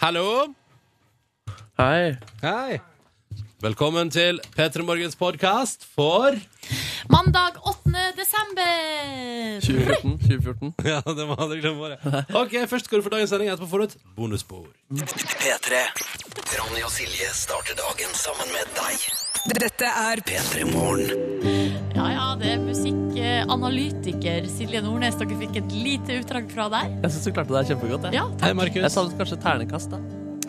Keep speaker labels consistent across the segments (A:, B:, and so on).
A: Hallo!
B: Hei.
A: Hei! Velkommen til P3 Morgens podkast for
C: Mandag 8. desember.
B: 2014. 2014.
A: Ja, det må aldri glemme året. Ok, Først går du for dagens sending, etterpå får du et bonusbord.
D: P3. Ronny og Silje starter dagen sammen med deg.
E: Dette er
D: P3 Morgen.
C: Ja, ja, det er musikkanalytiker Silje Nordnes. Dere fikk et lite utdrag fra der.
B: Jeg syns du klarte deg kjempegodt. Jeg,
C: Ja,
A: Hei,
C: takk.
A: Markus.
B: jeg savnet kanskje ternekast. da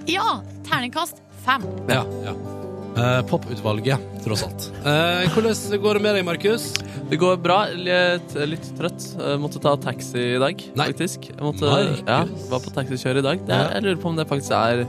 C: Ja, terningkast fem.
A: Ja, ja. Eh, Poputvalget, tross alt. Eh, hvordan går det med deg, Markus?
B: Det går bra. Litt, eh, litt trøtt. Jeg måtte ta taxi i dag,
A: Nei.
B: faktisk. Jeg måtte,
A: Markus.
B: ja, var på taxikjør i dag. Det,
A: Ja.
B: er- jeg lurer på om det faktisk er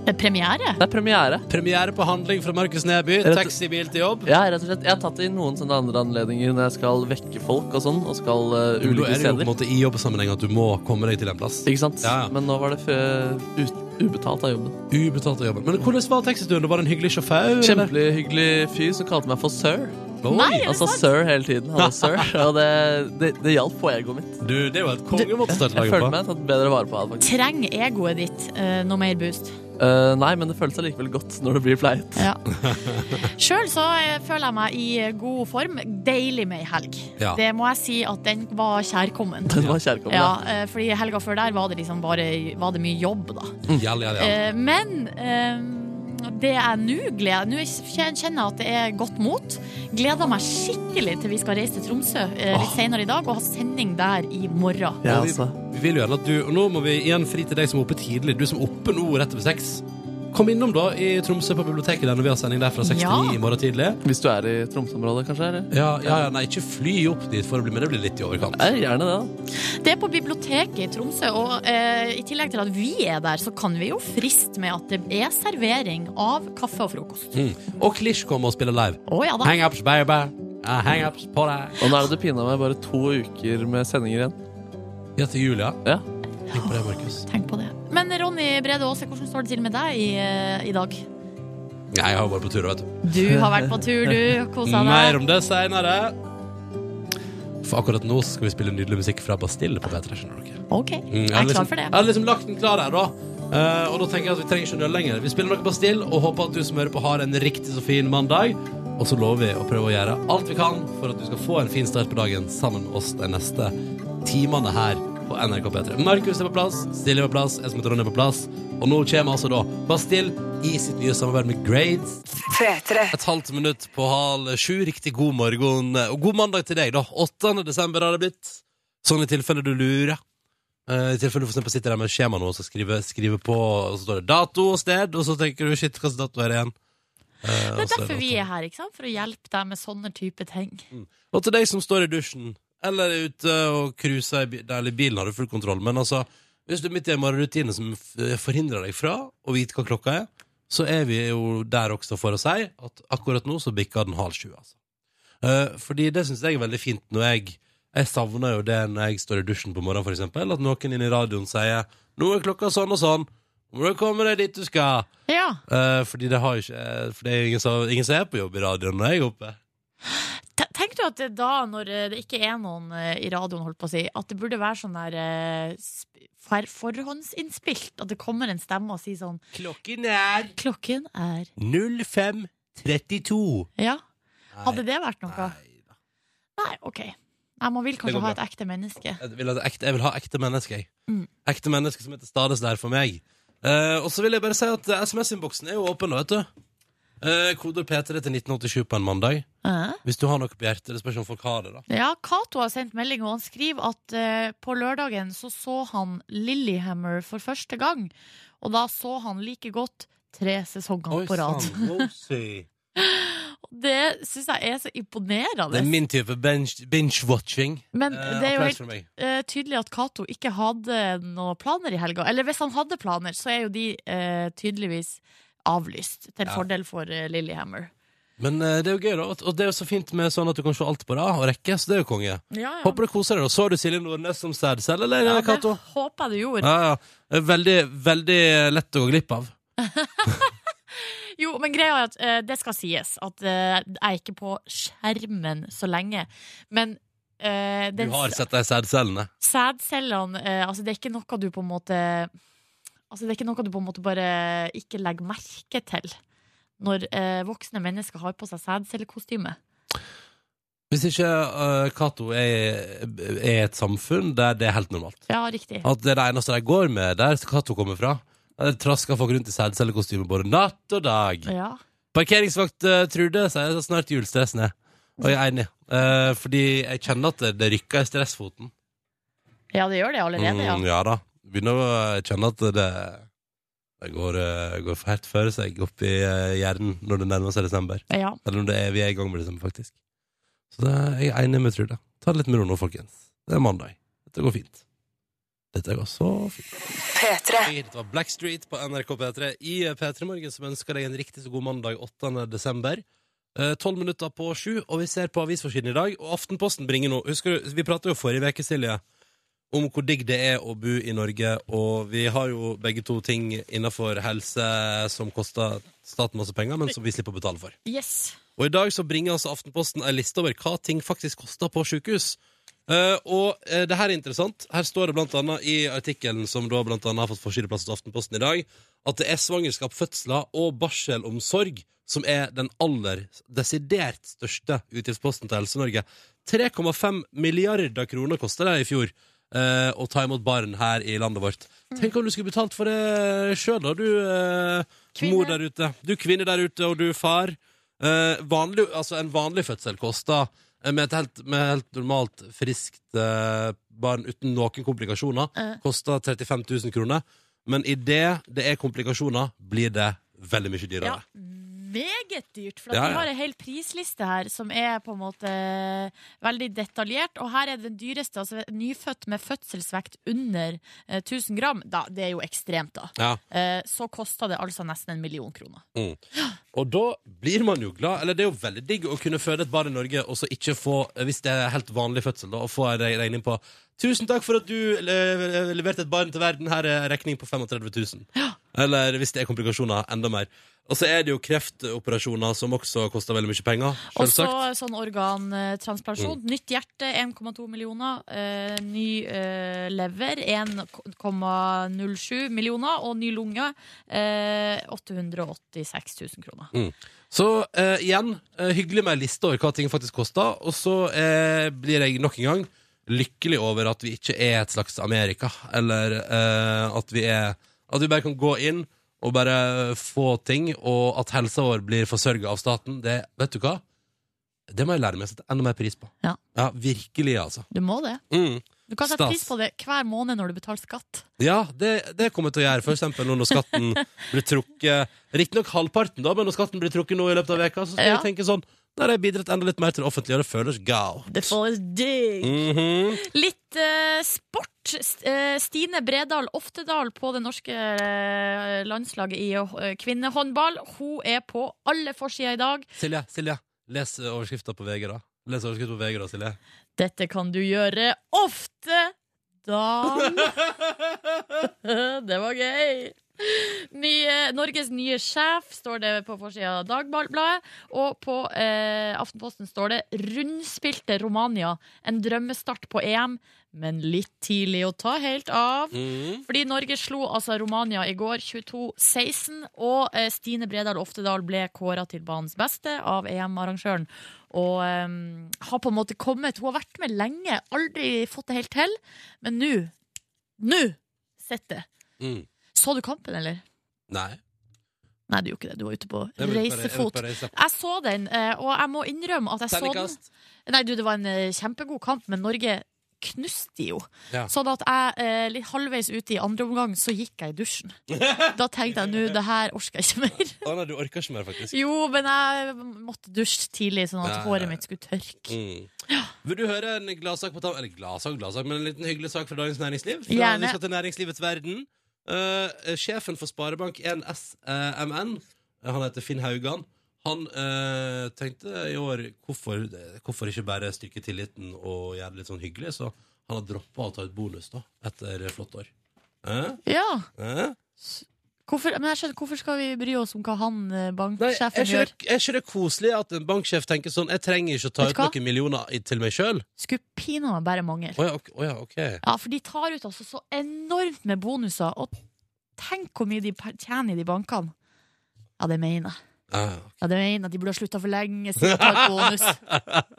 C: Det er premiere.
B: Det er premiere.
A: Premiere på handling fra Markus Neby.
B: Rett-
A: Taxibil til jobb.
B: Ja, rett og slett. Jeg har tatt det i noen sånne andre anledninger når jeg skal vekke folk og sånn, og skal eh,
A: Da
B: ulike
A: er det jo på en
B: steder.
A: måte i jobbsammenheng at du må komme deg til en plass.
B: Ikke sant?
A: Ja, ja.
B: Men nå var det fø- ut- ubetalt av jobben.
A: Ubetalt av jobben. Men hvordan var taxituren? Det var en hyggelig sjåfør? eller?
B: Kjempelig hyggelig fyr som kalte meg for sir.
A: Oi.
C: Nei,
B: Han
C: er det
B: sa
C: sant?
B: sir hele tiden. Han var sir, og det, det, det hjalp på egoet mitt.
A: Du, det er jo et kongemåte å starte
B: Jeg følte
A: dagen på.
B: meg tatt bedre vare på av det, faktisk.
C: Trenger egoet ditt eh, noe mer boost?
B: Eh, nei, men det føles allikevel godt når det blir pleiet.
C: Ja. Sjøl så eh, føler jeg meg i god form. Deilig med ei helg.
A: Ja.
C: Det må jeg si at den var kjærkommen.
B: Den var kjærkommen.
C: Ja,
B: Ja.
C: eh, fordi helga før der var det liksom bare var det mye jobb, da.
A: Jall, jall, jall.
C: Eh, Men eh, det jeg nå gleder Nå kjen- kjenner jeg at det er godt mot. Gleder meg skikkelig til vi skal reise til Tromsø eh, litt senere i dag og ha sending der i morgen.
B: Ja,
A: Og vi-
B: altså.
A: Vi vil jo gjerne at du Og nå må vi igjen fri til deg som er oppe tidlig. Du som er oppe nå rett over seks. Kom innom da i Tromsø på biblioteket der når vi har sending der fra seks til
C: Ja.
A: ni i morgen tidlig.
B: Hvis du er i Tromsø-området, kanskje? Eller?
A: Ja, ja, ja, nei, ikke fly opp dit for å bli med. Det blir litt i overkant.
B: Ja, gjerne det, da.
C: Det er på biblioteket i Tromsø, og eh, i tillegg til at vi er der, så kan vi jo friste med at det er servering av kaffe og frokost.
A: Mm. Og Klish kommer og spiller live.
C: Å ja da.
A: Hangups, baby. Ah, Hangups på deg.
B: Og nå er det det pina meg bare to uker med sendinger igjen.
A: Ja, til Julia.
B: Ja.
A: Tenk på det, Markus.
C: Tenk på det. Men Ronny Brede Aase, hvordan står det til med deg i, eh, i dag?
A: Nei, jeg har vært på tur, vet du.
C: Du har vært på tur, du. Kosa
A: Mer
C: deg.
A: om det seinere. For akkurat nå skal vi spille nydelig musikk fra Bastille på P3. skjønner dere.
C: OK,
A: Mm,
C: jeg
A: har
C: er
A: liksom-
C: klar for
A: Jeg
C: det.
A: har liksom lagt den klar her, da. Eh, og da tenker jeg at Vi trenger ikke nøle lenger. Vi spiller noe Bastille og håper at du som hører på, har en riktig så fin mandag. Og så lover vi å prøve å gjøre alt vi kan for at du skal få en fin start på dagen sammen med oss de neste timene her på NRK P3. Markus er på plass, Silje er på plass, jeg som heter Ronny er på plass. Og nå kommer altså da Bastille i sitt nye samarbeid med Grades.
E: P3.
A: Et halvt minutt på halv sju. Riktig god morgen. Og god mandag til deg, da. 8. desember har det blitt. Sånn i tilfelle du lurer. Eh, I tilfelle du for eksempel sitter der med et skjema nå og skal skrive, skrive på, og så står det dato og sted, og så tenker du shit, hvilken dato er det igjen? Eh,
C: Det
A: og
C: er
A: så
C: derfor vi
A: åtte.
C: er her, ikke sant? for å hjelpe deg med sånne type ting.
A: Og til deg som står i dusjen, eller er ute og cruiser i bi- nei, eller i bilen, har du full kontroll, men altså, hvis du er midt i en morgenrutine som f- eh, forhindrer deg fra å vite hva klokka er, så er vi jo der også for å si at akkurat nå så bikker den halv sju, altså. Eh, fordi det syns jeg er veldig fint når jeg Jeg savner jo det når jeg står i dusjen på morgenen, for eksempel, at noen inne i radioen sier 'Nå er klokka sånn og sånn', må du komme deg dit du skal'.
C: Ja,
A: Eh, fordi det har jo ikke eh, For det er jo ingen som, ingen som er på jobb i radioen når jeg er oppe.
C: Te- Tenk du at det da, når eh, det ikke er noen eh, i radioen, holdt på å si, at det burde være sånn der eh, sp- for- forhåndsinnspilt? At det kommer en stemme og sier sånn
A: Klokken er
C: Klokken er
A: 0532.
C: Ja. Hadde det vært noe? Nei,
A: Nei da.
C: OK. Nei, man vil
A: Det går
C: kanskje ha et
A: bra.
C: ekte menneske.
A: Jeg vil, ha ekte, jeg vil ha ekte mennesker, jeg.
C: Mm.
A: Ekte mennesker som heter Stades der for meg. Eh, og så vil jeg bare si at eh, SMS-innboksen er jo åpen, da, vet du. Eh, koder P3 til 1987 på en mandag.
C: Eh?
A: Hvis du har noe på hjertet. Det spørs om folk har det, da.
C: Ja, Cato har sendt melding, og han skriver at eh, på lørdagen så så han Lillyhammer for første gang. Og da så han like godt tre sesonger på rad.
A: Rosie.
C: Det syns jeg er så imponerende.
A: Det er min type bench- binge-watching.
C: Men
A: Eh,
C: det er jo
A: applaus
C: helt
A: fra meg.
C: eh, tydelig at Cato ikke hadde noen planer i helga. Eller hvis han hadde planer, så er jo de eh, tydeligvis avlyst. Til
A: Ja.
C: fordel for eh, Lillehammer.
A: Men eh, det er jo gøy, da. Og- Og det er jo så fint med sånn at du kan se alt på rad og rekke, så det er jo konge. Håper du koser deg. da. Så du Silje Nordnes som sæd selv, eller,
C: Ja, det
A: Cato?
C: håper jeg du gjorde.
A: Ja, ja. Det er Veldig, veldig lett å gå glipp av.
C: Jo, men greia er at eh, det skal sies at eh, jeg er ikke på skjermen så lenge. Men eh,
A: Du
C: den
A: har sett de sædcellene.
C: sædcellene eh, Altså, det er ikke noe du på en måte Altså, det er ikke noe du på en måte bare ikke legger merke til når eh, voksne mennesker har på seg sædcellekostyme.
A: Hvis ikke eh, Cato er, er et samfunn der det er helt normalt.
C: Ja, riktig.
A: At det er det eneste de går med der Cato kommer fra. Der trasker folk rundt i sædcellekostyme både natt og dag.
C: Ja.
A: Parkeringsvakt eh, Trude sier så snart julestressen er. Og jeg er enig. Eh, fordi jeg kjenner at det, det rykker i stressfoten.
C: ja, det gjør det allerede, ja.
A: Mm, ja da. Begynner å eh, kjenne at det, det går, eh, går helt før seg opp i eh, hjernen når det nærmer seg desember.
C: ja.
A: Eller om det er, vi er i gang med desember, faktisk. Så det, jeg er enig med Trude. Ta det litt med ro nå, folkens. Det er mandag. Dette går fint. Dette går så fint. Dette var Blackstreet på NRK P3 i P3 Morgen, som ønsker deg en riktig så god mandag 8. desember. Eh, 12 minutter på sju, og vi ser på avisforsiden i dag. Og Aftenposten bringer nå Husker du, Vi prata jo forrige uke, Silje, om hvor digg det er å bo i Norge. Og vi har jo begge to ting innafor helse som koster staten masse penger, men som vi slipper å betale for.
C: Yes.
A: Og i dag så bringer altså Aftenposten en liste over hva ting faktisk koster på sykehus. Eh, og eh, det her er interessant. Her står det blant annet i artikkelen som da blant annet har fått forsideplass hos Aftenposten i dag, at det er svangerskap, fødsler og barselomsorg som er den aller desidert største utgiftsposten til Helse-Norge. 3,5 milliarder kroner kosta det i fjor eh, å ta imot barn her i landet vårt. Tenk om du skulle betalt for det sjøl, da, du eh,
C: Kvinne.
A: mor der ute. Du kvinne der ute, og du far. Eh, vanlig, altså en vanlig fødsel koster eh, med et helt, med helt normalt friskt eh, barn uten noen komplikasjoner,
C: Eh.
A: koster 35 000 kroner. Men idet det er komplikasjoner, blir det veldig mye dyrere.
C: Ja, meget dyrt. For at
A: Ja,
C: vi
A: ja.
C: har en hel prisliste her som er på en måte veldig detaljert. Og her er den dyreste, altså nyfødt med fødselsvekt under eh, 1000 gram. Da, det er jo ekstremt, da.
A: Ja.
C: Eh, så kosta det altså nesten en million kroner.
A: Mm. Og da blir man jo glad. Eller det er jo veldig digg å kunne føde et barn i Norge og så ikke få, hvis det er helt vanlig fødsel, da, og få en regning på 'Tusen takk for at du le- leverte et barn til verden. Her er en regning på 35 000.' Eller hvis det er komplikasjoner, enda mer. Og så er det jo kreftoperasjoner som også koster veldig mye penger.
C: Og så
A: Selvsagt. Mm.
C: sånn organtransplantasjon. Nytt hjerte 1,2 millioner. eh, ny eh, lever 1,07 millioner. Og ny lunge eh, 886 000 kroner.
A: Så eh, igjen, eh, hyggelig med en liste over hva ting faktisk koster. Og så eh, blir jeg nok en gang lykkelig over at vi ikke er et slags Amerika. Eller eh, at vi er At vi bare kan gå inn og bare få ting, og at helsa vår blir forsørga av staten. Det, vet du hva? Det må jeg lære meg å sette enda mer pris på.
C: Ja.
A: Virkelig, altså.
C: Du må det.
A: Mm.
C: Du kan sette
A: Stas.
C: pris på det hver måned når du betaler skatt.
A: Ja, det, det kommer jeg til å gjøre. For eksempel nå når skatten blir trukket Riktignok halvparten, da, men når skatten blir trukket nå i løpet av veka, så skal
C: Ja.
A: jeg tenke sånn Der har jeg bidratt enda litt mer til det offentlige, og det føles galt.
C: Det føles digg.
A: Mhm.
C: Litt eh, sport. St- eh, Stine Bredal Oftedal på det norske eh, landslaget i eh, kvinnehåndball. Hun er på alle forsider i dag.
A: Silje, Silje, les eh, overskrifta på VG, da. Les overskrifta på VG, da, Silje.
C: Dette kan du gjøre ofte, Dan. det var gøy. Nye, Norges nye sjef står det på forsida av Dagbladet. Og på eh, Aftenposten står det 'Rundspilte Romania'. En drømmestart på EM, men litt tidlig å ta helt av.
A: Mhm.
C: Fordi Norge slo altså Romania i går 22-16, og eh, Stine Bredal Oftedal ble kåra til banens beste av EM-arrangøren. Og eh, har på en måte kommet Hun har vært med lenge, aldri fått det helt til, men nå Nå sitter det.
A: Mm.
C: Så du kampen, eller?
A: Nei.
C: Nei, du gjorde ikke det. Du var ute på
A: jeg vil bare- jeg vil
C: reisefot.
A: bare reise.
C: Jeg så den, eh, og jeg må innrømme at jeg så den
A: Terningkast.
C: Nei, du, det var en eh, kjempegod kamp, men Norge knuste jo.
A: Ja.
C: Sånn at jeg eh, litt halvveis ute i andre omgang, så gikk jeg i dusjen. Da tenkte jeg nå, det her orker jeg ikke mer.
A: Å nei, du orker ikke mer, faktisk.
C: Jo, men jeg måtte dusje tidlig, sånn at
A: Ja, ja, ja.
C: håret mitt skulle tørke.
A: Mm. Vil du høre en gladsak på tam... Eller gladsak, gladsak, men en liten hyggelig sak fra Dagens Næringsliv? Fra,
C: Gjerne.
A: Vi skal til næringslivets verden. Eh, sjefen for Sparebank1 SMN, eh, han heter Finn Haugan, han eh, tenkte i år hvorfor, eh, hvorfor ikke bare styrke tilliten og gjøre det litt sånn hyggelig? Så han har droppa å ta ut bonus da, etter flott år. Eh?
C: Ja,
A: Eh?
C: Hvorfor, men jeg skjønner, hvorfor skal vi bry oss om hva han eh,
A: Nei, er
C: banksjefen
A: ikke,
C: gjør?
A: det, er ikke det koselig at en banksjef tenker sånn Jeg trenger ikke å ta
C: Vet
A: ut
C: du hva?
A: noen millioner i- til meg sjøl?
C: Skulle pinadø bare mangle.
A: Å ja, ok- å ja, ok.
C: Ja, for de tar ut altså så enormt med bonuser, og tenk hvor mye de per- tjener i de bankene. Ja, det mener jeg.
A: Ja,
C: Ja, det mener jeg. De burde ha slutta for lenge siden å ta ut bonus.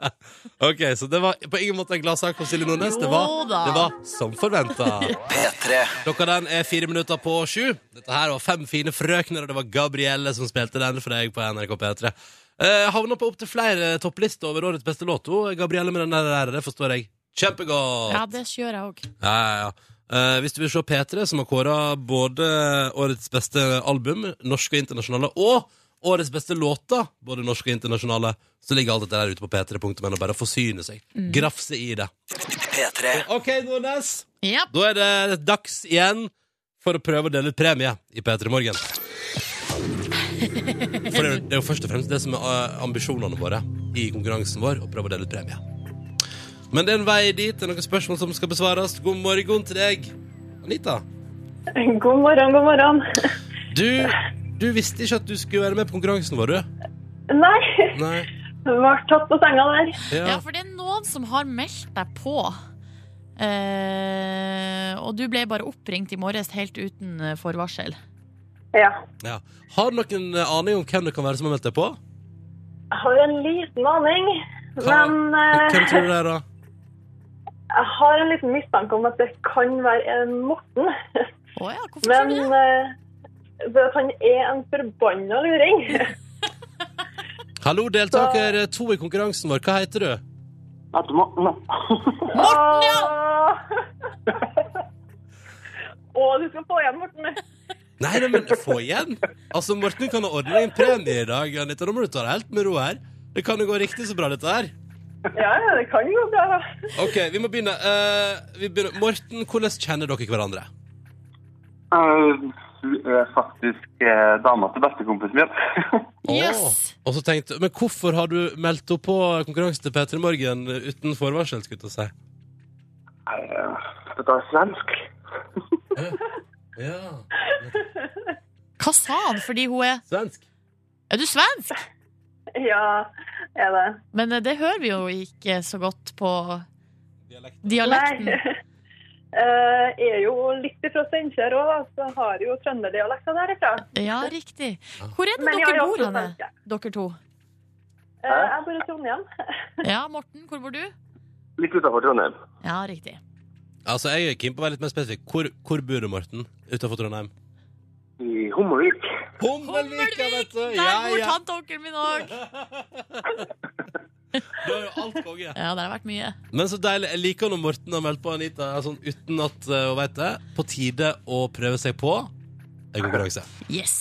A: ok, så det var på ingen måte en gladsak for Silje Nordnes. Det var,
C: Jo da.
A: det var som forventa.
D: P3.
A: Klokka den er fire minutter på sju. Dette her var Fem fine frøkner, og det var Gabrielle som spilte den for deg på NRK P3. Eh, havna på opptil flere topplister over årets beste låt. Hun, Gabrielle med den der, det forstår jeg kjempegodt.
C: Ja, det gjør jeg òg.
A: Ja, ja, ja. Eh, hvis du vil se P3, som har kåra både årets beste album, norske og internasjonale, og årets beste låter, både norske og internasjonale, så ligger alt dette der ute på p3.no. Bare forsyne seg. Grafse i det.
D: P3.
A: Mm. OK, Nordnes.
C: Ja.
A: Da er det dags igjen for å prøve å dele ut premie i P3 Morgen. For det er jo- det er jo først og fremst det som er eh, ambisjonene våre i konkurransen vår. Å prøve å dele ut premie. Men det er en vei dit. Det er noen spørsmål som skal besvares. God morgen til deg, Anita.
E: God morgen, god morgen.
A: Du, du visste ikke at du skulle være med på konkurransen vår, du?
E: Nei,
A: Nei.
E: ble tatt på senga der.
C: ja,
A: Ja.
C: for det er noen som har meldt deg på. Eh, og du ble bare oppringt i morges helt uten eh, forvarsel.
E: Ja.
A: ja. Har du noen eh, aning om hvem det kan være som har meldt deg på?
E: Jeg har en liten aning,
A: Hva-
E: men
A: Hvem
E: eh,
A: tror du det er, da?
E: jeg har en liten mistanke om at det kan være en Morten.
C: Å ja, hvorfor
E: Men
C: tror du det?
E: eh, det- han er en forbanna luring.
A: Hallo, deltaker eh, to i konkurransen vår. Hva heter du?
E: Morten, ja! Å, du skal få igjen, Morten.
A: Nei, nei, men få igjen! Altså, Morten kan ha ordna en premie i dag. Anita, nå må du ta det helt med ro her. Det kan jo gå riktig så bra, dette her.
E: Ja, ja, det kan gå bra. da.
A: OK, vi må begynne. Eh, vi begynner. Morten, hvordan kjenner dere hverandre?
F: Eh, Hun er faktisk eh, dama til bestekompisen min.
C: Yes.
A: Åh, Og så tenkte, Men hvorfor har du meldt deg på konkurransen til P3 Morgen uten forvarsel? skulle jeg til å si?
F: Eh, Dette er svensk.
A: Ja,
C: Hva sa han? Fordi hun er
A: Svensk.
C: Er du svensk?
E: Ja, er det.
C: Men eh, det hører vi jo ikke så godt på
A: Dialekt.
C: dialekten.
E: Nei. Eh, Jeg er jo litt ifra Steinkjer òg, så har jo trønderdialekta derifra.
C: Ja, riktig. Hvor er det
E: Men jeg er
C: dere
E: jo
C: bor
E: også
C: hen?
E: svenske.
C: Dere to.
E: Eh, Jeg bor i Trondheim.
C: Ja, Morten, hvor bor du?
F: Litt utafor Trondheim.
C: Ja, riktig.
A: Altså, Jeg er keen på å være litt mer spesifikk. Hvor, hvor bor du, Morten? Utenfor Trondheim?
F: I Hummelvik.
A: Hummelvika, vet du!
C: Der bor tante og onkelen min òg.
A: Du har jo alt konge.
C: Ja, der har vært mye.
A: Men så deilig. Jeg liker når Morten har meldt på Anita er sånn, uten at eh, hun vet det. På tide å prøve seg på en konkurranse.
C: Yes.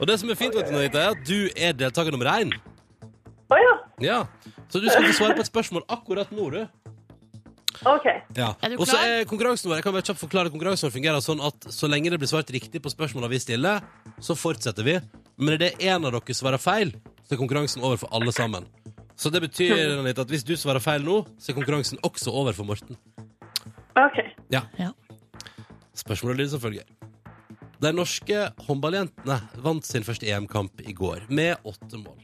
A: Og det som er fint, vet du, Anita, er at du er deltaker nummer én.
E: Å ja.
A: Ja. Så du skal få svare på et spørsmål akkurat nå, du.
E: OK.
A: Ja.
C: Er du
A: Og så
C: klar?
A: er konkurransen vår Jeg kan bare kjapt forklare konkurransen vår fungerer sånn at så lenge det blir svart riktig på spørsmålene vi stiller, så fortsetter vi. Men er det en av dere svarer feil, så er konkurransen over for alle sammen. Så det betyr
C: Hm.
A: Anita, at hvis du svarer feil nå, så er konkurransen også over for Morten.
E: ok.
A: Spørsmålet lyder som følger. De norske håndballjentene vant sin første EM-kamp i går med åtte mål.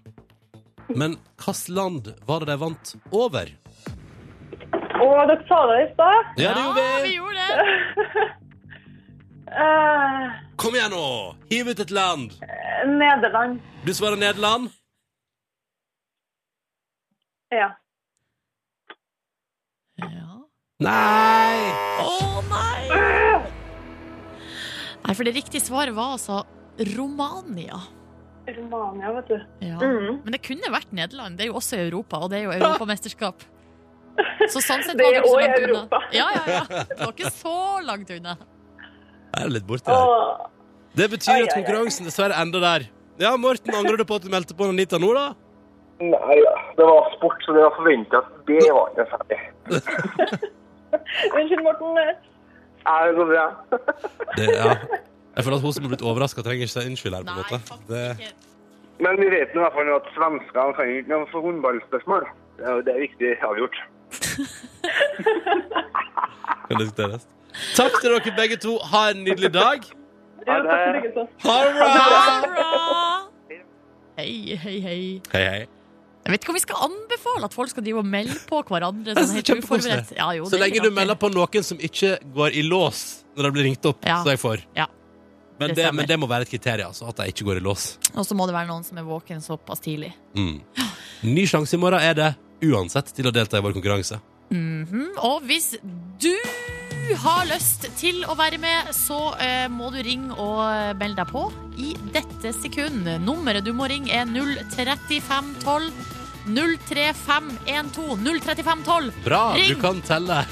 A: Men hvilket land var det de vant over?
E: Og dere sa det i stad.
A: Ja, det gjorde
C: Ja, vi
A: vi!
C: gjorde det.
E: Eh,
A: Kom igjen nå! Hiv ut et land!
E: Nederland.
A: Du svarer Nederland.
E: Ja.
C: Ja.
A: Nei!
C: Å nei! Nei, for det riktige svaret var altså Romania.
E: Romania, vet du.
C: Ja.
E: Mhm.
C: Men det kunne vært Nederland. Det er jo også i Europa, og det er jo europamesterskap. Så sånn sett
E: Det
C: var
E: er
C: det ikke så
E: også i
C: langt unna.
E: Europa.
C: Ja, ja, ja. Det var ikke så langt unna.
A: Er det litt borti der?
E: Og
A: Det
E: Ai, ai,
A: betyr at
E: ai.
A: konkurransen dessverre ender der. Ja, Morten, angrer du på at du meldte på Anita nå, da?
F: Nei, ja. det var sport, så det var forventa at det var ikke ferdig.
E: Unnskyld, Morten.
F: Ja, det går bra.
A: Det, ja. Jeg føler at hun som har blitt overraska, trenger ikke si unnskyld her. på
C: Nei,
A: en måte.
C: faktisk
A: Det...
C: ikke.
F: Men vi vet nå i hvert fall at svenskene kan jo ikke noe for håndballspørsmål. Det er jo det viktig avgjort.
A: kan diskuteres. Takk til dere begge to. Ha en nydelig dag.
E: Jo,
F: Ha
E: takk
F: det.
E: likeså.
C: Ha det bra! Hei, hei, hei.
A: Hei, hei.
C: Jeg vet ikke om vi skal anbefale at folk skal drive og melde på hverandre.
A: Jeg
C: Sånn
A: synes
C: helt
A: det er kjempekoselig.
C: uforberedt. Ja, jo,
A: Så
C: det er
A: lenge
C: litt
A: du
C: artig.
A: melder på noen som ikke går i lås når de blir ringt opp,
C: Ja.
A: så er jeg for.
C: Ja.
A: Men,
C: Det
A: det,
C: stemmer.
A: men det må være et kriterium, altså, at de ikke går i lås.
C: Og så må det være noen som er våken såpass tidlig.
A: Mm. Ny sjanse i morgen er det uansett til å delta i vår konkurranse.
C: Mhm. Og hvis du har lyst til å være med, så eh, må du ringe og eh, melde deg på i dette sekund. Nummeret du må ringe er 03512. 03512 03512
A: Bra,
C: Ring!
A: du kan telle.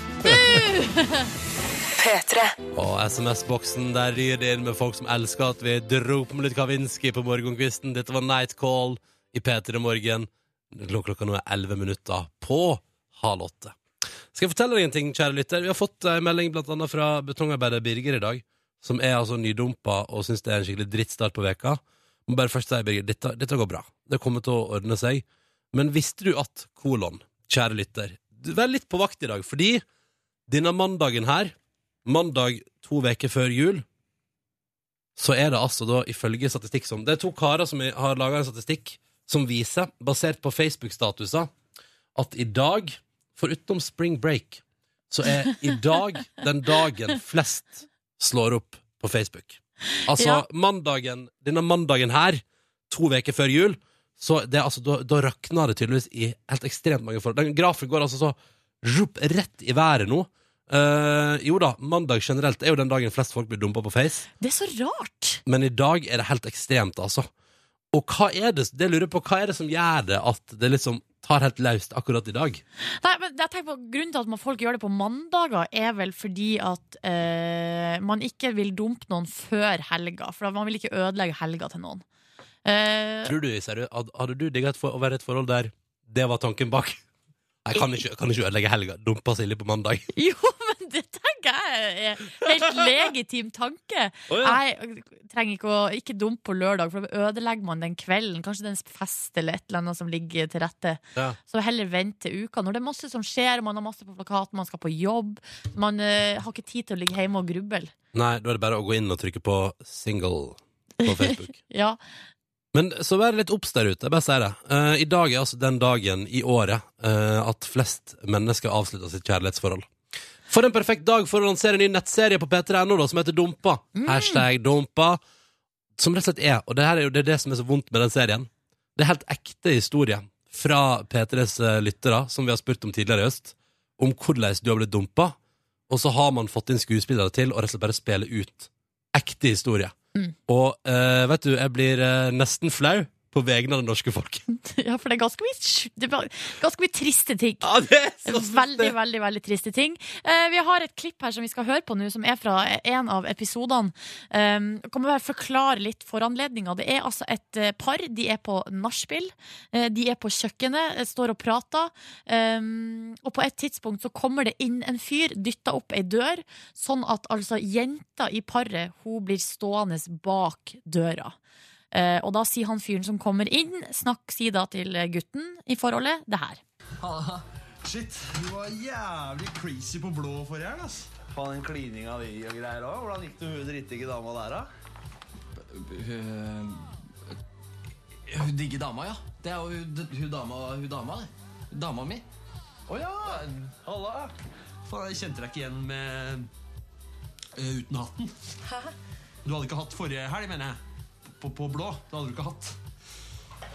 A: Og SMS-boksen, der ryr det inn med folk som elsker at vi dro på med litt Kavinsky på morgenkvisten. Dette var Night Call i P3 Morgen. Klok- Klokka nå er 11 minutter på halv åtte. Skal jeg fortelle deg en ting, kjære lytter? Vi har fått en melding blant annet fra betongarbeider Birger i dag, som er altså nydumpa og syns det er en skikkelig drittstart på veka. Må bare først si, Birger, dette, dette går bra. Det kommer til å ordne seg. Men visste du at, kolon, kjære lytter, du- vær litt på vakt i dag, fordi denne mandagen her, mandag to veker før jul, så er det altså da ifølge statistikk som Det er to karer som har laga en statistikk som viser, basert på Facebook-statuser, at i dag, foruten spring break, så er i dag den dagen flest slår opp på Facebook. Altså
C: Ja.
A: mandagen, denne mandagen her, to veker før jul, så det er altså, da, da rakner det tydeligvis i helt ekstremt mange forhold. Den grafen går altså så zhup, rett i været nå. Eh, jo da, mandag generelt er jo den dagen flest folk blir dumpa på Face,
C: Det er så rart!
A: men i dag er det helt ekstremt, altså. Og hva er det, det lurer jeg på, hva er det som gjør det at det liksom tar helt løst akkurat i dag?
C: Nei, men jeg tenker på Grunnen til at man- folk gjør det på mandager, er vel fordi at eh, man ikke vil dumpe noen før helga. For man vil ikke ødelegge helga til noen. Eh,
A: Tror du, seriøst, had- hadde du digga et for- å være i et forhold der det var tanken bak? Jeg kan ikke, kan ikke ødelegge helga. Dumpa Silje på mandag.
C: jo, men det tenker jeg er helt legitim tanke. Jeg trenger ikke å ikke dumpe på lørdag, for da ødelegger man den kvelden. Kanskje det er en fest eller et eller annet som ligger til rette.
A: Ja.
C: Så heller vente til uka. Når det er masse som skjer, man har masse på plakaten, man skal på jobb, man eh, har ikke tid til å ligge hjemme og gruble.
A: Nei, da er det bare å gå inn og trykke på single på Facebook.
C: Ja.
A: Men så vær litt obs der ute, jeg bare sier det. Eh, I dag er altså den dagen i året eh, at flest mennesker avslutter sitt kjærlighetsforhold. For en perfekt dag for å lansere en ny nettserie på p3.no da, som heter Dumpa. Hashtag Dumpa. Som rett og slett er, og det her er jo det, er det som er så vondt med den serien. Det er helt ekte historie fra P3s eh, lyttere, som vi har spurt om tidligere i høst, om hvordan du har blitt dumpa, og så har man fått inn skuespillere til og rett og slett bare spille ut ekte historie. Og eh, vet du, jeg blir eh, nesten flau på vegne av det norske folk.
C: ja, for det er ganske mye, sj- det er ganske mye triste ting.
A: Ja, det er så
C: Veldig, veldig veldig triste ting. Eh, vi har et klipp her som vi skal høre på nå, som er fra en av episodene. Um, kan vi bare forklare litt foranledninga? Det er altså et eh, par. De er på nachspiel. Eh, de er på kjøkkenet, eh, står og prater. Um, og på et tidspunkt så kommer det inn en fyr, dytter opp ei dør, sånn at altså jenta i paret hun blir stående bak døra. Eh, og da sier han fyren som kommer inn, snakk, si da til gutten i forholdet, det her.
G: Shit, du var jævlig crazy på blå forrige helg, ass. Faen, den klininga di og greier òg. Hvordan gikk det med hun drittige dama der, da?
B: Hun digger dama, ja. Det er jo hun, hun dama, hun dama, det. Dama mi.
G: Å ja! Halla! Faen, jeg kjente deg ikke igjen med eh, uten hatten. Du hadde ikke hatt forrige helg, mener jeg. På, på blå. Da hadde du ikke hatt.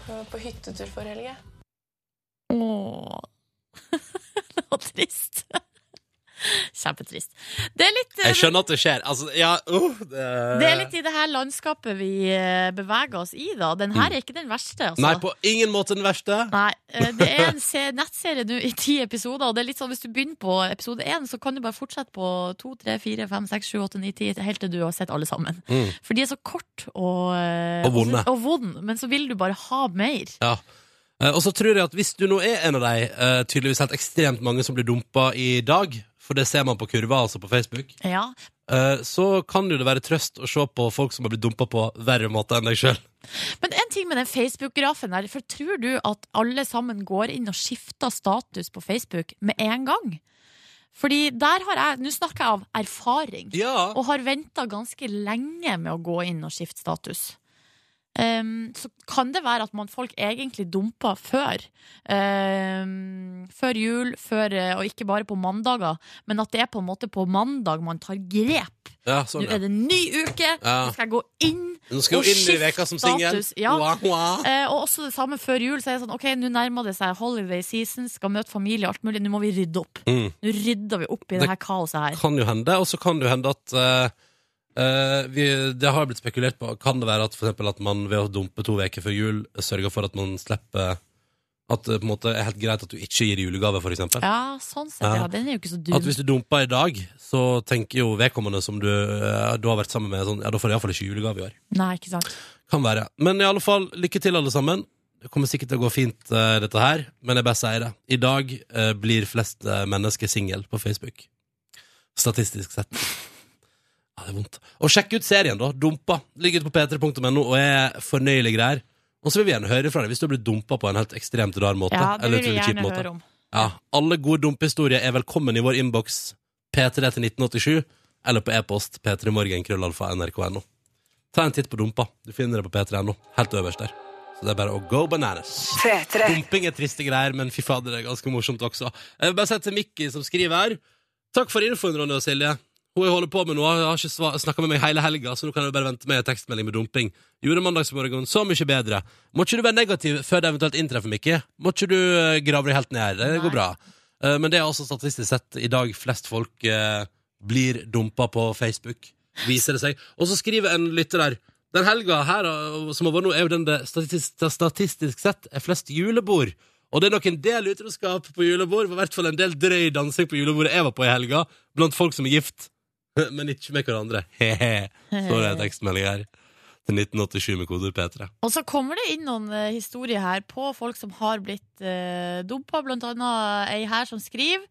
H: Jeg var på hyttetur forrige helg. jeg.
C: Åh. Det var trist. Kjempetrist. Det er litt
A: Jeg skjønner at det skjer. Altså, ja, uh, det...
C: det er litt i det her landskapet vi eh, beveger oss i, da. Den her er ikke den verste, altså.
A: Mm. Nei, på ingen måte den verste.
C: Nei, eh, det er en se nettserie nå i ti episoder, og det er litt sånn hvis du begynner på episode én, så kan du bare fortsette på to, tre, fire, fem, seks, sju, åtte, ni, ti, helt til du har sett alle sammen.
A: Mm.
C: For de er så kort og eh,
A: Og vonde.
C: Og vond, men så vil du bare ha mer.
A: Ja. Eh, Og så tror jeg at hvis du nå er en av de eh, tydeligvis helt ekstremt mange som blir dumpa i dag, for det ser man på kurva, altså på Facebook,
C: Ja.
A: eh, så kan jo det være trøst å se på folk som har blitt dumpa på verre måte enn deg sjøl.
C: Men en ting med den Facebook-grafen der, for tror du at alle sammen går inn og skifter status på Facebook med en gang? Fordi der har jeg Nå snakker jeg av erfaring.
A: Ja.
C: Og har venta ganske lenge med å gå inn og skifte status. Ehm, så kan det være at man, folk egentlig dumper før. Ehm, før jul, før, eh, og ikke bare på mandager, men at det er på en måte på mandag man tar grep.
A: Ja, sånn,
C: Nå er
A: ja.
C: det en ny uke,
A: Ja.
C: nå skal jeg gå inn
A: Nå skal
C: og
A: jo inn i
C: skift
A: veka som singel.
C: status, ja.
A: Wah, wah.
C: Eh, og også det samme før jul. Så er det sånn, ok, Nå nærmer det seg holiday season, skal møte familie og alt mulig. Nå må vi rydde opp.
A: Mm.
C: Nå rydder vi opp i
A: Det-
C: det her kaoset her.
A: Kan jo hende. Og så kan det jo hende at eh, eh, vi, Det har blitt spekulert på. Kan det være at, for eksempel, at man ved å dumpe to uker før jul sørger for at man slipper At det på en måte er helt greit at du ikke gir julegave, for eksempel?
C: Ja, sånn sett.
A: Ja.
C: Ja, den er jo ikke så
A: At
C: dum.
A: hvis du dumper i dag, så tenker jo vedkommende som du, eh, du har vært sammen med, sånn Ja, da får jeg iallfall ikke julegave i år.
C: Nei, ikke sant.
A: Kan være. Men i alle fall, lykke til, alle sammen. Det kommer sikkert til å gå fint, eh, dette her, men jeg bare sier det. I dag eh, blir flest eh, mennesker singel på Facebook. Statistisk sett. Ja, det er vondt. Og sjekk ut serien, da. Dumpa. Ligger ute på p3.no og er fornøyelige greier. Og så vil vi gjerne høre fra deg hvis du har blitt dumpa på en helt ekstremt rar måte.
C: Ja, det
A: eller
C: vil vi
A: utrolig kjip
C: gjerne
A: måte.
C: høre om.
A: Ja, alle gode dumpehistorier er velkommen i vår innboks P3 til 1987 eller på e-post p3morgenkrøllalfa.nrk.no. Ta en titt på dumpa. Du finner det på p3.no, helt øverst der. Så det er bare å go bananas. Dumping er triste greier, men fy fader, det er ganske morsomt også. Jeg vil bare si til Mikki som skriver her Takk for infoen, Ronny og Silje. Hun jeg holder på med nå, har ikke snakka med meg hele helga, så nå kan jeg bare vente med en tekstmelding med dumping. Gjorde mandagsmorgen så mye bedre. Må ikke du være negativ før det eventuelt inntreffer, Mikki. Må ikke du eh, grave deg helt ned her. Det
C: Nei.
A: går bra. Eh, Men det er altså statistisk sett i dag flest folk eh, blir dumpa på Facebook, viser det seg. Og så skriver en lytter der Den helga her eh, som har vært nå, er jo den det statistisk, statistisk sett er flest julebord. Og det er nok en del utroskap på julebord, og i hvert fall en del drøy dansing på julebordet jeg var på i helga, blant folk som er gift, men ikke med hverandre. He-he. Så er det en tekstmelding her. Til 1987 med koder P3.
C: Og så kommer det inn noen eh, historier her på folk som har blitt eh, dumpa, blant annet ei her som skriver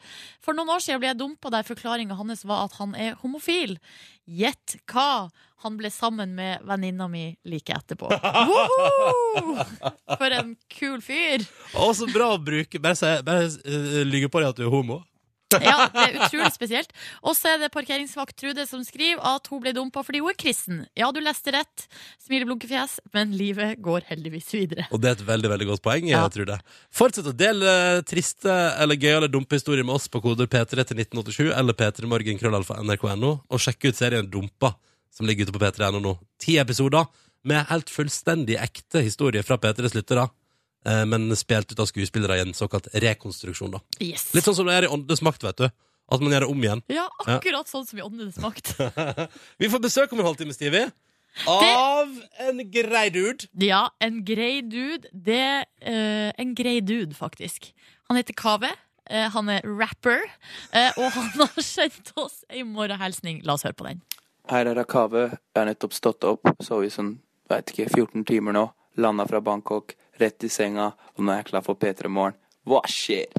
C: For noen år siden ble jeg dumpa der forklaringa hans var at han er homofil. Gjett hva? Han ble sammen med venninna mi like etterpå. Woho! For en kul fyr.
A: Å, så bra å bruke Bare, si- bare eh, lyge på deg at du er homo.
C: Ja, det er utrolig spesielt. Og så er det parkeringsvakt Trude som skriver at hun ble dumpa fordi hun er kristen. Ja, du leste rett. Smileblunkefjes, men livet går heldigvis videre.
A: Og det er et veldig veldig godt poeng.
C: Ja.
A: jeg tror det Fortsett å dele eh, triste eller gøyale dumpe historier med oss på koder P3 til 1987 eller p3morgenkrøllalfa.nrk.no. Og sjekk ut serien Dumpa, som ligger ute på p3.no nå. Ti episoder med helt fullstendig ekte historier fra P3s lyttere, eh, men spilt ut av skuespillere i en såkalt rekonstruksjon. da
C: Yes.
A: Litt sånn som det er i Åndenes makt, vet du. At man gjør det om igjen.
C: Ja, akkurat sånn som i Åndenes makt.
A: Vi får besøk om en halvtime, Stevie. Av en grei dude.
C: Ja, en grei dude. Det eh, En grei dude, faktisk. Han heter Kaveh. eh, han er rapper, eh, og han har sendt oss ei morgenhilsning. La oss høre på den.
I: Her er Akave. Jeg har nettopp stått opp, sovet i sånn, veit ikke, 14 timer nå. Landa fra Bangkok, rett i senga, og nå er jeg klar for P3 Morgen. Hva skjer?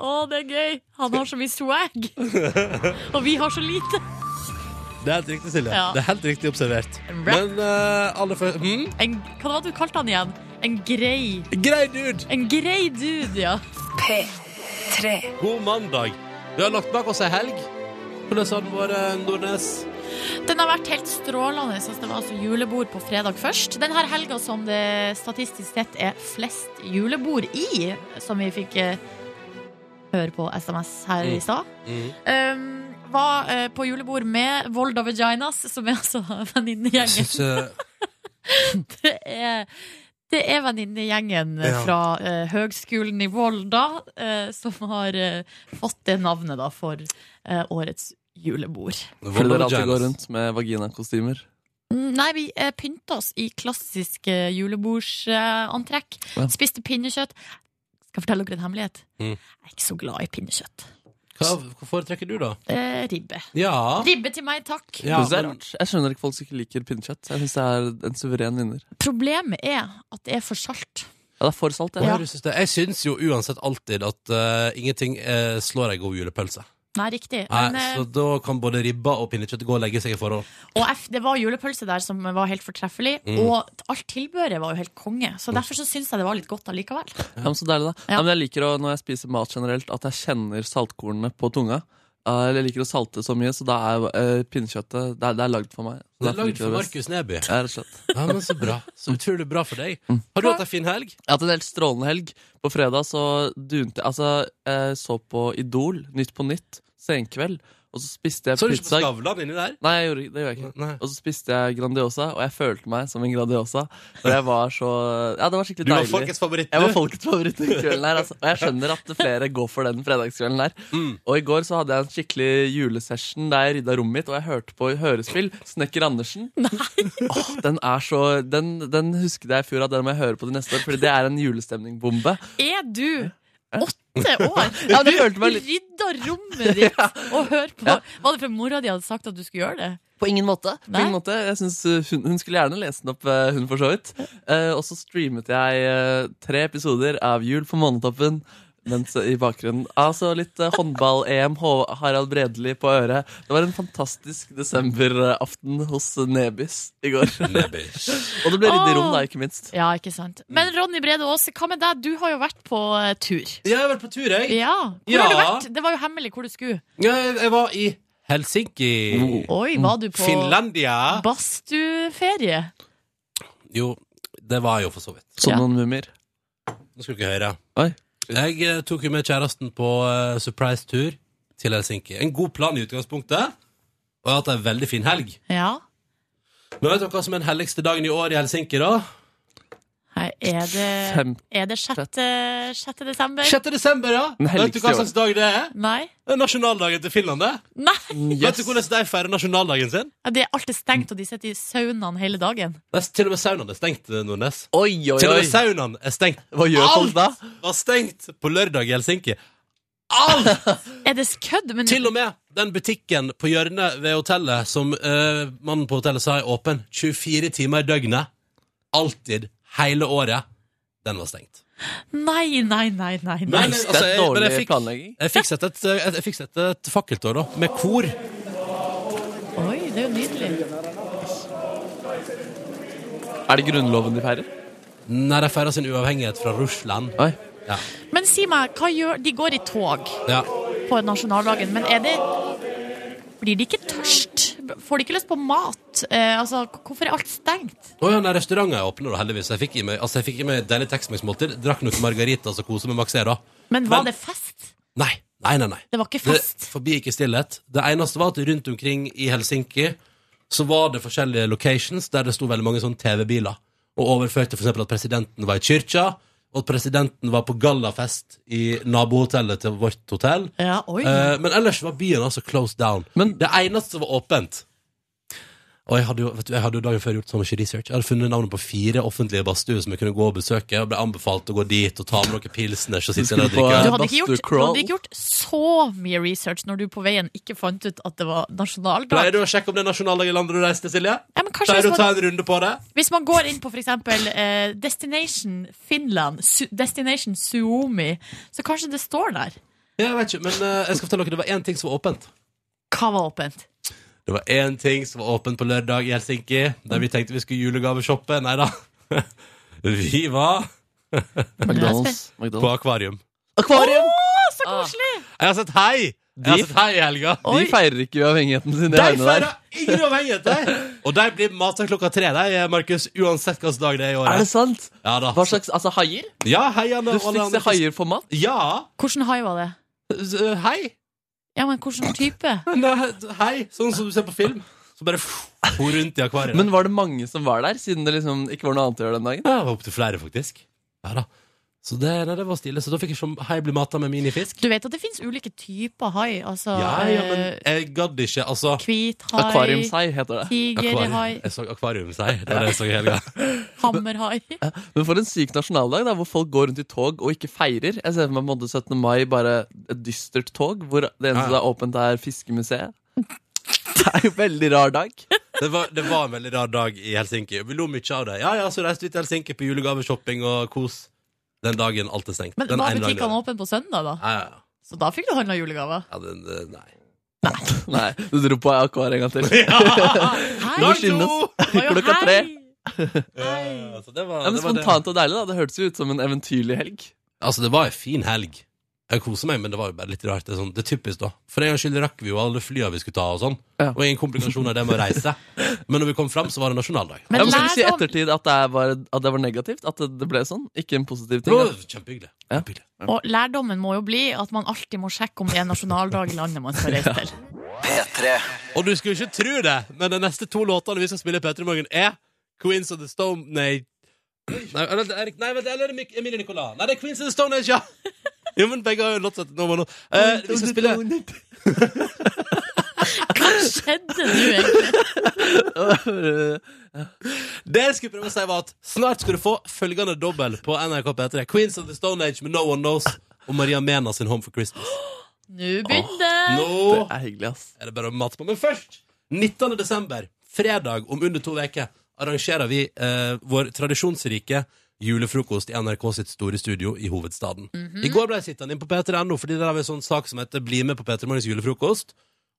C: Å, det er gøy! Han har så mye swag. Og vi har så lite.
A: Det er helt riktig, Silje.
C: Ja.
A: Det er helt riktig observert.
C: Rap.
A: Men eh, aller først hm?
C: En, hva var det du kalte han igjen? En grei
A: Grei dude!
C: En grei dude, ja.
A: God mandag. Vi har lagt bak oss ei helg. Hvordan har den vært, Nordnes?
C: Den har vært helt strålende. Jeg synes det var altså julebord på fredag først. Denne helga som det statistisk sett er flest julebord i, som vi fikk eh, høre på SMS her i
A: Mm.
C: stad, um, var eh, på julebord med Volda Vaginas, som er altså venninnegjengen.
A: eh,
C: Det er det er venninnegjengen eh,
A: Ja.
C: fra eh, Høgskolen i Volda eh, som har eh, fått det navnet da, for eh, årets julebord.
J: Fordi dere alltid går rundt med vaginakostymer.
C: Mm, Nei, vi eh, pynta oss i klassisk eh, julebordsantrekk.
J: Ja.
C: Spiste pinnekjøtt. Skal jeg fortelle dere en hemmelighet.
A: Mm.
C: Jeg er ikke så glad i pinnekjøtt.
A: Hva, hva foretrekker du, da?
C: Eh, ribbe.
A: Ja,
J: Ah.
C: Ribbe til meg, takk.
A: ja
J: Synes det er
A: men-
J: rart. Jeg skjønner ikke folk som ikke liker pinnekjøtt. Jeg synes det er en suveren vinner.
C: Problemet er at det er for salt.
J: Ja, det er for salt, det.
A: Hva er det du syns det? Jeg syns jo uansett alltid at eh, ingenting eh, slår ei god julepølse.
C: Nei, riktig. Men,
A: Nei,
C: eh,
A: så da kan både ribba og pinnekjøtt gå og legge seg i forhold.
C: Og F, det var julepølse der som var helt fortreffelig.
A: Mm.
C: Og alt tilbehøret var jo helt konge. Så
J: Mm.
C: derfor så syns jeg det var litt godt allikevel.
J: Ja, men så deilig da ja, men Jeg liker å, når jeg spiser mat generelt At jeg kjenner saltkornene på tunga Eh, Jeg liker å salte så mye Så da er eh, pinnekjøttet det er, det er lagd for meg
A: Det er
J: Derfor
A: lagd
J: liker jeg
A: for
J: det best.
A: Markus Neby.
J: Ja, rett og slett
A: Ja, men så bra. Så utrolig bra for deg. Har du hatt ei fin helg?
J: Jeg har hatt en helt strålende helg. På fredag så dunte jeg Altså, jeg så på Idol, Nytt på Nytt, senkveld. Og så spiste jeg
A: Så du ikke på
J: pizza.
A: Skavlan inni der?
J: Nei, jeg gjorde, ikke- det gjorde jeg ikke. Og så spiste jeg Grandiosa, og jeg følte meg som en Grandiosa. For jeg var så Ja, det var skikkelig
A: Du var
J: deilig.
A: folkets favoritt,
J: Jeg
A: du.
J: var folkets favoritt den kvelden her. Altså. Og jeg skjønner at flere går for den fredagskvelden der. Og i går så hadde jeg en skikkelig julesession der jeg rydda rommet mitt, og jeg hørte på hørespill. Snekker Andersen. Åh, den er så Den, den husket jeg i fjor at den må jeg høre på til neste år, Fordi det er en julestemningbombe.
C: Er du åtte år?
J: Ja, det
C: Du
J: følte meg litt-
C: rydda rommet ditt og hør på.
J: Ja.
C: Var det for mora di hadde sagt at du skulle gjøre det?
J: På ingen måte. På
C: Nei?
J: ingen måte. Jeg synes uh, hun, hun skulle gjerne lese den opp, uh, hun for så vidt. Eh, og så streamet jeg eh, tre episoder av Jul på månetoppen. Mens eh, i bakgrunnen Altså litt eh, håndball-EM, H- Harald Bredeli på øret. Det var en fantastisk desemberaften hos Nebis i går. og det ble ryddig rom, da, ikke minst.
C: Ja, ikke sant. Mm. Men Ronny Brede Aase, hva med deg? Du har jo vært på eh, tur.
A: Jeg har vært på tur, jeg.
C: Ja. Hvor
A: Ja.
C: har du vært? Det var jo hemmelig hvor du skulle.
A: Ja, jeg, jeg var i Helsinki.
C: Oi, var du på-
A: Finlandia.
C: Badstueferie.
A: Jo, det var jeg jo for så vidt.
J: Som noen mummier.
A: Nå skal du ikke høre.
J: Oi.
A: Jeg eh, tok jo med kjæresten på eh, surprise-tur til Helsinki. En god plan i utgangspunktet, og jeg har hatt ei veldig fin helg.
C: Ja.
A: Men vet dere hva som er den helligste dagen i år i Helsinki, da?
C: Her er det,
A: Fem-
C: er det 6. desember?
A: 6. desember, ja! Vet
J: Den
A: du
J: helligste
A: hva
J: i år.
A: slags dag det er?
C: Nei.
A: Det er nasjonaldagen til Finland, det. Vet du hvordan de feirer nasjonaldagen sin?
C: Ja, det er alt er stengt, og de sitter i saunaen hele dagen.
A: Det er til og med saunaen er stengt, Nordnes.
J: Oi, oi,
A: Til og med
J: oi.
A: saunaen er stengt.
J: Hva gjør folk da?
A: Alt var stengt på lørdag i Helsinki. Alt!
C: er det kødd? Men...
A: Til og med den butikken på hjørnet ved hotellet som eh, mannen på hotellet sa er åpen 24 timer i døgnet, alltid, hele året, den var stengt.
C: Nei, nei, nei, nei. nei.
A: Men, altså, jeg- men jeg fikk- Jeg fikk sett et, eh, jeg- jeg fikk sett et fakkeltår, da, med kor.
C: Oi, det er jo nydelig.
J: Er det Grunnloven de feirer?
A: Nei, de feirer sin uavhengighet fra Russland. Ja.
C: Men si meg, hva gjør De går i tog
A: ja.
C: på nasjonaldagen, men er det Blir de ikke tørst? Får de ikke lyst på mat? Eh, altså, k- hvorfor er alt stengt?
A: Å ja, nei, restauranten er åpen, da, heldigvis. Jeg fikk i meg, altså, jeg fikk i meg et deilig Texmax-måltid. Drakk noen margaritas og koset med Maxé, da.
C: Men var det fest?
A: Nei, nei, nei, nei.
C: Det var ikke fest?
A: Det forbigikk i stillhet. Det eneste var at rundt omkring i Helsinki så var det forskjellige locations der det sto veldig mange sånne TV-biler. Og overførte f.eks. at presidenten var i kyrkja, og at presidenten var på gallafest i nabohotellet til vårt hotell.
C: Ja, oi.
A: Eh, men ellers var byen altså closed down. det eneste som var åpent Og jeg hadde, jo, vet du, jeg hadde jo dagen før gjort så mye research. Jeg hadde funnet navnet på fire offentlige badstuer som jeg kunne gå og besøke. Og ble anbefalt å gå dit og ta med noen pilsners og sitte der og
J: skulle på,
A: drikke.
J: eh,
C: Du hadde ikke, gjort, du hadde ikke gjort så mye research når du på veien ikke fant ut at det var
A: Pleier
C: nasjonaldag.
A: du å sjekke om det er nasjonaldag i landet du reiste, Silje?
C: Ja, men kanskje
A: Pleier du å
C: hvis
A: ta
C: man-
A: en runde på det?
C: Hvis man går inn på f.eks. Eh, Destination Finland, Su Destination Suomi, så kanskje det står der.
A: Jeg vet ikke, men eh, jeg skal fortelle dere, det var én ting som var åpent.
C: Hva var åpent?
A: Det var én ting som var åpent på lørdag i Helsinki, der vi tenkte vi skulle julegaveshoppe. Nei da. Vi var
J: McDonald's.
A: på akvarium.
J: Akvarium!
C: Å, så koselig!
A: Jeg har sett hei! Jeg har sett hei i helga.
J: De feirer ikke uavhengigheten sin.
A: De
J: De
A: feirer
J: der.
A: ingen uavhengighet, de! Og de blir mata klokka tre, de, Markus. Uansett hvilken dag det er i året.
J: Er det sant?
A: Ja da.
J: Hva slags altså, haier?
A: Ja, heiene
J: Du
A: og alle
J: fikk se
A: andre
J: haier for mat?
A: Ja.
C: Hvordan hai var det?
A: Hei.
C: Ja, men hvilken type?
A: Hei. Sånn som du ser på film. Så bare for rundt i akvariet.
J: Men var det mange som var der, siden det liksom ikke var noe annet å gjøre den dagen?
A: Ja, det var opptil flere, faktisk. Ja da. Så det, nei, det var stille. Så da fikk jeg som hei bli mata med minifisk.
C: Du vet at det finnes ulike typer hai? Altså
A: Ja, ja, men
C: eh,
A: jeg gadd ikke, altså.
C: Hvithai. Akvariumshai heter det. Tigerhai.
A: Akvarium. Jeg så akvariumshai. Det var det jeg så i helga.
C: hammerhai.
J: Men for en syk nasjonaldag, da, hvor folk går rundt i tog og ikke feirer. Jeg ser for meg på en måte 17. mai, bare et dystert tog, hvor det eneste som er åpent, er Fiskemuseet. Det er jo en veldig rar dag.
A: Det var, det var en veldig rar dag i Helsinki. Vi lo mye av det. Ja, ja, så reiste vi til Helsinki på julegaveshopping og kos den dagen alt er stengt.
C: Men
A: den
C: var
A: ene dagen.
C: butikkene åpne på søndag, da?
A: Ja, ja, ja.
C: Så da fikk du handla julegaver.
A: Ja, det, det, nei.
J: Nei, du dro på AKR en gang til. Du må
C: Dag
J: skynde
C: to!
J: oss.
C: Det var jo
J: Klokka tre.
C: helg.
A: Ja, så det var,
J: Ja, men
A: det var det.
J: spontant og deilig, da. Det hørtes jo ut som en eventyrlig helg.
A: Altså, det var en fin helg. Jeg koser meg, men det var jo bare litt rart. Det er, sånn, det er typisk, da. For en gangs skyld rakk vi jo alle flya vi skulle ta, og sånn. Og ingen komplikasjoner det med å reise. Men når vi kom fram, så var det nasjonaldag.
J: Men jeg må si i ettertid at det, var, at det var negativt, at det ble sånn. Ikke en positiv ting.
A: Det var kjempehyggelig.
J: Ja.
C: Og lærdommen må jo bli at man alltid må sjekke om det er nasjonaldag i landet man skal reise til.
A: Og du skulle ikke tro det, men de neste to låtene vi skal spille i P3 Morgen, er Queens of the Stone Nei, nei, eller, det er- nei vent, eller er det Mik- Emilie Nicolas? Nei, det er Queens of the Stone Age, ja! Jo, men begge har jo låtsett nå, nå. Eh, Vi skal spille
C: Hva skjedde nå, egentlig?
A: Det jeg skulle prøve å si var at snart skal du få følgende dobbel på NRK P3. Queens of the Stone Age med No One Knows og Maria Mena sin Home for Christmas.
C: Nå begynte det.
A: Nå
J: Det er hyggelig, ass.
A: er det bare å mate på. Men først, 19. desember, fredag om under to uker, arrangerer vi eh, vår tradisjonsrike julefrokost i NRK sitt store studio i hovedstaden. I går ble jeg sittende inn på p3.no, fordi der har vi en sånn sak som heter 'Bli med på P3 Morgens julefrokost'.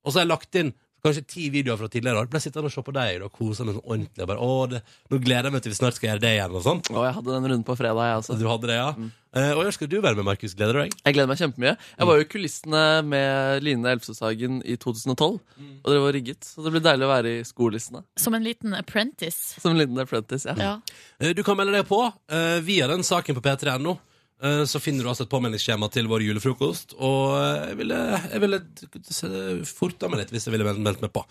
A: Og så har jeg lagt inn kanskje ti videoer fra tidligere år. Ble jeg sittende og se på deg og kose meg sånn ordentlig. Og bare, Å, det, nå gleder jeg meg til vi snart skal gjøre det igjen. og sånn.
J: Og jeg hadde den runden på fredag, jeg også.
A: Du hadde det, ja. Eh, og i år skal du være med, Markus. Gleder du deg?
J: Jeg gleder meg kjempemye. Jeg var jo i kulissene med Line Elvsåshagen i 2012. Og dere var rigget, så det blir deilig å være i skolissene.
C: Som en liten apprentice.
J: Som en liten apprentice. Ja.
C: Ja.
A: Eh, Du kan melde deg på eh, via den saken på p3.no. eh, Så finner du altså et påmeldingsskjema til vår julefrokost. Og eh, jeg ville, jeg ville se- forta meg litt hvis jeg ville mel- meldt meg på.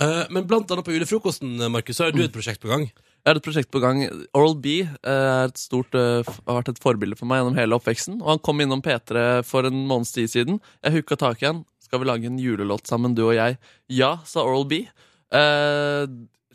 A: Eh, Men blant annet på julefrokosten, eh, Markus, så har du
J: Mm.
A: et prosjekt på gang.
J: Jeg har et prosjekt på gang. Oral B eh, er et stort, eh, f- har vært et forbilde for meg gjennom hele oppveksten. Og han kom innom P3 for en måneds tid siden. Jeg hooka tak i han. Skal vi lage en julelåt sammen, du og jeg? Ja, sa Oral B. Eh,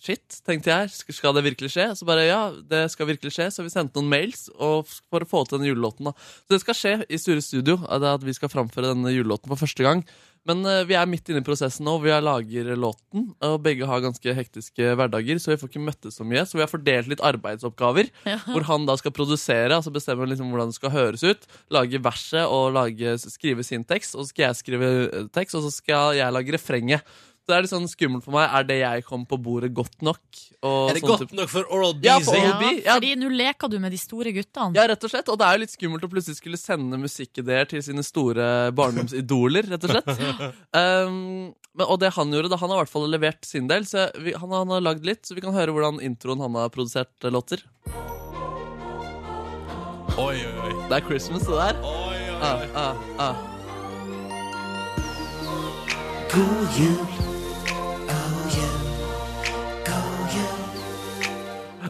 J: shit, tenkte jeg. Sk- Skal det virkelig skje? Så bare ja, det skal virkelig skje. Så vi sendte noen mails og f- for å få til den julelåten. da. Så det skal skje i Sture Studio eh, det er at vi skal framføre denne julelåten for første gang. Men eh, vi er midt inne i prosessen nå. Vi har lager låten, og begge har ganske hektiske hverdager, så vi får ikke møttes så mye. Så vi har fordelt litt arbeidsoppgaver, hvor han da skal produsere, altså bestemme liksom hvordan det skal høres ut, lage verset og lage, skrive sin tekst, og så skal jeg skrive eh, tekst, og så skal jeg lage refrenget. Så det er litt sånn skummelt for meg. Er det jeg kom på bordet, godt nok? Og
A: Er det
J: sånn type-
A: godt nok for Oral B?
J: Ja, for
A: sier-
J: Oral
C: Ja,
J: B, ja.
C: fordi nå leker du med de store guttene.
J: Ja, rett og slett. Og det er jo litt skummelt å plutselig skulle sende musikkideer til sine store barndomsidoler, rett og slett. Um, men, og det han gjorde, da, han har i hvert fall levert sin del, så vi, han, han har lagd litt, så vi kan høre hvordan introen han har produsert eh, låter.
A: Oi, oi, oi.
J: Det er Christmas, det der.
A: oi, oi.
J: Ah, ah, ah.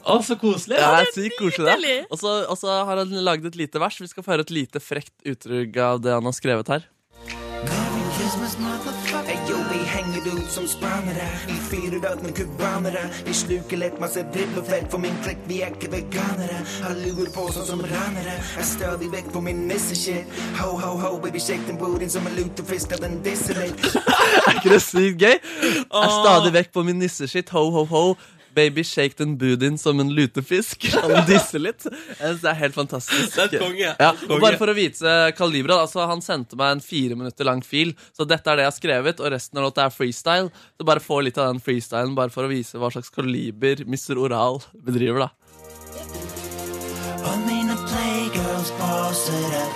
A: Å, så koselig!
J: Ja, det er sykt koselig. det.
C: nydelig.
J: Og så- Og så har han lagd et lite vers. Vi skal få høre et lite frekt uttrykk av det han har skrevet her.
D: Ayo, vi henger ut som spanere. Vi fyrer ut med cubanere. Vi sluker lett masse dribbelfett, for min klekk, vi er ikke veganere. Har luer på sånn som ranere. Er stadig vekk på min nisse-shit. Ho, ho, ho, baby, shake den booty som en lutefisk, at den disser litt.
J: ikke det sykt gøy? Er stadig vekk på min nisseskitt. Ho, ho, ho. Baby shake den budin som en lutefisk. Han disser litt. Jeg synes Det er helt fantastisk.
A: Det er et konge.
J: Ja,
A: Det er et
J: og
A: konge.
J: bare for å vise Kalibra, da, så han sendte meg en fire minutter lang fil. Så dette er det jeg har skrevet, og resten av låta er freestyle. Så bare få litt av den freestylen bare for å vise hva slags kaliber Mr. Oral bedriver, da.
D: Og mine playgirls blåser opp.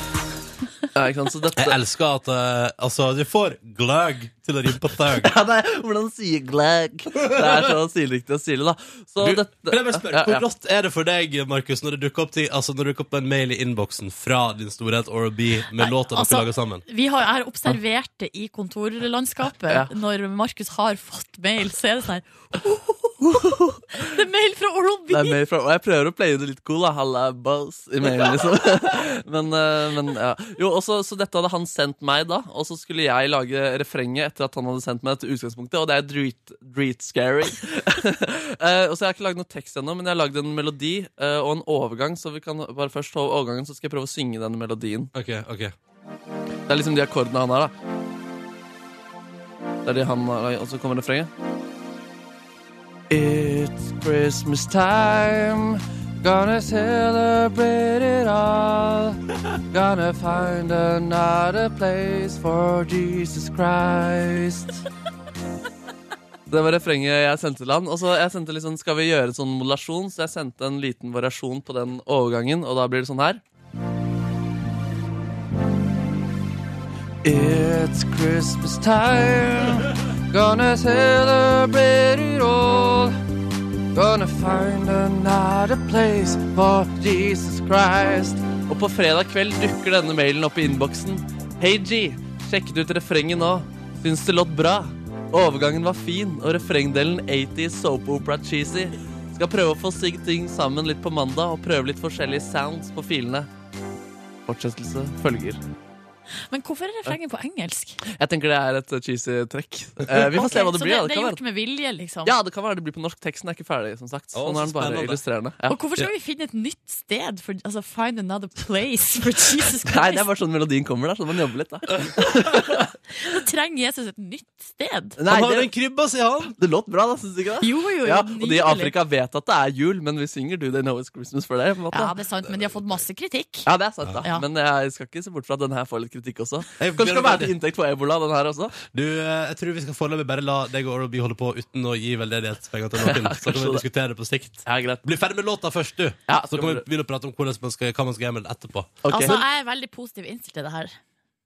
J: Ja, ikke sant? Så dette,
A: Jeg elsker at eh, altså, du får gløgg til å rime på thug.
J: Ja, det er, hvordan sier gløgg? Det er så stilriktig og stilig, da. Så
A: Du,
J: dette,
A: kan jeg bare spørre,
J: Ja, ja.
A: Hvor rått er det for deg, Markus, når det dukker opp, til, altså, når det dukker opp en mail i innboksen fra din storhet Oral B med låta dere
C: altså-
A: lager sammen?
C: Vi har, jeg har observert det i kontorlandskapet.
J: Ja.
C: Når Markus har fått mail, så er det sånn her Det er mail fra Oral
J: Det
C: B!
J: er mer fra, og jeg prøver å playe det litt cool, da. Halla, boss, i mailen, liksom. men, eh, men ja. Jo, og så- så dette hadde han sendt meg, da. Og så skulle jeg lage refrenget etter at han hadde sendt meg dette utgangspunktet, og det er drit, drit scary. Eh, og så jeg har ikke lagd noe tekst ennå, men jeg har lagd en melodi eh, og en overgang, så vi kan bare først ta overgangen, så skal jeg prøve å synge denne melodien.
A: Ok, ok
J: Det er liksom de akkordene han har, da. Det er de han har, og så kommer refrenget. It's Christmas time. Gonna celebrate it all. Gonna find another place for Jesus Christ. Det var refrenget jeg sendte til han. Og så jeg sendte litt sånn, Skal vi gjøre en sånn modulasjon? Så jeg sendte en liten variasjon på den overgangen, og da blir det sånn her. It's Christmas time. Gonna celebrate it all. Gonna find another place for Jesus Christ. Og på fredag kveld dukker denne mailen opp i innboksen. Hei G, sjekket ut refrenget nå. Syns det låt bra. Overgangen var fin, og refrengdelen 80 soap opera cheesy. Skal prøve å få sigg ting sammen litt på mandag, og prøve litt forskjellige sounds på filene. Fortsettelse følger.
C: Men hvorfor er refrenget på engelsk?
J: Jeg tenker det er et cheesy trekk. Eh, vi får se
C: Ok,
J: hva det
C: så
J: blir. da.
C: det,
J: Det
C: er
J: kan være
C: gjort med vilje, liksom?
J: ja, det kan være det blir på norsk. Teksten er ikke ferdig, som sagt.
C: Å,
J: Så nå
C: så
J: er den bare
C: spennende.
J: illustrerende. Ja.
C: Og hvorfor skal vi finne et nytt sted? For, altså, find another place for Jesus
J: Nei, det
C: Christ.
J: er bare sånn melodien kommer der, så man jobber litt, da.
C: Da trenger Jesus et nytt sted.
J: Nei, det-
A: krybba, sier han!
J: Det låt bra, da, syns du ikke det?
C: Jo, jo, jo,
J: ja, og de i
C: nydelig.
J: Afrika vet at det er jul, men vi synger Do They Know It's Christmas for deg, på en måte.
C: Ja, det er sant, men de har fått masse kritikk.
J: Ja, det er sant, da.
C: Ja.
J: Men jeg skal ikke se bort fra at den her får litt kritikk også.
A: Jeg
J: Kanskje det
A: begynner
J: skal være
A: med-
J: til inntekt for ebola, den her også.
A: Du, eh, jeg tror vi skal foreløpig bare la deg og Robbie holde på uten å gi veldedighetspenger til noen.
J: Ja,
A: så kan vi
J: kanskje det.
A: diskutere det på sikt.
J: Ja, greit.
A: Bli ferdig med låta først, du.
J: Ja,
A: så
J: skal
A: kan vi
J: vi-
A: begynne å prate om hvordan man skal, hva man skal gjøre med den etterpå.
C: Altså, jeg er veldig positiv innstilt til det her.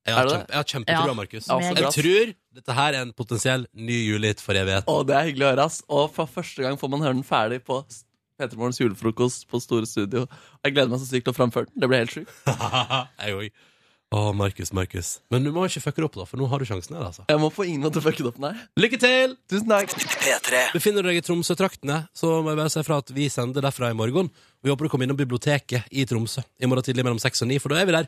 A: Jeg
J: Er
A: har,
J: det
A: kjempe, jeg har kjempetrua,
C: Ja.
A: Markus.
J: Ja, så bra.
A: jeg tror dette her er en potensiell ny julehit for evigheten.
J: Å, det er hyggelig å høre, ass. Og for første gang får man høre den ferdig på Petermorgens julefrokost på Store Studio. Jeg gleder meg så sykt til å framføre den. Det blir helt sjukt.
A: jeg òg. Å, Markus, Markus. Men du må ikke fucke det opp, da, for nå har du sjansen her, altså.
J: Jeg må på ingen måte fucke det opp, nei.
A: Lykke til!
J: Tusen takk.
A: Befinner du deg i Tromsø-traktene, så må jeg bare si fra at vi sender derfra i morgen. Vi håper du kommer innom biblioteket i Tromsø i morgen tidlig mellom seks og ni, for da er vi der.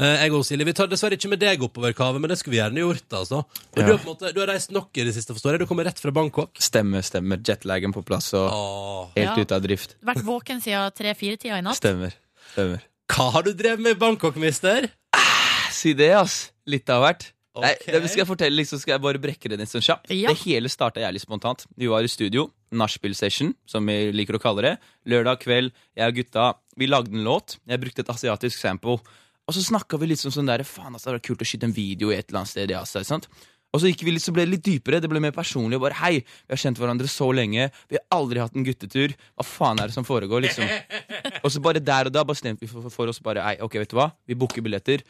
A: Eh, Jeg og Silje, Vi tar dessverre ikke med deg oppover kavet, men det skulle vi gjerne gjort. altså Men du,
I: Ja.
A: har på en måte, du har reist nok i det siste, forstår jeg. Du kommer rett fra Bangkok.
I: Stemmer, stemmer. Jetlagen på plass og
A: Åh.
I: helt
C: Ja.
I: ute av drift.
C: Vært våken siden tre-fire-tida i natt.
I: Stemmer. stemmer.
A: Hva har du drevet med i Bangkok, mister?
I: Si det, ass. Litt av hvert. Nei,
A: Ok.
I: det skal jeg fortelle, liksom skal jeg bare brekke det ned sånn kjapt.
C: Ja.
I: Det hele starta jævlig spontant. Vi var i studio, nachspiel-session, som vi liker å kalle det. Lørdag kveld, jeg og gutta, vi lagde en låt. Jeg brukte et asiatisk sample. Og så snakka vi litt som sånn der, faen ass, det hadde vært kult å skyte en video i et eller annet sted i Asia. ikke sant? Og så gikk vi litt, så ble det litt dypere, det ble mer personlig. og bare, Hei, vi har kjent hverandre så lenge, vi har aldri hatt en guttetur. Hva faen er det som foregår, liksom? Og så bare der og da bestemte vi for, for, for oss bare Ei, ok, vet du hva? Vi booker billetter.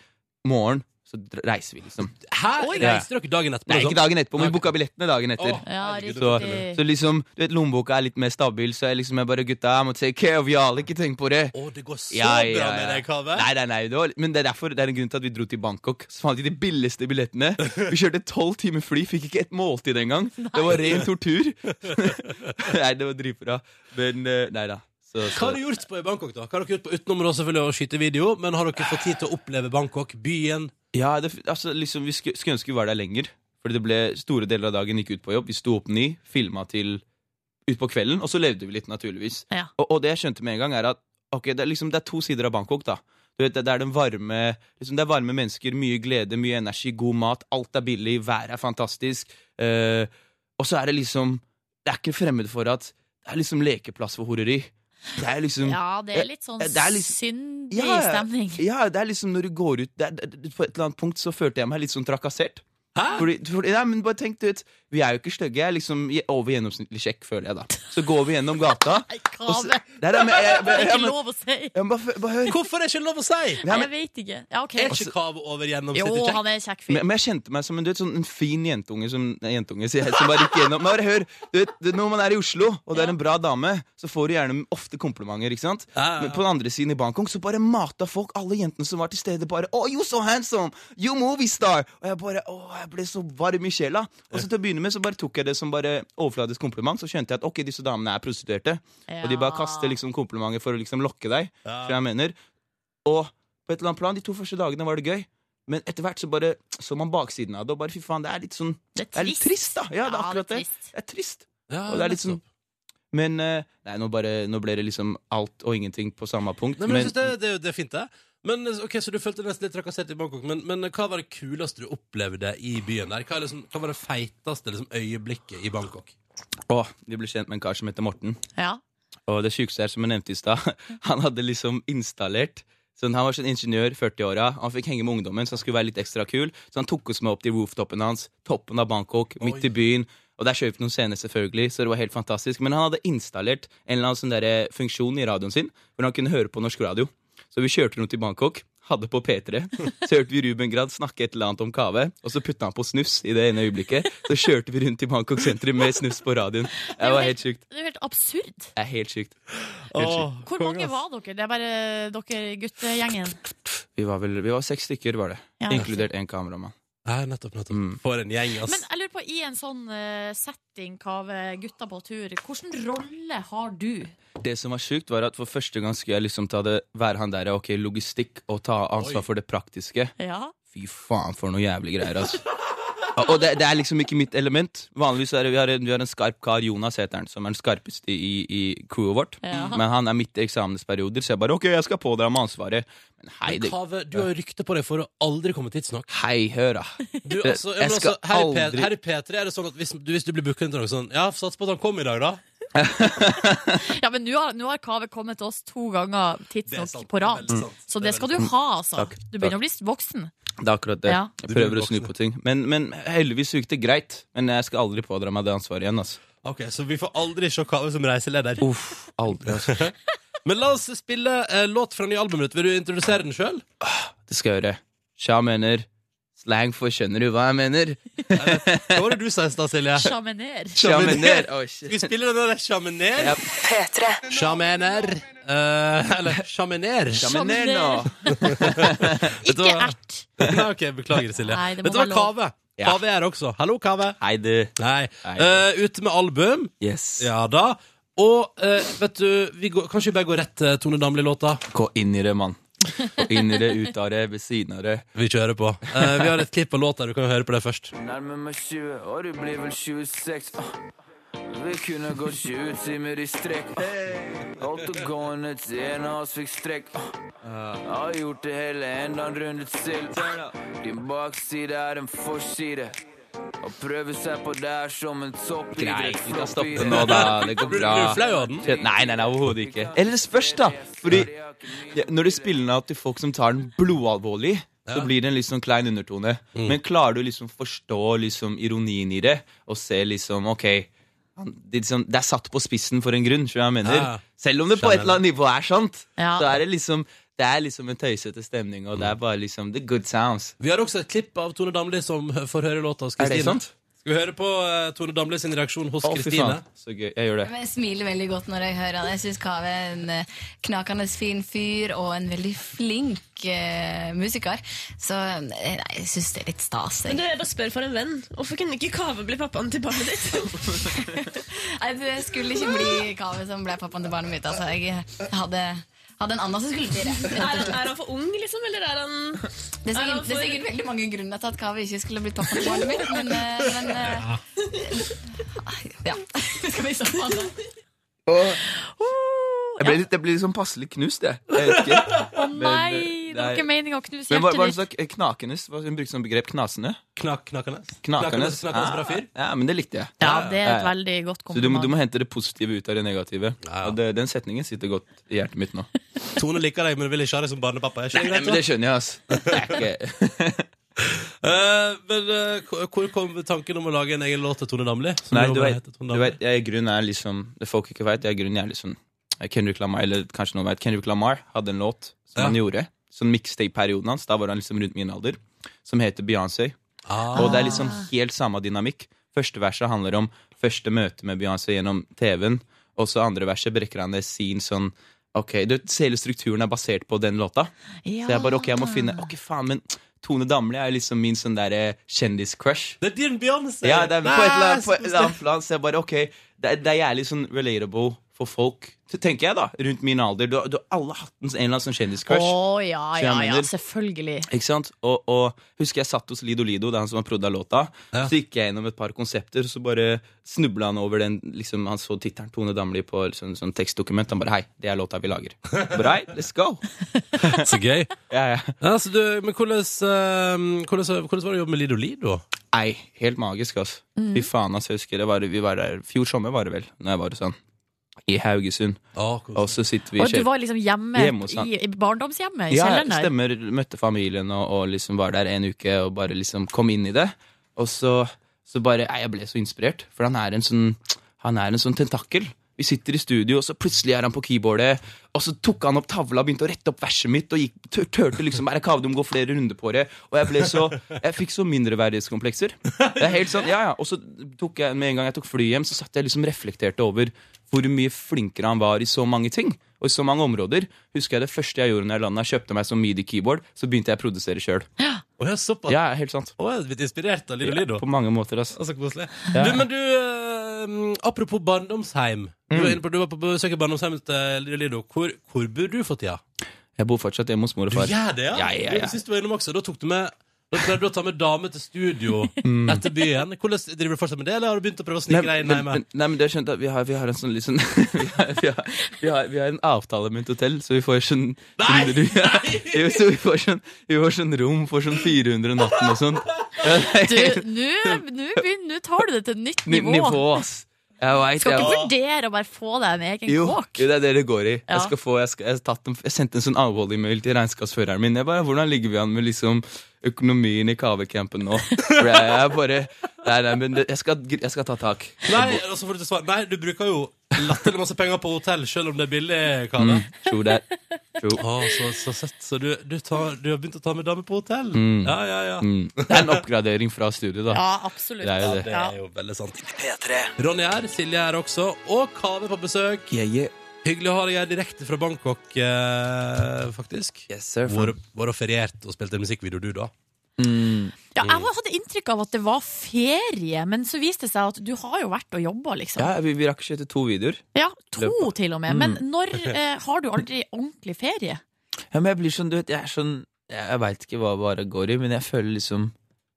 I: Morgen så dr- reiser vi, liksom.
A: Hæ?
I: Oi.
A: Reiste dere dagen etterpå?
I: Nei,
A: liksom?
I: ikke dagen etterpå, men
A: Ok.
I: vi booka billettene dagen etter.
A: Å,
C: Ja,
A: herregud,
I: Så,
C: riktig.
I: så liksom, du vet, lommeboka er litt mer stabil, så jeg liksom jeg bare Gutta, jeg må take care of y'all. Ikke tenk på det.
A: Å, det går så
I: Ja, ja,
A: bra med
I: ja.
A: deg, Kave.
I: Nei, nei, nei, det var, men det er derfor Det er en grunn til at vi dro til Bangkok. Så fant vi de billigste billettene. Vi kjørte tolv timer fly, fikk ikke et måltid engang. Det var ren tortur. nei, det var dritbra. Men eh, Nei da. Så,
A: Hva
I: så.
A: har du gjort på i Bangkok, da? Hva har dere gjort på utenom da, selvfølgelig å skyte video? Men har dere fått tid til å oppleve Bangkok, byen?
I: Ja, det, altså, liksom, vi skulle, skulle ønske vi var der lenger. Fordi det ble store deler av dagen gikk ut på jobb. Vi sto opp ni, filma til utpå kvelden, og så levde vi litt, naturligvis.
C: Ja.
I: Og, og det jeg skjønte med en gang, er at ok, det, er liksom, det er to sider av Bangkok. da du vet, det, det, er den varme, liksom, det er varme mennesker, mye glede, mye energi, god mat. Alt er billig, været er fantastisk. eh, og så er det liksom Det er ikke fremmed for at det er liksom lekeplass for horeri. Det er liksom
C: Ja, det er litt sånn
J: Eh,
I: Det er litt-
C: syndig
I: Ja, ja.
C: stemning.
I: ja, det er liksom når du går ut det er, det, På et eller annet punkt så følte jeg meg litt sånn trakassert.
A: Hæ?
I: Fordi, fordi, nei, men bare tenk, du vet Vi er jo ikke stygge. Jeg er liksom je- over gjennomsnittlig kjekk, føler jeg da. Så går vi gjennom gata
C: Nei,
I: og
C: Kave!
I: så, Nei, nei, men jeg, jeg,
C: Det er
I: jeg,
C: ikke
I: men-
C: lov å si!
I: jeg, men bare, bare hør.
A: Hvorfor er det ikke lov å si?
I: Nei,
C: Jeg
I: men,
C: vet ikke. Ja, ok.
A: Er ikke Kave over
C: Jo,
A: gjennomsnittet kjekk?
C: han er en kjekk
I: men
C: fyr.
I: men jeg kjente meg som en, du vet, sånn, en fin jentunge som nei, jentunge, sier jeg, som bare gikk gjennom. Men bare hør, du vet, det- Når man er i Oslo, og det er en bra dame, så får du gjerne ofte komplimenter. ikke sant?
A: Ja, ja, ja.
I: Men på den andre siden i Bangkok så bare mata folk alle jentene som var til stede, bare Oh, you so handsome! You movie star! Og jeg bare åh, jeg ble så varm i sjela. Og så til å begynne med så bare tok jeg det som bare overfladisk kompliment, så skjønte jeg at ok, disse damene er prostituerte. Og de bare kaster liksom komplimenter for å liksom lokke deg.
A: Ja.
I: tror jeg mener. Og på et eller annet plan, de to første dagene var det gøy. Men etter hvert så bare så man baksiden av det, og bare fy faen, det er litt sånn
C: Det
I: Det er litt trist, da. Ja, det er akkurat det.
C: trist.
I: Det er trist.
A: Ja,
I: Og det er litt sånn Men eh, Nei, nå bare Nå ble det liksom alt og ingenting på samme punkt.
A: Nei, men, jeg synes det, det, det er fint, det. Men, eh, ok, Så du følte deg nesten litt trakassert i Bangkok. Men, men eh, hva var det kuleste du opplevde i byen der? Hva, er liksom, hva var det feiteste liksom, øyeblikket i Bangkok?
I: Å, vi ble kjent med en kar som heter Morten.
C: Ja.
I: Og det sjukeste er, som jeg nevnte i stad, han hadde liksom installert så Han var sånn ingeniør, 40-åra. Han fikk henge med ungdommen, så han skulle være litt ekstra kul. Så han tok oss med opp til rooftopen hans, toppen av Bangkok, midt i byen. Og der kjøpte vi noen scener, selvfølgelig, så det var helt fantastisk. Men han hadde installert en eller annen sånn derre funksjon i radioen sin, hvor han kunne høre på norsk radio. Så vi kjørte rundt i Bangkok, hadde på P3. Så hørte vi Ruben Grad snakke et eller annet om kave, og så putta han på snus i det ene øyeblikket. Så kjørte vi rundt i Bangkok sentrum med snus på radioen. Det var helt sjukt.
C: Det er jo helt absurd.
I: Det er helt sykt. Helt sykt.
C: Hvor mange var dere? Det er bare dere guttegjengen.
I: Vi var vel vi var seks stykker, var det.
C: Ja.
I: Inkludert en kameramann.
A: Nei, nettopp, nettopp.
I: Mm.
A: For en gjeng, ass.
C: Men jeg lurer på, i en sånn eh, setting av eh, gutta på tur, hvilken rolle har du?
I: Det som var sjukt, var at for første gang skulle jeg liksom ta det, være han der, ok, logistikk, og ta ansvar for det praktiske.
C: Ja.
I: Fy faen, for noe jævlig greier, altså. Og det, det er liksom ikke mitt element. Vanligvis er det, vi har, en, vi har en skarp kar, Jonas heter han, som er den skarpeste i, i crewet vårt. Mm.
A: Ja.
I: Men han er midt i eksamensperioder, så jeg bare ok, jeg skal pådra meg ansvaret. Men hei,
A: Men
I: det,
A: Kave, du har jo rykte på deg for å aldri komme tidsnok.
I: hei, hør da.
A: Du, altså, ja, men
I: Jeg skal
A: altså, her, i
I: aldri-
A: P, her i P3 er det sånn at hvis du, hvis du blir booka inn til noe sånn Ja, sats på at han kom i dag, da.
C: Ja, men nå har, nå har Kave kommet til oss to ganger tidsnok på rad.
I: Mm.
C: Så det skal du ha, altså.
I: Takk,
C: Du begynner
I: takk.
C: å bli voksen.
I: Det er akkurat det.
C: Ja.
I: Jeg prøver å snu på ting. Men, men heldigvis gikk det greit. Men jeg skal aldri pådra meg det ansvaret igjen. Altså.
A: Ok, Så vi får aldri se Kave som reiseleder.
I: Uff, aldri altså.
A: Men la oss spille eh, låt fra nye albumet ditt. Vil du introdusere den sjøl?
I: Det skal jeg gjøre. Sja mener slang for skjønner du hva jeg mener?
A: Hva var det du sa i stad, Silje?
C: Sjamener.
I: Sjamener. Oi,
A: Skal vi spille den der sjamener? Sjamener. Eh, eller sjamener.
I: Sjamener nå.
A: Ikke
C: ert.
A: Nei, ok, Beklager, Silje.
C: Nei, det må
A: Vet du hva,
C: være lov.
A: Kave? Kave er her også. Hallo, Kave.
I: Hei, du.
A: Nei. Eh, ute med album.
I: Yes.
A: Ja da. Og eh, vet du, vi går, kanskje vi bare går rett til Tone Damli-låta?
I: Gå inn i det, mann. Gå inn i det, ut av det, ved siden av det.
A: Vi kjører på. Eh, vi har et klipp av låta, du kan jo høre på det først.
K: Nærmer meg 20, og du blir vel 26. Ah. Vi kunne gått 20 timer i strekk. Ah. Holdt det gående til en av oss fikk strekk. Ah. Har gjort det hele enda en runde til. Ah. Din bakside er en forside. Å prøve seg på der som en
I: Greit,
K: toppidrett.
I: vi kan stoppe nå, da. Det går bra.
K: Blir du flau av den?
I: Nei, nei, nei, overhodet ikke. Eller det spørs, da. Fordi ja, når de spiller den av til folk som tar den blodalvorlig, så
A: Ja.
I: blir det en litt sånn klein undertone. Men klarer du liksom å forstå liksom ironien i det, og se liksom OK han- det, er liksom, det er satt på spissen for en grunn, skjønner du hva jeg mener.
A: Ja, ja.
I: Selv om det på et eller annet nivå er sant,
A: Ja.
I: så er det liksom det er liksom en tøysete stemning, og det er bare liksom the good sounds.
A: Vi har også et klipp av Tone Damli som eh, får høre låta hos
I: Er det
A: Kristine.
I: sant?
A: Skal vi høre på eh, Tone Damli sin reaksjon hos
I: Å, fy
A: Kristine?
I: faen. Så gøy. Jeg gjør det.
L: Jeg smiler veldig godt når jeg hører han. Jeg syns Kave er en eh, knakende fin fyr og en veldig flink eh, musiker. Så eh, nei, jeg syns det er litt stas.
M: Men
L: Jeg.
M: du, jeg bare spør for en venn. Hvorfor kunne ikke Kave bli pappaen til barnet ditt?
L: Nei, det skulle ikke bli Kave som ble pappaen til barnet mitt. Altså, jeg hadde, hadde en annen som skulle bli det.
M: er, han, er han for ung, liksom? Eller er han
L: Det er,
M: er han
L: sikkert, det er sikkert veldig mange grunner til at Kave ikke skulle blitt pappaen til barnet mitt, men, eh, men eh, ja. Skal vi stoppe han nå?
I: Jeg ble, litt, jeg ble liksom passelig knust, jeg. jeg vet ikke.
C: Å nei,
I: Men, eh,
C: det var ikke meningen å knuse
I: Men hva, hva er
C: hjertet
I: det
C: ditt.
I: slags eh, knakenes? Hva- Hun brukte sånn begrep knasende.
A: knakenes.
I: Knakenes,
A: Knakenes bra fyr.
I: Ja, ja, men det likte jeg.
C: Ja, det er et
I: Ja, ja.
C: veldig godt
I: Så du må,
C: kompliment.
I: du må hente det positive ut av det negative. Og det, den setningen sitter godt i hjertet mitt nå.
A: Tone liker deg, men vil ikke ha deg som barnepappa. Er ikke
I: Nei,
A: det greit, da?
I: men det skjønner jeg, ass. Det er ikke-
A: Eh, men eh, hvor- hvor kom tanken om å lage en egen låt til Tone Damli? Som
I: Nei,
A: jo
I: du
A: bare
I: vet,
A: heter Tone
I: du
A: Damli.
I: vet jeg i grunnen er liksom Det folk ikke vet, jeg i grunnen er liksom Kendrick Lamar, eller kanskje noen vet Kendrick Lamar hadde en låt som han gjorde, sånn mixtape-perioden hans, da var han liksom rundt min alder, som heter Beyoncé.
A: Ah.
I: Og det er liksom helt samme dynamikk. Første verset handler om første møte med Beyoncé gjennom TV-en, og så andre verset brekker han ned sin sånn Ok, du, vet, Hele strukturen er basert på den låta. Så jeg bare, ok, jeg må finne Ok, faen, men Tone Damli er jo liksom min sånn derre kjendis-crush.
A: Det er din Beyoncé!
I: Ja, det er på et eller annet, på et
A: Nei,
I: eller annet plan. Så jeg bare ok, det, er- det er jævlig sånn relatable for folk, tenker jeg, da. Rundt min alder. Du, har- du, har alle hatt en eller annen sånn
C: Å ja,
I: kjendiscrush. Så jeg
C: ja, ja,
I: mener-
C: selvfølgelig.
I: Ikke sant? Og, og husker jeg satt hos Lido Lido, det er han som har prodda låta. Så gikk jeg gjennom et par konsepter, så bare snubla han over den liksom, Han så tittelen Tone Damli på liksom, sånn tekstdokument. Han bare 'Hei, det er låta vi lager'. Brei, let's go!
A: Så gøy.
I: ja, ja.
A: altså, du, men hvordan, eh, hvordan, hvordan var det å jobbe med Lido Lido?
I: Nei, helt magisk, altså.
A: Mhm.
I: Fy faen, altså, jeg husker det var, vi var der Fjor sommer var det vel, når jeg var hos han. I Haugesund. og så sitter vi i
C: Og du
I: kjell-
C: var liksom hjemme
I: Hjemme hos han.
C: i, i barndomshjemmet? I
I: ja,
C: kjelleren der?
I: stemmer. Møtte familien og, og liksom var der en uke og bare liksom kom inn i det. Og så, så bare nei, Jeg ble så inspirert, for han er en sånn Han er en sånn tentakel. Vi sitter i studio, og så plutselig er han på keyboardet. Og så tok han opp tavla og begynte å rette opp verset mitt. Og gikk, tør, tørte liksom bare kave, du må gå flere runder på det. Og jeg ble så Jeg fikk så mindreverdighetskomplekser. Det er helt sånn, ja, ja. Og så tok jeg med en gang jeg tok flyet hjem, så satt jeg liksom reflekterte over hvor mye flinkere han var i så mange ting. Og i så mange områder Husker jeg det første jeg gjorde når jeg landa, kjøpte meg som midi-keyboard, så begynte jeg å produsere sjøl. Ja, helt sant.
A: Å, jeg er blitt inspirert av Lido Lido.
I: Ja, på mange måter, altså.
A: Så koselig.
I: Ja.
A: Du, men du, eh, apropos barndomsheim. Du,
I: Mm.
A: var inne på, du var på besøk i barndomsheimet til Lido Lido. Hvor, hvor bor du for tida?
I: Jeg bor fortsatt hjemme hos mor og
A: Du
I: far.
A: gjør det, ja?
I: Ja, ja, ja.
A: Du, sist du var innom også, da tok du med da pleide du å ta med dame til studio etter byen. Hvordan Driver du fortsatt med det, eller har du begynt å prøve å snike deg inn
I: men,
A: hjemme?
I: men- Mm. nei, men det er skjønt at vi har, vi har en sånn litt sånn vi, har, vi, har, vi, har, vi har en avtale med et hotell, så vi får sånn Nei! jo, så vi får sånn, vi får sånn rom for sånn 400 natten og sånn. Ja, det er
C: Du, nå- nå begynner- nå tar du det til et nytt
I: ny-
C: nivå.
I: Nivå, ass. Jeg vet,
C: Skal ikke
I: jeg,
C: vurdere å bare få deg en egen
I: jo,
C: kåk?
I: jo, det er det det går i.
C: Ja.
I: Jeg, skal få, jeg, skal, jeg, har tatt en, jeg sendte en sånn alvorlig-mail til regnskapsføreren min. Jeg bare, Hvordan ligger vi an med liksom økonomien i kavecampen nå? For jeg, jeg bare, nei, nei, men det, jeg, skal, jeg skal ta tak.
A: Nei, altså for å svare, nei, du bruker jo latterlig masse penger på hotell, selv om det er billig, Kane.
I: Tror det. Tror.
A: Å, så, så søtt. Så du, du, tar, du har begynt å ta med dame på hotell?
I: Mm.
A: Ja, ja, ja.
I: Mm. Det er en oppgradering fra studio, da. Det er jo
A: Ja,
I: det.
A: det er jo veldig sant. Ronny er, Silje er også, og Kave på besøk. Hyggelig å ha deg her direkte fra Bangkok, eh, faktisk. Hvor, hvor du feriert og spilte en musikkvideo, du, da?
C: Ja, jeg var- hadde inntrykk av at det var ferie, men så viste det seg at du har jo vært og jobba, liksom.
I: Ja, vi, vi rakk ikke etter to videoer.
C: Ja, to til og med. Men
I: Mm.
C: når eh, har du aldri ordentlig ferie?
I: Ja, men jeg blir sånn, du vet, jeg er sånn Jeg, jeg veit ikke hva bare går i, men jeg føler liksom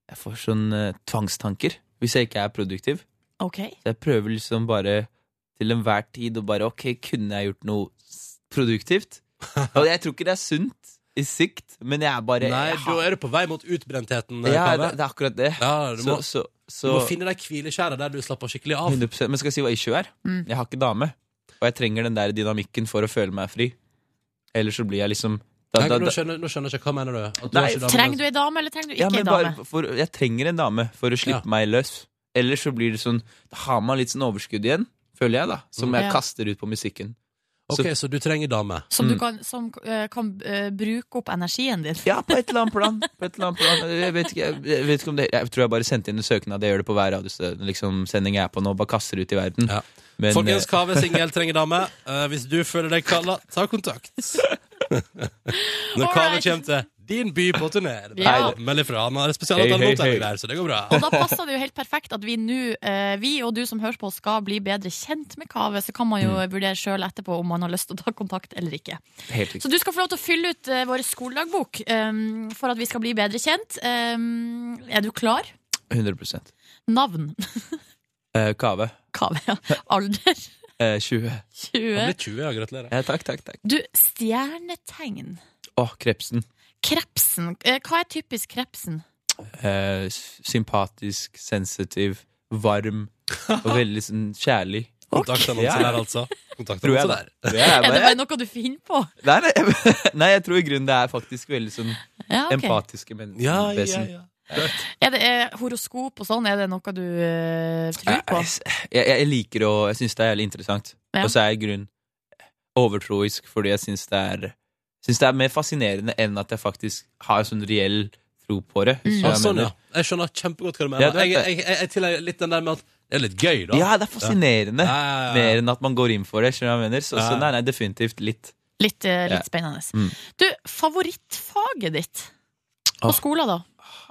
I: Jeg får sånn eh, tvangstanker hvis jeg ikke er produktiv.
C: Ok.
I: Så jeg prøver liksom bare til enhver tid å bare Ok, kunne jeg gjort noe s- produktivt? Og jeg tror ikke det er sunt i sikt, men jeg er bare
A: Nei,
I: jeg
A: da
I: har-
A: er du på vei mot utbrentheten. eh,
I: Eh, ja,
A: Kave.
I: det, det er akkurat det.
A: Ja, du må-
I: så, så,
A: Du
I: så,
A: må finne deg hvileskjæret der du slapper skikkelig av.
I: 100%, Men skal jeg si hva issue er?
A: Mm.
I: Jeg har ikke dame. Og jeg trenger den der dynamikken for å føle meg fri. Ellers så blir jeg liksom da,
A: Nei,
I: da,
A: men nå,
I: da,
A: skjønner, nå skjønner jeg ikke hva mener du At du
I: Nei,
A: har ikke dame-
C: Trenger du ei dame, eller trenger du ikke
I: altså- ja,
C: ei
I: men
C: dame?
I: bare for, Jeg trenger en dame for å slippe meg løs. Ellers så blir det sånn Da har man litt sånn overskudd igjen, føler jeg, da. Som
C: Mm.
I: jeg
C: Ja.
I: kaster ut på musikken.
A: Ok, så du trenger dame?
C: Som
I: Mm.
C: du kan, som, eh, kan eh, bruke opp energien din?
I: Ja, på et eller annet plan. På et eller annet plan. Jeg vet ikke, jeg, jeg vet ikke om det Jeg tror jeg bare sendte inn en søknad. Jeg gjør det på hver radiosending liksom, sending jeg er på nå. Bare kaster ut i verden. Men,
A: Folkens,
I: eh,
A: Kave singel trenger dame. Eh, hvis du føler deg kalla, ta kontakt. Når Kave
C: Alright.
A: kommer til din by på turné, er det bare
C: Ja.
A: å melde ifra. Han har
I: Hei, hei,
A: spesialavtale
I: hei.
A: der, så det går bra.
C: Og da passer det jo helt perfekt at vi nå, eh, vi og du som hører på, skal bli bedre kjent med Kave. Så kan man jo vurdere sjøl etterpå om man har lyst til å ta kontakt eller ikke.
I: eh, Helt riktig.
C: Så du skal få lov til å fylle ut eh, vår skoledagbok em, for at vi skal bli bedre kjent. Em, er du klar?
I: 100
C: Navn.
I: eh, Kave.
C: Kave. ja. Alder.
I: Eh, 20.
C: 20.
A: 20, ja. Gratulerer.
I: Ja, takk, takk. takk.
C: Du, stjernetegn.
I: Å, krepsen.
C: Krepsen. Eh, hva er typisk krepsen?
I: Eh, s- sympatisk, sensitiv, varm og veldig sånn kjærlig.
A: Kontaktannonse
I: Ja.
A: der, altså.
I: Tror jeg
A: Kontaktannonse
I: det.
A: der.
I: Det er
C: Er det
I: bare-
C: bare noe du finner på?
I: Nei, nei, nei, jeg tror i grunnen det er faktisk veldig sånn
C: Ja, ok.
I: empatiske mennesker.
A: Ja, ja, ja.
C: Er det eh, horoskop og sånn? Er det noe du eh, tror på?
I: Jeg, jeg, jeg liker å Jeg syns det er jævlig interessant.
C: Ja.
I: Og så er jeg i grunnen overtroisk fordi jeg syns det er Synes det er mer fascinerende enn at jeg faktisk har sånn reell tro på det.
C: Mm.
I: hvis du
A: Ja,
I: skjønner hva jeg
A: sånn,
I: mener.
A: ja. Jeg skjønner kjempegodt hva du
I: Ja,
A: mener.
I: du vet
A: Jeg, jeg,
I: det.
A: jeg, jeg tillegger litt den der med at det er litt gøy, da.
I: Ja, det er fascinerende.
A: ja, ja.
I: Mer enn at man går inn for det. skjønner du hva jeg mener? Så,
A: Ja.
I: så nei, nei, definitivt litt.
C: Litt, eh,
I: Ja.
C: litt spennende.
I: Mm.
C: Du, favorittfaget ditt på
I: Åh.
C: skolen, da?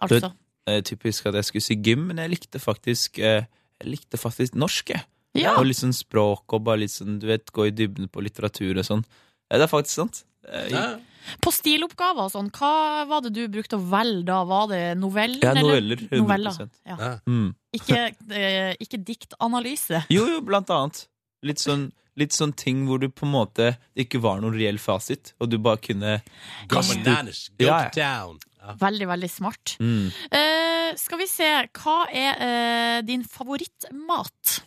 I: Du
C: Altså.
I: vet, eh, typisk at jeg skulle si gym, men jeg likte faktisk, eh, jeg likte faktisk norsk. Jeg.
C: Ja.
I: Og litt sånn språk og bare litt sånn, du vet, gå i dybden på litteratur og sånn. Ja, Det er faktisk sant. Eh,
C: På stiloppgaver og sånn, hva var det du brukte å velge da? Var det noveller?
I: Ja,
C: eller-
I: noveller. 100
C: Noveller, ja.
I: Mm.
C: Ikke, eh, ikke diktanalyse.
I: Jo, jo, blant annet. Litt sånn, litt sånn ting hvor du på en måte det ikke var noen reell fasit, og du bare kunne
A: Go bananas, go
I: Ja, ja.
A: to town.
C: Veldig, veldig smart.
I: Mm.
C: Eh, skal vi se, hva er eh, din favorittmat?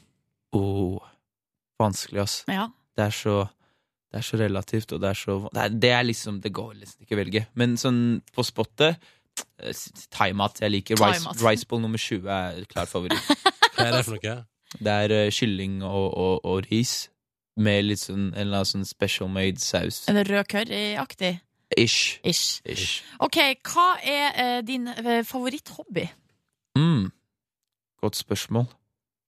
I: Åh, oh, vanskelig, ass.
C: Ja.
I: Det er så det er så relativt, og det er så Det er, det er liksom Det går liksom ikke å velge. Men sånn på spottet eh, s- Thaimat jeg liker. Rice,
A: Thaimat.
I: rice bowl nummer 20 er klar favoritt.
A: Hva er det for noe?
I: Det er eh, kylling og, og, og ris med litt sånn en eller annen sånn special made saus.
C: Er det rød curry-aktig?
I: Ish.
C: Ish.
I: Ish.
C: Ok, hva er eh, din eh, favoritthobby?
I: Mm. Godt spørsmål.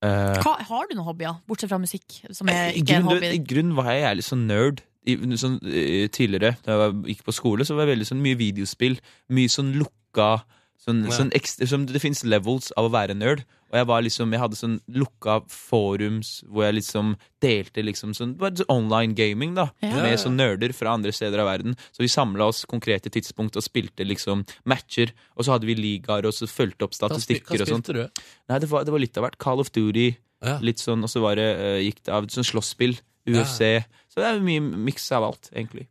I: Eh,
C: Hva, har du noen hobbyer, bortsett fra musikk, som er
I: I
C: Eh, ikke er en
I: grunnen,
C: hobby?
I: I grunnen var jeg jævlig sånn nerd. I, sånn, eh, tidligere, da jeg var- gikk på skole, så var jeg veldig sånn mye videospill. Mye sånn lukka sånn,
A: Ja.
I: sånn ekstra, sånn, Det fins levels av å være nerd. Og jeg var liksom, jeg hadde sånn lukka forums hvor jeg liksom delte liksom sånn bare sånn online gaming, da.
A: Ja.
I: Med sånn nerder fra andre steder av verden. Så vi samla oss konkrete tidspunkt og spilte liksom matcher. Og så hadde vi ligaer og så fulgte opp statistikker og sånt.
A: du?
I: Nei, det var, det var litt av hvert. Call of Duty, litt sånn, og så var det, eh, gikk det av sånn slåsspill, UFC. Så det er mye miks av alt, egentlig.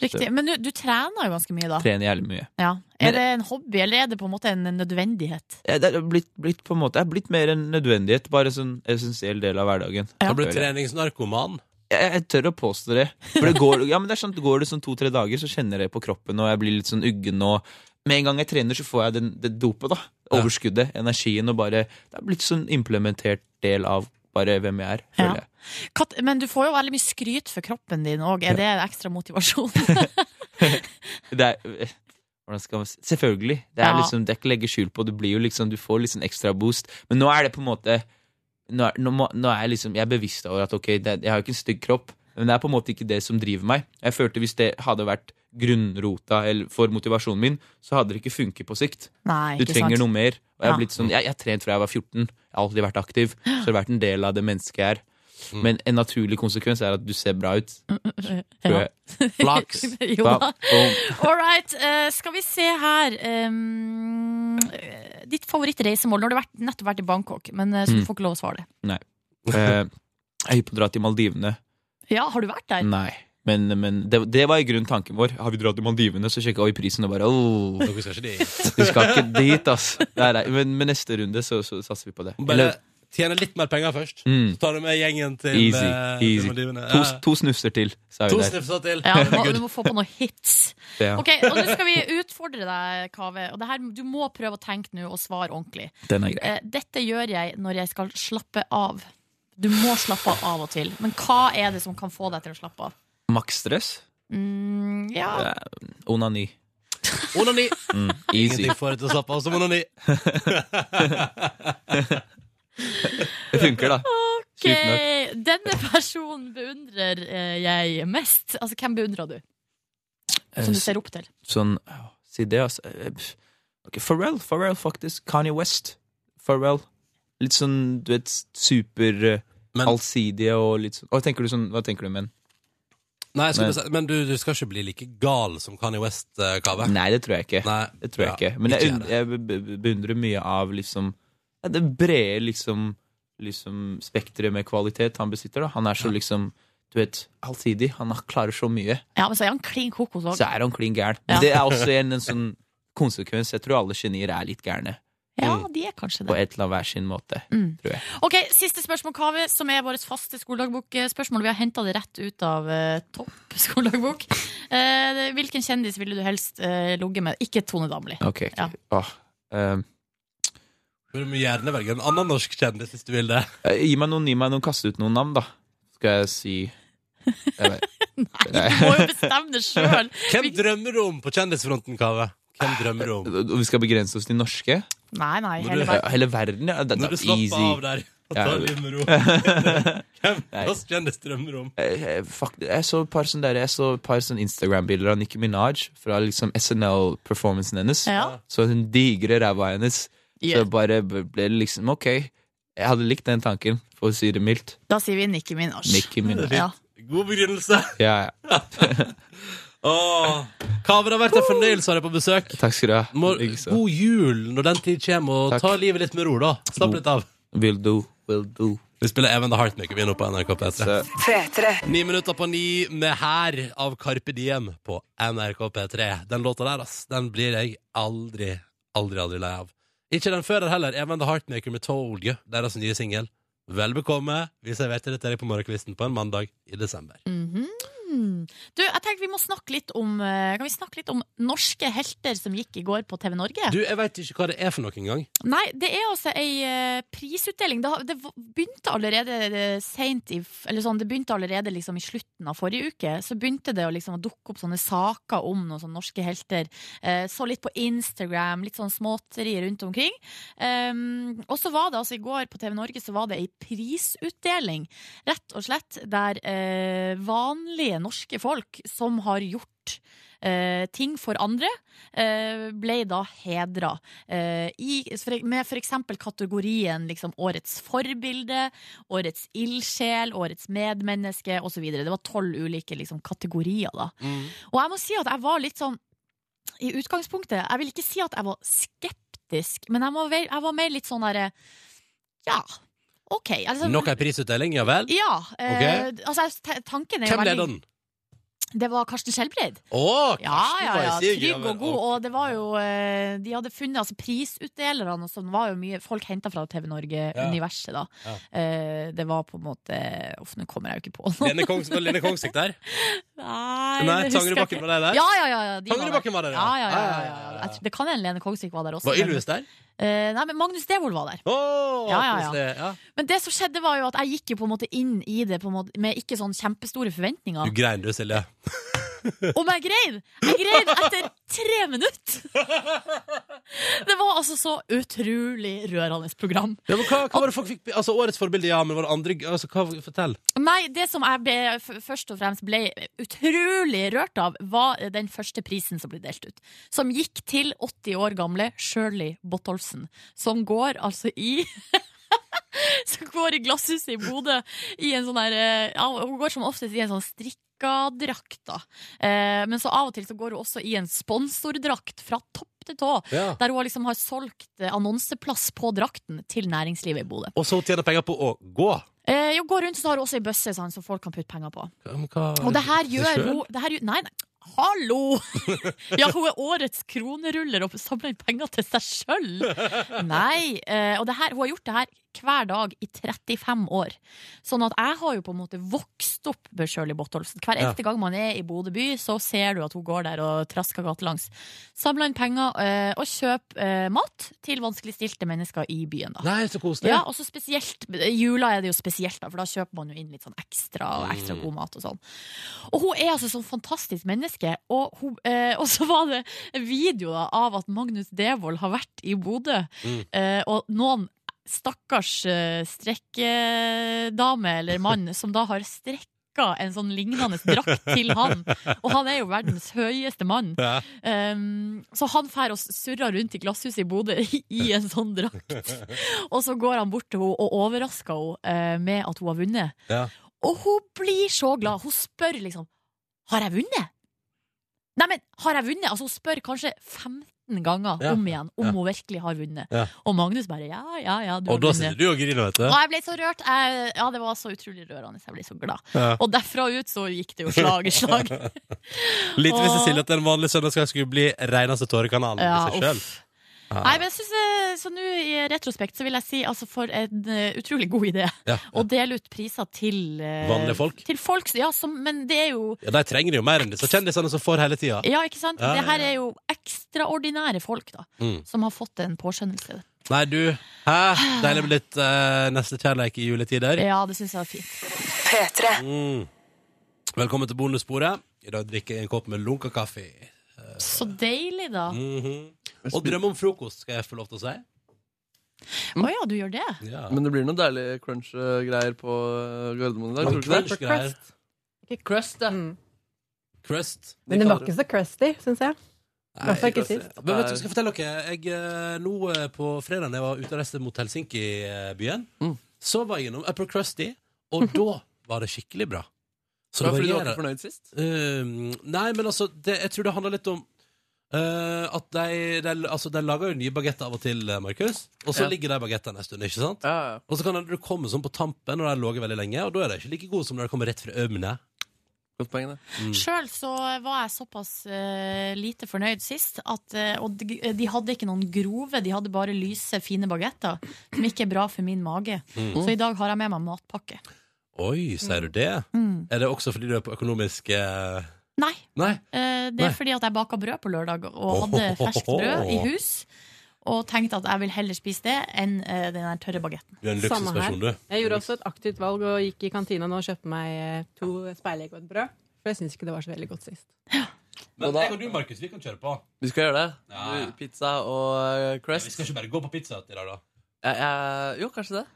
C: Riktig.
I: Så,
C: Men du, du trener jo ganske mye, da.
I: trener jævlig mye.
C: Ja.
I: Men-
C: Er det en hobby, eller er det på en måte en nødvendighet?
I: Eh, Det er blitt, blitt på en måte, det er blitt mer enn nødvendighet, bare sånn essensiell del av hverdagen.
A: Du ble treningsnarkoman.
I: Jeg, jeg tør å påstå det. For det går, ja, men det er sånn, går det sånn to-tre dager, så kjenner jeg det på kroppen, og jeg blir litt sånn uggen. Og med en gang jeg trener, så får jeg den, det dopet, da. Overskuddet, energien, og bare Det er blitt sånn implementert del av bare hvem jeg er, føler jeg.
C: Kat- Men du får jo veldig mye skryt for kroppen din òg. Er det en ekstra motivasjon?
I: det er, eh, hvordan skal man si Selvfølgelig. Det er
C: Ja.
I: liksom, det er ikke å legge skjul på. Du, blir jo liksom, du får litt sånn ekstra boost. Men nå er det på en måte Nå er, nå må, nå er jeg liksom Jeg er bevisst over at ok, det, jeg har jo ikke en stygg kropp, men det er på en måte ikke det som driver meg. Jeg følte hvis det hadde vært grunnrota eller, for motivasjonen min, så hadde det ikke funket på sikt.
A: Nei,
I: du
A: ikke
I: trenger
A: sant.
I: noe mer. Og jeg,
A: Ja.
I: har blitt sånn, jeg, jeg har trent fra jeg var 14. Jeg har alltid vært aktiv. Så har det vært en del av det mennesket jeg er. Men en naturlig konsekvens er at du ser bra ut. Tror
C: Ja.
I: jeg. Flaks!
C: jo
I: Ba-
C: da.
I: boom.
C: All right, eh, skal vi se her um, eh, Ditt favorittreisemål? Nå har du vært, nettopp vært i Bangkok, men eh, så du
I: Mm.
C: får ikke lov å svare det.
I: Nei. Eh, jeg er hypp på å dra til Maldivene.
C: Ja, har du vært der?
I: Nei. Men, men det, det var i grunnen tanken vår. Har vi dratt til Maldivene, så sjekka vi prisen og bare åh,
A: Dere skal ikke dit.
I: Vi skal ikke dit, ass. Nei, nei, men, men neste runde så, så satser vi på det.
A: Bare tjene litt mer penger først.
I: Mm.
A: Så tar du med gjengen til
I: easy.
A: eh, til
I: easy.
A: Maldivene.
I: To,
A: Ja.
I: to snufser til, sa vi
A: To
I: der.
A: snufser til.
C: Ja, du må, du må få på noen hits.
I: Ja.
C: Ok, og Nå skal vi utfordre deg, Kave. Og det her, du må prøve å tenke nå og svare ordentlig.
I: Den er grei.
C: Eh, Dette gjør jeg når jeg skal slappe av. Du må slappe av av og til. Men hva er det som kan få deg til å slappe av?
I: Maks stress?
C: Mm, ja.
I: Eh, Onani.
A: Onani!
I: Mm, easy.
A: Ingenting får deg til å slappe av som onani.
I: Det funker, da.
C: Ok, Denne personen beundrer eh, jeg mest. Altså, hvem beundrer du?
I: Eh,
C: Som du ser opp til.
I: Sånn, åh, si det, altså. Eh, pff. Ok, Pharrell, Pharrell faktisk. Kanye West. Pharrell. Litt sånn, du vet, super eh, allsidige og litt sånn Hva tenker du sånn, hva tenker du med en?
A: Nei, jeg skulle
I: Men-
A: bare si- men du, du skal ikke bli like gal som Kanye West-kave.
I: Nei, det tror jeg ikke. Det tror jeg
A: Ja,
I: ikke. Men
A: ikke
I: jeg, und- jeg be- be- beundrer mye av liksom ja, det brede liksom, liksom spekteret med kvalitet han besitter. da Han er så liksom du vet, allsidig. Han har- klarer så mye.
C: Ja, men så er han klin kokos òg.
I: Så er han klin gæren.
C: Ja.
I: Men Det er også en, en sånn konsekvens. Jeg tror alle genier er litt gærne.
C: Ja,
I: Mm.
C: de er kanskje
I: På
C: det.
I: et eller annet hver sin måte,
C: Mm.
I: tror jeg.
C: Ok, Siste spørsmål, Kaveh, som er vårt faste skoledagbokspørsmål. Vi har henta det rett ut av eh, topp skoledagbok. Eh, hvilken kjendis ville du helst eh, ligget med? Ikke Tone Damli.
I: Ok, ok.
C: Ja.
I: Åh, ehm,
A: Du må gjerne velge en annen norsk kjendis hvis du vil det.
I: eh, gi meg noen, gi meg noen, kaste ut noen navn, da. Skal jeg si jeg vet. Nei,
C: Du må jo bestemme det sjøl!
A: Hvem drømmer du om på kjendisfronten, Kave? Hvem drømmer du om?
I: Og Vi skal begrense oss til norske?
C: Nei, nei,
I: Må
C: hele
I: du-
C: verden.
I: hele verden, ja. Det,
A: Når du
I: det,
A: slapper
I: easy.
A: av der og tar livet med ro. Hvem
I: Nei.
A: norsk kjendis drømmer du om?
I: Eh, eh, fuck, jeg så et par sånne, der- jeg så et par sånne Instagram-bilder av Nicki Minaj fra liksom SNL-performancen hennes.
C: Ja.
I: Så den digre ræva hennes. Så jeg bare ble ble liksom ok. Jeg hadde likt den tanken, for å si det mildt.
N: Da sier vi Nikki Minaj.
I: Nicki Minaj.
N: Ja.
A: God begrunnelse.
I: Ja, ja.
A: Åh, Kave, det har vært en fornøyelse å ha deg på besøk.
I: Takk skal du ha.
A: Må, god jul når den tid kommer, og
I: Takk.
A: ta livet litt med ro, da. Slapp litt av.
I: Will do, will do.
A: Vi spiller Even the Heartmaker vi er nå på NRK P3.
O: P3.
A: Ni minutter på ni med Her av Carpe Diem på NRK P3. Den låta der, ass, den blir jeg aldri, aldri, aldri lei av. Ikke den før den heller. Even the Heartmaker med Told You, deres nye singel. Vel bekomme. Vi serverte det til deg på morgenkvisten på en mandag i desember.
C: Mhm. Du, jeg tenkte vi må snakke litt om eh, Kan vi snakke litt om norske helter som gikk i går på TV Norge?
A: Du, jeg veit ikke hva det er for noe engang.
C: Nei, det er altså ei eh, prisutdeling. Det, har- det v- begynte allerede eh, sent i f- Eller sånn, det begynte allerede liksom i slutten av forrige uke. Så begynte det å liksom å dukke opp sånne saker om noen sånne norske helter. Eh, så litt på Instagram, litt sånn småtteri rundt omkring. Um, og så var det altså i går på TV Norge så var det ei prisutdeling, rett og slett, der eh, vanlige norske folk som har gjort eh, ting for andre, eh, ble da hedra. eh, i, for, med f.eks. kategorien liksom, Årets forbilde, Årets ildsjel, Årets medmenneske osv. Det var tolv ulike liksom, kategorier. da Og jeg må si at jeg var litt sånn i utgangspunktet Jeg vil ikke si at jeg var skeptisk, men jeg, må, ve- jeg var mer litt sånn derre Ja, OK. Altså,
A: Nok ei prisutdeling, ja vel?
C: Ja. Eh,
A: Ok.
C: altså, te- tanken er jo
A: Hvem
C: veldig-
A: leder den?
C: Det var Karsten Skjelbreid.
A: Å,
C: Ja,
A: Karsten
C: ja,
A: var i
C: ja.
A: siget,
C: Trygg
A: vel.
C: og god. Og det var jo eh, De hadde funnet altså, prisutdelerne, og sånn var jo mye folk henta fra TV Norge-universet, da.
A: Ja.
C: Eh, det var på en måte Uff, nå kommer jeg jo ikke på noe.
A: Lene Kongs, var Lene Kongsvik der? Nei,
C: Nei, det husker jeg
A: Tangerudbakken
C: ikke.
A: var der der?
C: Ja, ja, ja, ja, de
A: Tangerudbakken var der, ja.
C: Ja, ja, ja, ja,
A: Ja,
C: ja, Jeg tror- Det kan hende Lene Kongsvik var der også.
A: Var Ylvis der?
C: Eh, nei, men Magnus Devold var der.
A: Oh,
C: ja, ja, ja.
A: ja.
C: Men det som skjedde, var jo at jeg gikk jo på en måte inn i det på en måte, med ikke sånn kjempestore forventninger.
A: Du grein du, Silje.
C: Om jeg grein! Jeg grein etter tre minutter! Det var altså så utrolig rørende program.
A: Ja, men hva, hva var det folk fikk Altså Årets forbilde, ja, men var det andre altså, hva, Fortell.
C: Nei, det som jeg ble, f- først og fremst ble utrolig rørt av, var den første prisen som ble delt ut. Som gikk til 80 år gamle Shirley Bottolfsen, som går altså i Som går i glasshuset i Bodø i en sånn her eh, ja, Hun går som oftest i en sånn strikkadrakt, da. Eh, men så av og til så går hun også i en sponsordrakt fra topp til tå,
A: Ja.
C: der hun liksom har solgt eh, annonseplass på drakten til næringslivet i Bodø.
A: Og så tjener penger på å gå.
C: Eh, jo, går rundt så har hun også ei bøsse sånn, som folk kan putte penger på.
A: Men hva-
C: Og det her gjør
A: selv?
C: hun det her, gjør- Nei, nei. Hallo! Ja, hun er årets kroneruller og samler inn penger til seg sjøl! Nei. eh, Og det her, hun har gjort det her hver dag i 35 år. Sånn at jeg har jo på en måte vokst opp med Shirley Bottolfsen. Hver
N: Ja.
C: eneste gang man er i Bodø by, så ser du at hun går der og trasker gatelangs. Samler inn penger eh, og kjøper eh, mat til vanskeligstilte mennesker i byen, da.
A: Nei, så koselig.
C: Ja, og så spesielt i Jula er det jo spesielt, da, for da kjøper man jo inn litt sånn ekstra og ekstra
N: Mm.
C: god mat og sånn. Og hun er altså sånn fantastisk menneske, og, hun, eh, og så var det en video da, av at Magnus Devold har vært i Bodø,
N: Mm.
C: eh, og noen stakkars eh, strekkedame eller mann som da har strekka en sånn lignende drakt til han, og han er jo verdens høyeste mann.
A: Ja.
C: Um, så han fær og surrer rundt i glasshuset i Bodø i en sånn drakt. Og så går han bort til henne og overrasker henne eh, med at hun har vunnet.
A: Ja.
C: Og hun blir så glad. Hun spør liksom Har jeg vunnet? Nei, men har jeg vunnet? Altså, hun spør kanskje 15 ganger
A: Ja.
C: om igjen om
A: Ja.
C: hun virkelig har vunnet.
A: Ja.
C: Og Magnus bare ja, ja, ja, du
A: Og
C: har
A: da
C: vunnet.
A: sitter du og griner, vet du.
C: Og jeg ble så rørt. Jeg, ja, det var så utrolig rørende. Jeg ble så glad.
A: Ja.
C: Og derfra ut så gikk det jo slag i slag.
A: Litt hvis
C: Åh.
A: Silje at en vanlig søndagskveld skulle bli reneste tårekanalen
C: Ja,
A: i seg sjøl.
C: uff. Nei, men jeg synes, eh, så nå i retrospekt så vil jeg si altså for en eh, utrolig god idé
A: Ja.
C: å dele ut priser til eh,
A: Vanlige folk?
C: Til folk, ja, som, men det er jo
A: Ja, de trenger jo mer enn disse kjendisene som får hele tida.
C: Ja, ikke sant?
A: Ja,
C: Det her
A: ja,
C: er jo ekstraordinære folk, da,
A: Mm.
C: som har fått en påskjønnelse.
A: Nei, du. Hæ? Deilig med litt uh, nestekjærleik i juletider.
C: Ja, det syns jeg var fint.
A: Mm. Velkommen til bonussporet. I dag drikker jeg en kopp med lunka kaffe.
C: Så deilig, da. Å
A: Mhm. Og drøm om frokost, skal jeg få lov til å si.
C: ja, du gjør det?
A: Ja.
J: Men det blir noen deilige crunch-greier på eh, Gardermoen i dag.
A: Noen
J: Tror du ikke det?
A: crunch-greier.
P: Ikke crust, da.
C: Mm.
A: Crust.
P: Men den var ikke så crusty, syns jeg.
A: Nei,
N: Hvertfall ikke
A: altså,
N: sist.
A: Men vet du, skal jeg fortelle dere jeg, eh, Nå eh, på fredag da jeg var ute og reiste mot Helsinki-byen,
J: Mm.
A: så var jeg gjennom Upper Crusty,
C: Mhm.
A: og da var det skikkelig bra.
J: Ja, fordi du var
A: varierer.
J: ikke fornøyd sist?
A: Eh, nei, men altså, det, jeg tror det handler litt om eh, at de, de, altså, de lager jo nye bagetter av og til, eh, Markus, og så
J: Ja.
A: ligger de bagettene en stund, ikke sant? Og så kan det komme sånn på tampen, og de har ligget veldig lenge, og da er de ikke like gode som når de kommer rett fra ovnen.
J: Godt poeng, det.
A: Mm.
C: Sjøl så var jeg såpass eh, lite fornøyd sist, at, eh, og de, de hadde ikke noen grove, de hadde bare lyse, fine bagetter, som ikke er bra for min mage.
A: Mm.
C: Så i dag har jeg med meg matpakke.
A: Oi, sier du det?
C: Mm.
A: Er det også fordi du er på økonomisk eh,
C: Nei,
A: Nei?
C: eh, det
A: Nei.
C: er fordi at jeg baka brød på lørdag, og hadde ferskt brød i hus. Og tenkte at jeg vil heller spise det enn eh, den der tørre bagetten.
A: Du er en
N: Samme her.
A: luksusperson, du.
N: Jeg gjorde også et aktivt valg og gikk i kantina nå og kjøpte meg eh, to speilegg og et brød. For jeg syns ikke det var så veldig godt sist.
A: Men
J: Og da-
A: jeg og du, Markus, vi kan kjøre på.
J: Vi skal gjøre det.
A: Ja.
J: Du, Pizza og eh, crust.
A: Vi skal ikke bare gå på pizza i dag, da.
J: Ja, ja, jo, kanskje det.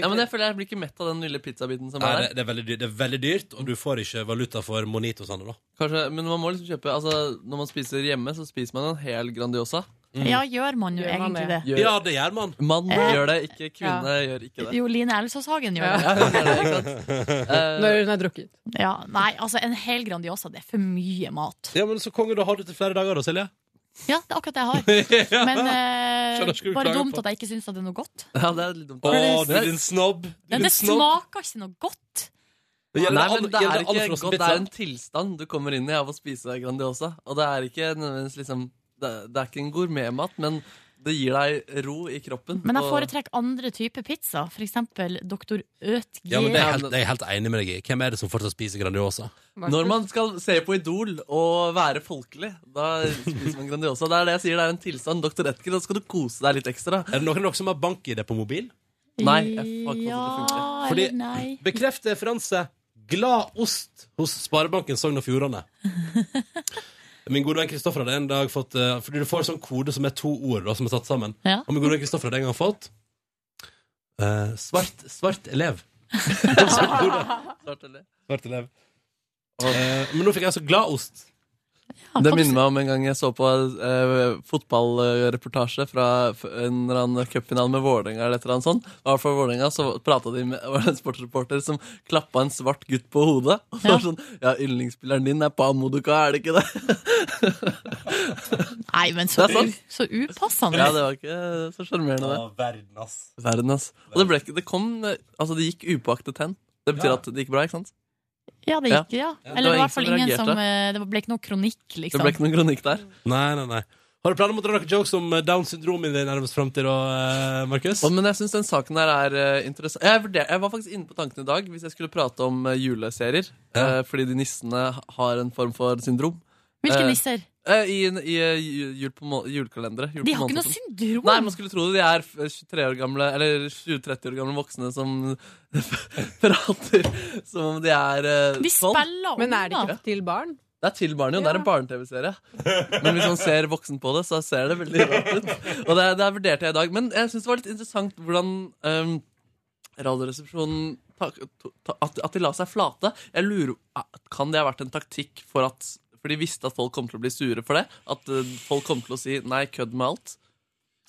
J: Ja, men jeg føler jeg blir ikke mett av den lille pizzabiten som
A: Nei,
J: er
A: det,
J: der.
A: det, er veldig dyrt, det er veldig dyrt, og du får ikke valuta for monitosene, da.
J: Kanskje, men man må liksom kjøpe altså, Når man spiser hjemme, så spiser man en hel Grandiosa.
A: Mm.
C: Ja, gjør man jo
N: Gjør man
C: egentlig det?
J: Gjør-
A: Ja, det gjør man.
J: Mann
C: Eh,
J: gjør det, ikke kvinne gjør ikke det.
C: Jo, Line Elsåshagen gjør
J: Ja,
C: det.
J: hun gjør det, ikke sant? Eh,
N: Når hun er drukket.
C: Ja, nei, altså en hel Grandiosa, det er for mye mat.
A: Ja, men så konge, da har du til flere dager, da, Silje.
C: Ja, det er akkurat det jeg har. Men eh,
A: Skjønner ikke hva du
C: bare
A: klager
C: dumt
A: på.
C: at jeg ikke syns at det er noe godt.
J: Ja, det er litt dumt.
A: Å, du er din snobb. Du
C: Men
A: er
C: det
A: en snobb.
C: smaker ikke noe godt.
J: Nei,
A: Gjelder all-
J: men det
A: gjelder
J: er
A: all
J: ikke
A: frossen
J: godt, det
A: pizza?
J: er en tilstand du kommer inn i av å spise Grandiosa. Og det er ikke nødvendigvis liksom Det, det er ikke en gourmetmat, men det gir deg ro i kroppen.
C: Men jeg
J: og-
C: foretrekker andre typer pizza, f.eks. Dr. Ødger.
A: Ja, men det er, jeg helt, det er jeg helt enig med deg i. Hvem er det som fortsatt spiser Grandiosa?
J: Når man skal se på Idol og være folkelig, da spiser man Grandiosa. Det er det jeg sier, det er en tilstand. Dr. Edgar, da skal du kose deg litt ekstra.
A: Er det noen av dere som har bank-ID på mobil?
J: Nei. Jeg får ikke fått det til å funke.
C: Ja,
A: Fordi-
C: eller nei.
A: Bekreft referanse. Glad ost hos Sparebanken Sogn og Fjordane. Min gode venn Kristoffer hadde en dag fått eh, Fordi du får sånn kode som er to ord da, som er satt sammen.
C: Ja.
A: Og min gode venn Kristoffer hadde en gang fått eh, svart, svart elev. svart kode.
J: Svart eller?
A: Svart elev. Eh, men nå fikk jeg altså glad ost.
J: Det minner meg om en gang jeg så på eh, fotballreportasje fra f- en eller annen cupfinale med Vålerenga eller et eller annet sånt. Og I hvert fall Vålerenga så prata de med var det en sportsreporter som klappa en svart gutt på hodet. Og så var det sånn Ja, yndlingsspilleren din er Pamoduka, er det ikke det?
C: Nei, men så,
J: Det er sant.
C: u- så upassende.
J: Ja, det var ikke så sjarmerende, det.
A: Verden, ass.
J: Verden, ass. Og det ble ikke Det kom Altså, det gikk upåaktet hen. Det betyr
A: Ja.
J: at det gikk bra, ikke sant?
C: Ja, det gikk, ja.
J: Ja.
C: Eller det var i
J: ingen
C: hvert fall
J: som
C: ingen
J: reagerte.
C: som eh, Det ble ikke noe kronikk, liksom.
J: Det ble ikke noen kronikk der.
A: Nei, nei, nei. Har du planer om å dra noen jokes om eh, Downs syndrom i den nærmeste framtid, uh, Markus?
J: Å, men jeg syns den saken der er eh, interessant. Jeg, vurder, jeg var faktisk inne på tanken i dag hvis jeg skulle prate om eh, juleserier. eh, fordi de nissene har en form for syndrom.
C: Hvilke
J: Eh,
C: nisser?
J: eh, I, en- i eh, ju- jul på må- julekalendere. Jul
C: De
J: på
C: har ikke noe
J: månedstoppen.
C: syndrom!
J: Nei, man skulle tro det. De er f- 23 år gamle, eller 20-30 år gamle voksne som prater som om de er eh,
N: De
J: tolv.
C: spiller
N: Men er det ikke til barn?
J: Det er til barnet, jo. Det er en barne-TV-serie. Men hvis man ser voksen på det, så ser det veldig rart ut. Og det, det vurderte jeg i dag. Men jeg syns det var litt interessant hvordan um, Radioresepsjonen ta, ta, at, at de la seg flate. Jeg lurer Kan det ha vært en taktikk for at For de visste at folk kom til å bli sure for det? At eh, folk kom til å si 'nei, kødd med alt'?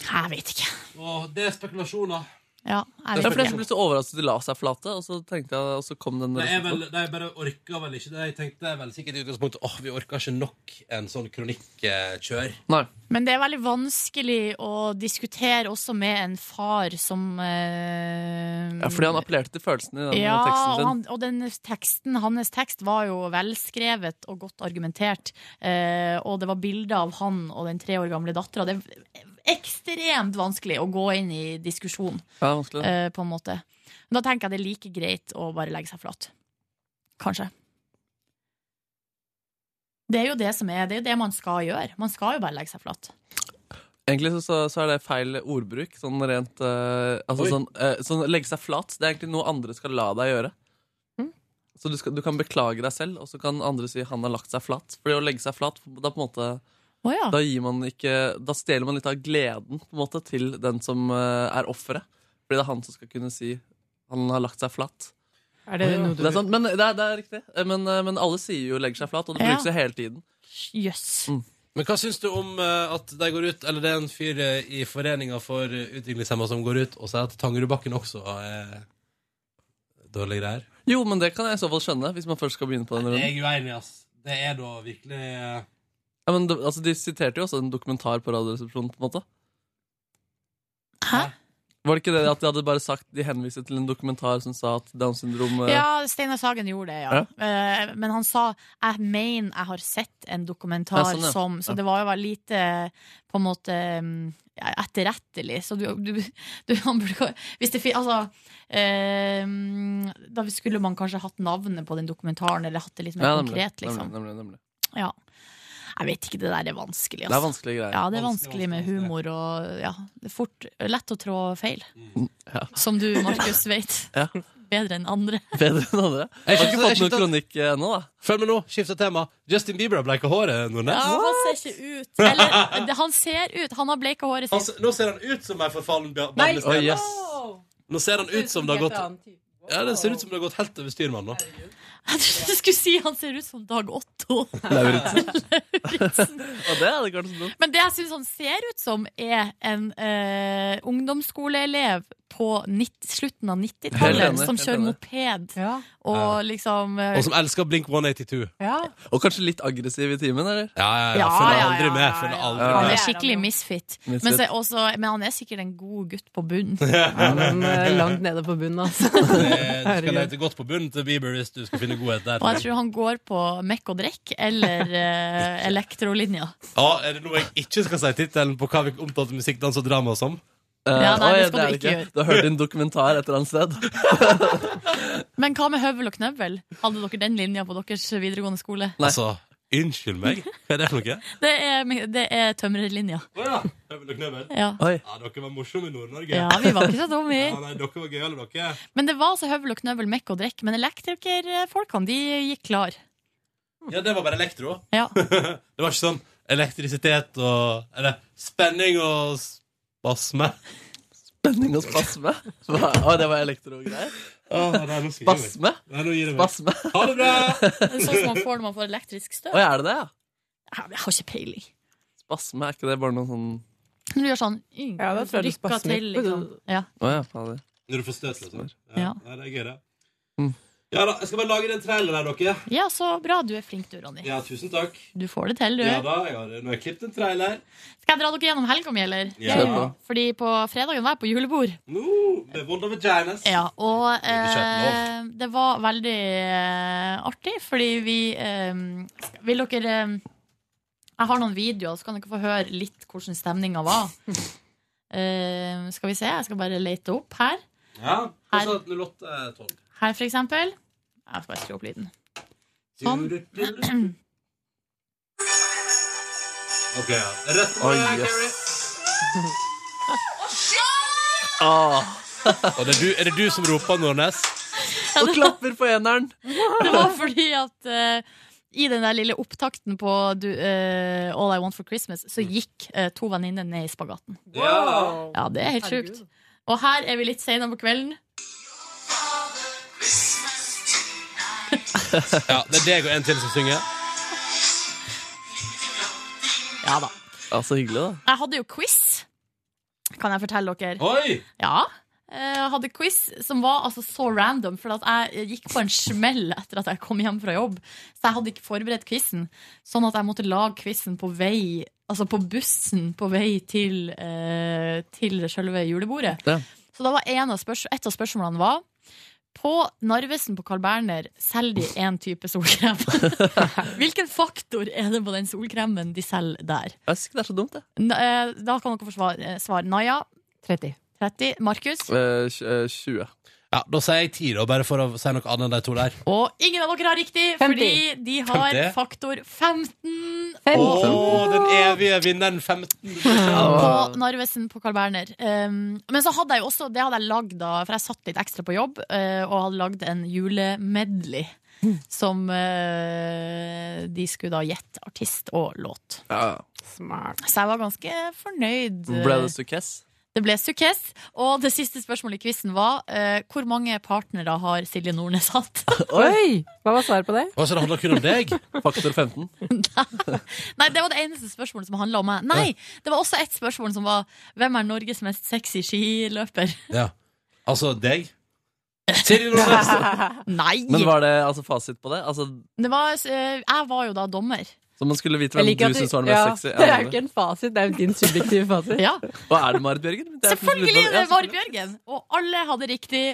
C: Jeg vet ikke.
A: Åh, det er spekulasjoner.
C: Ja,
J: Det
C: jeg
J: er flere
C: vet
J: som ble
C: ikke.
J: så overrasket at de la seg flate, og så tenkte jeg, og så kom den
A: Det er vel,
J: resepsjonen.
A: de bare orka vel ikke det. Jeg tenkte vel sikkert i utgangspunktet åh, vi orka ikke nok en sånn kronikkjør.
J: Nei.
C: Men det er veldig vanskelig å diskutere også med en far som eh,
J: Ja, fordi han appellerte til følelsene i den
C: ja,
J: teksten
C: og,
J: sin.
C: han, og den teksten, hans tekst var jo velskrevet og godt argumentert. Eh, og det var bilder av han og den tre år gamle dattera. Det er ekstremt vanskelig å gå inn i diskusjon,
J: Ja, vanskelig.
C: eh, på en måte. Men da tenker jeg det er like greit å bare legge seg flat. Kanskje. Det er jo det som er, det er jo det man skal gjøre. Man skal jo bare legge seg flat.
J: Egentlig så, så, så er det feil ordbruk. Sånn rent eh, altså
C: Oi.
J: sånn, eh, sånn legge seg flat. Det er egentlig noe andre skal la deg gjøre. Så du, skal, du kan beklage deg selv, og så kan andre si 'han har lagt seg flat'. Fordi å legge seg flat, da på en måte
C: Å ja.
J: Da gir man ikke Da stjeler man litt av gleden på en måte til den som eh, er offeret. Fordi det er han som skal kunne si 'han har lagt seg flat'.
N: Er det noe du-
J: er sant, men det er, det er riktig. Eh, Men, eh, men alle sier jo 'legger seg flat', og det
C: Ja.
J: brukes jo hele tiden.
C: Jøss.
A: Men hva syns du om eh, at de går ut Eller det er en fyr eh, i Foreninga for eh, utviklingshemma som går ut og sier at Tangerudbakken også er dårlig greier?
J: Jo, men det kan jeg i så fall skjønne, hvis man først skal begynne på den
A: Jeg er
J: runden.
A: uenig, ass. Det er da virkelig eh,
J: Ja, men det, altså, De siterte jo også en dokumentar på Radioresepsjonen, på en måte.
C: Hæ?
J: Var det ikke det at de hadde bare sagt De henviste til en dokumentar som sa at Downs syndrom eh,
C: Ja, Steinar Sagen gjorde det, ja. Eh, Men han sa 'jeg mener jeg har sett en dokumentar
J: Ja, sånn, ja.
C: som' Så
J: Ja.
C: det var jo veldig lite på en måte mm, ja, etterrettelig. Så du, du, du han burde ikke- Hvis det fin- Altså eh, Da skulle man kanskje hatt navnet på den dokumentaren, eller hatt det litt mer
J: ja, nemlig,
C: konkret, liksom.
J: Nemlig, nemlig, nemlig.
C: Ja. Jeg vet ikke, det der er vanskelig. altså.
J: Det er vanskelige greier.
C: Ja, det er
J: Vanskelig,
C: vanskelig med humor og ja, det er fort, lett å trå feil. Som du, Markus, vet
J: Ja.
C: bedre enn andre.
J: Bedre enn andre. Altså, Jeg har ikke fått noen kronikk eh, ennå, da.
A: Følg med nå, skifter tema. Justin Bieber har bleika håret,
C: Ja,
A: Nordnes.
C: han ser ikke ut. Eller, det- han ser ut. Han har bleika håret
A: Han se-
C: sitt.
A: Altså, nå ser han ut som ei forfallen ba-
C: Nei.
A: barnestjerne.
C: Å, yes.
A: Nå ser han ut som det har gått Ja, det ser ut som det har gått helt over styr med han nå.
C: Jeg trodde du skulle si han ser ut som Dag Otto.
J: Lauritzen. Og det hadde ikke vært så dumt.
C: Men det jeg syns han ser ut som, er en eh, ungdomsskoleelev på nitt- slutten av
A: Helt
C: 90-tallet
A: enig,
C: som
A: helt
C: kjører
A: enig.
C: moped. Og
A: Ja.
C: liksom eh,
A: Og som elsker Blink 182.
C: ja.
J: Og kanskje litt aggressiv i timen, eller?
A: Ja, ja,
C: Ja,
A: Følger
C: ja,
A: aldri
C: ja,
A: med. Følger aldri
C: Han er
A: med.
C: skikkelig misfit.
A: Misfit.
C: Men, så, også, men han er sikkert en god gutt på bunnen.
A: Han er langt
N: nede på bunnen, altså.
A: Eh, Du skal lete godt på bunnen til Bieber hvis du skal finne godhet der.
C: Og jeg tror han går på mekk og drekk eller eh, elektrolinja.
A: Ja, Er det noe jeg ikke skal si tittelen på hva vi omtalte musikk, dans og drama som?
J: Eh,
C: Ja, nei, det skal du ikke gjøre.
J: Du har hørt en dokumentar et eller annet sted?
C: Men hva med høvel og knøvel? Hadde dere den linja på deres videregående skole?
A: Altså, unnskyld meg, hva er det for noe?
C: Det er, det er tømrerlinja.
A: Høvel og knøvel?
C: Ja. Oi.
A: Ja, dere var morsomme i Nord-Norge.
C: Ja, vi var ikke så dumme.
A: Ja, nei, dere var gøyale, dere.
C: Men det var altså høvel og knøvel, mekk og drekk. Men elektrikerfolkene, de gikk klar.
A: Ja, det var bare elektro.
C: Ja.
A: det var ikke sånn elektrisitet og Eller spenning og spasme.
J: Spenning og spasme? Hva? Å, det var elektrogreier?
A: Å, nei, nå sier jeg meg.
J: Spasme?
A: Nei, nå gir jeg meg.
J: Spasme?
A: Ha det bra!
C: Det er sånn som man får når man får elektrisk støv.
J: Å, er det det, ja?
C: Jeg har ikke peiling.
J: Spasme, er ikke det bare noe sånn
C: Når du gjør sånn
N: Ja, da tror jeg du
C: rykker
N: spasmer.
C: til, liksom. Ja.
J: Å ja, fader.
A: Når du får støt, liksom.
C: Ja.
A: Nei, det er gøy, det.
J: Mm.
A: Ja da, jeg skal bare lage den traileren her, dere.
C: ja, så bra. Du er flink, du, Ronny.
A: Ja, tusen takk.
C: Du får det til, du.
A: Ja da, jeg har, nå har jeg klippet en trailer.
C: Skal jeg dra dere gjennom helga mi, eller?
A: Ja. Kjør på.
C: Fordi på fredagen var jeg på julebord.
A: Nå, med Wonder Vaginas.
C: Ja, og eh,
A: Budsjettlov.
C: det var veldig eh, artig, fordi vi eh, skal- Vil dere eh, Jeg har noen videoer, så kan dere få høre litt hvordan stemninga var. Eh, skal vi se, jeg skal bare lete opp her.
A: Ja,
C: Her.
A: altså 0812.
C: Her, for eksempel. Jeg skal bare skru opp lyden. Sånn.
A: Ok, ja. Rett på
J: Oi,
A: deg, Carrie.
J: yes. Ah.
A: Og det er, du, er det du som roper, Nordnes?
J: Og klapper på eneren!
C: Det var fordi at eh, i den der lille opptakten på du, eh, All I Want for Christmas, så gikk eh, to venninner ned i spagaten.
A: Ja.
C: Ja, det er helt sjukt. Og her er vi litt senere på kvelden.
A: Ja, det er deg og en til som synger.
C: Ja da.
J: Ja, så hyggelig, da.
C: Jeg hadde jo quiz, kan jeg fortelle dere.
A: Oi!
C: Ja. Eh, Jeg hadde quiz som var altså så random, for at jeg gikk på en smell etter at jeg kom hjem fra jobb. Så jeg hadde ikke forberedt quizen, sånn at jeg måtte lage quizen på vei Altså på bussen på vei til, eh, til selve julebordet.
J: Ja.
C: Så da var en av spørs et av spørsmålene var På Narvesen på Carl Berner selger de én type solkrem. Hvilken faktor er det på den solkremen de selger der?
J: Jeg syns ikke det er så dumt, det.
C: N- eh, Da kan dere få svar. eh, svar. Naja?
N: 30.
C: 30. Markus?
J: Eh, tj- eh, 20.
A: Ja, Da sier jeg 10, da, bare for å si noe annet enn de to der.
C: Og ingen av dere har riktig,
N: 50.
C: fordi de har
A: 50.
C: faktor 15.
A: Å,
C: Og-
A: den evige vinneren 15.
C: På Narvesen på Carl Berner. Um, men så hadde jeg jo også, det hadde jeg lagd da, for jeg satt litt ekstra på jobb, eh, og hadde lagd en julemedley. Som eh, de skulle da gjette artist og låt.
J: Ja.
N: Smart.
C: Så jeg var ganske fornøyd.
J: Ble det sukkess?
C: Det ble sukkes. Og det siste spørsmålet i quizen var eh, hvor mange partnere har Silje Nordnes hatt?
N: Oi! Hva var svaret på det?
A: Og så det handler kun om deg?
J: Faktor 15.
C: Nei, det var det eneste spørsmålet som handla om meg. Nei, det var også ett spørsmål som var hvem er Norges mest sexy skiløper?
A: Ja. Altså deg? Siri Nordnes!
C: Nei!
J: Men var det altså, fasit på det? Altså,
C: Det var, eh, jeg var jo da dommer.
J: så man skulle vite hvem
N: Jeg liker at
J: du
N: du-
J: syns var den mest
N: ja,
J: sexy?
N: Det er jo ikke en fasit, det er jo din subjektive fasit.
C: ja.
J: Og er det Marit Bjørgen? Det er
C: Selvfølgelig
J: plutselig-
C: er det Marit Bjørgen! Og alle hadde riktig.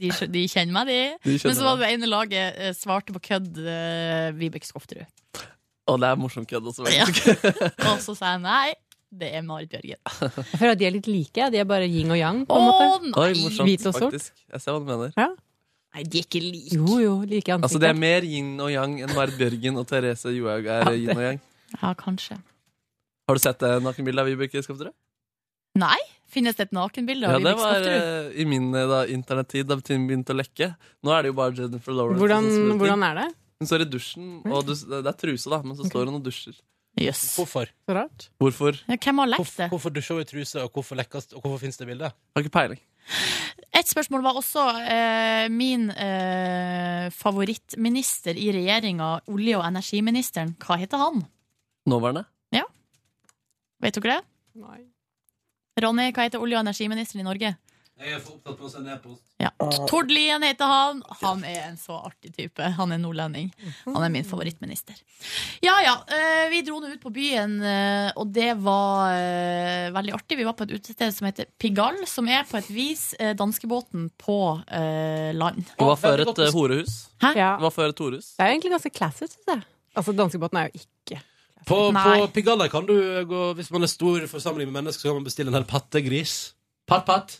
C: De, skjø- de kjenner meg, de.
J: De kjenner
C: Men så var
J: meg.
C: det ene laget eh, svarte på kødd eh, Vibeke Skofterud.
J: Å, det er morsom kødd også.
C: Ja.
J: faktisk.
C: Og så sa jeg nei, det er Marit Bjørgen.
N: Jeg føler at de er litt like. De er bare yin og yang. på en
C: Å,
N: måte.
J: Oi, morsomt,
N: Hvit og sort.
J: faktisk. Jeg ser hva du mener.
C: Nei, de er ikke like.
N: Jo, jo, like i ansiktet.
J: Altså, det er mer yin og yang enn Marit Bjørgen og Therese Johaug er
N: Ja,
J: yin
N: det-
J: og yang.
C: Ja, kanskje.
J: Har du sett eh, nakenbildet av Vibeke Skofterud?
C: Nei, finnes det et nakenbilde av
J: Ja, det
C: Vibeke
J: var
C: Skofterud?
J: eh, i min eh, da, internettid da ting begynte å lekke. Nå er det jo bare Jennifer Lawrence.
N: Hvordan,
J: og sånn smoothie.
N: hvordan er det?
J: Hun står i dusjen, og du, det er truse, da, men så står hun og dusjer.
A: Hvorfor?
N: Så rart.
J: Hvorfor?
C: hvem har lekt det?
A: Hvorfor dusjer hun i truse, og hvorfor, lekkes, og hvorfor finnes det bildet?
J: Har ikke peiling.
C: Et spørsmål var også eh, min eh, favorittminister i regjeringa, olje- og energiministeren. Hva heter han?
J: Nåværende?
C: Ja. Vet dere det?
N: Nei.
C: Ronny, hva heter olje- og energiministeren i Norge?
A: Jeg er for opptatt med å sende e-post.
C: Ja. Tord Lien heter han. Han er en så artig type. Han er nordlending. Han er min favorittminister. Ja ja, eh, vi dro nå ut på byen, eh, og det var eh, veldig artig. Vi var på et utested som heter Pigalle, som er på et vis eh, danskebåten på eh, land.
J: Det var før et eh, horehus.
C: Hæ?
J: Det var før et horehus.
N: Det er jo egentlig ganske classy, syns jeg. Altså, danskebåten er jo ikke
A: På,
N: Nei.
A: på Pigalla kan du eh, gå Hvis man er stor forsamling med mennesker, så kan man bestille en hel pattegris. Patt, patt.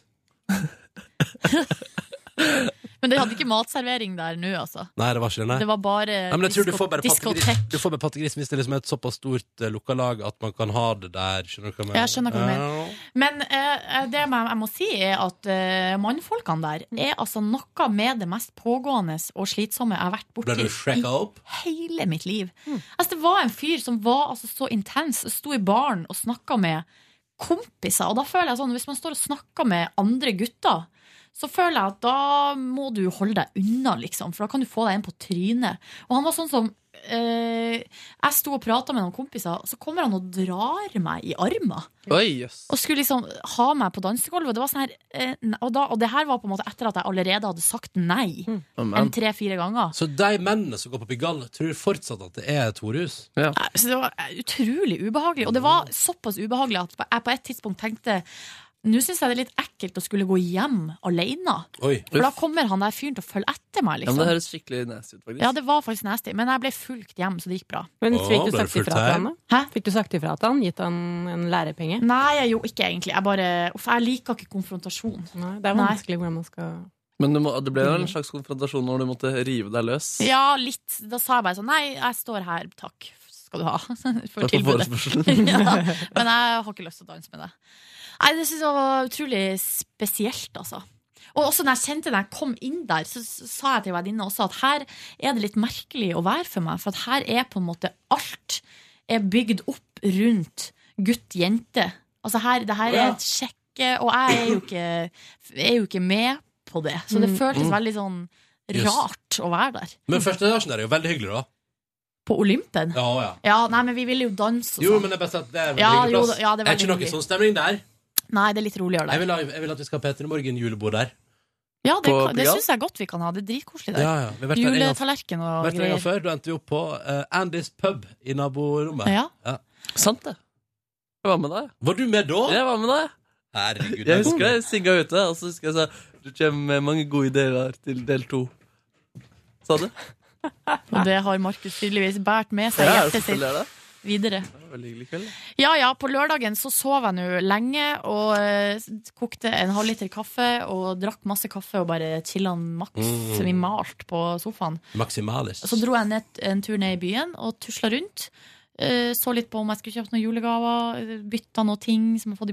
C: Men det hadde ikke matservering der nå, altså.
A: Nei, det var ikke det. Nei.
C: Det var bare
A: Nei, men jeg tror du får bare
C: diskotek.
A: pattegris, du får bare pattegris hvis det liksom er et såpass stort eh, lokalag at man kan ha det der. Skjønner du hva jeg mener?
C: Jeg skjønner hva du
A: Ja.
C: Men eh, det jeg, jeg må si, er at eh, mannfolkene der er altså noe med det mest pågående og slitsomme jeg har vært
A: Ble
C: borti
A: du shrekka
C: i
A: opp?
C: hele mitt liv.
J: Mm.
C: Altså, det var en fyr som var altså, så intens, og sto i baren og snakka med kompiser. Og da føler jeg sånn, hvis man står og snakker med andre gutter, så føler jeg at da må du holde deg unna, liksom. For da kan du få deg en på trynet. Og han var sånn som eh, Jeg sto og prata med noen kompiser, og så kommer han og drar meg i armen.
J: Oi, jøss.
C: Og skulle liksom ha meg på dansegulvet. Og Det var sånn her, eh, ne- og, da, og det her var på en måte etter at jeg allerede hadde sagt nei
J: Mm.
C: en tre-fire ganger.
A: Så de mennene som går på Pigalle, tror fortsatt at det er et horehus?
C: Så det var eh, utrolig ubehagelig. Og det var såpass ubehagelig at jeg på et tidspunkt tenkte nå syns jeg det er litt ekkelt å skulle gå hjem alene.
A: Oi.
C: For da kommer han der fyren til å følge etter
J: Ja,
C: meg,
J: men
C: liksom.
J: det høres skikkelig nasty ut, faktisk.
C: Ja, det var faktisk nasty. Men jeg ble fulgt hjem, så det gikk bra.
N: Men
J: Å,
N: fikk du
J: ble
N: sagt
J: det fullt
N: ifra til
J: her?
N: han, da? Fikk du sagt ifra til han? Gitt han en lærepenge?
C: Nei, jeg gjorde ikke egentlig. Jeg bare Uff, jeg liker ikke konfrontasjon.
N: Nei, det er vanskelig hvordan man skal
J: Men du må, det ble jo en slags konfrontasjon når du måtte rive deg løs.
C: Ja, litt. Da sa jeg bare sånn Nei, jeg står her, takk skal du ha for
J: Takk for
C: tilbudet.
J: forespørselen.
C: ja, men jeg har ikke lyst til å danse med deg. Nei, det synes jeg var utrolig spesielt, altså. Og også når jeg kjente når jeg kom inn der, så s- sa jeg til venninna også at her er det litt merkelig å være for meg, for at her er på en måte alt er bygd opp rundt gutt-jente. Altså her, det her er et sjekke, og jeg er jo ikke, er jo ikke med på det. Så det
A: Mm.
C: føltes
A: Mm.
C: veldig sånn
A: Just.
C: rart å være der.
A: Men første etasjen der er jo veldig hyggelig, da.
C: På Olympen?
A: Ja, ja.
C: Ja, nei, men vi ville jo danse og
A: Jo,
C: sånn.
A: men det er best at det er en
C: Ja,
A: hyggelig
C: jo,
A: plass.
C: ja, det er
A: er ikke
C: veldig
A: noe
C: hyggelig.
A: sånn stemning der.
C: Nei, det er litt roligere
A: Jeg
C: der.
A: vil, ha, jeg vil at vi skal ha Peter Morgen julebord der.
C: Ja, det,
A: På
C: kan- det
A: Pigalle?
C: syns jeg godt vi kan ha. Det er dritkoselig der.
A: Ja, ja. Vi har vært der en gang-
C: Juletallerken og
A: Vært der en gang
C: greier.
A: før, Da endte vi opp på eh, Andys pub i naborommet.
C: Ja.
J: Sant det. Jeg var med deg.
A: Var du med da?
J: Jeg var med deg.
A: Herregud.
J: Jeg husker jeg sigga ute, og så husker jeg sa Du kommer med mange gode ideer til del to. Sa du?
C: Og det har Markus tydeligvis båret med seg i
J: Ja,
C: hjertet
J: selvfølgelig er det.
C: sitt videre.
J: Det var veldig hyggelig kveld. da.
C: Ja ja, på lørdagen så sov jeg nå lenge og eh, kokte en halvliter kaffe og drakk masse kaffe og bare chilla maks
A: Mm.
C: vi malt på sofaen.
A: Maximalis.
C: Så dro jeg ned, en tur ned i byen og tusla rundt. Eh, Så litt på om jeg skulle kjøpe noen julegaver, eh, bytta noen ting som jeg har fått i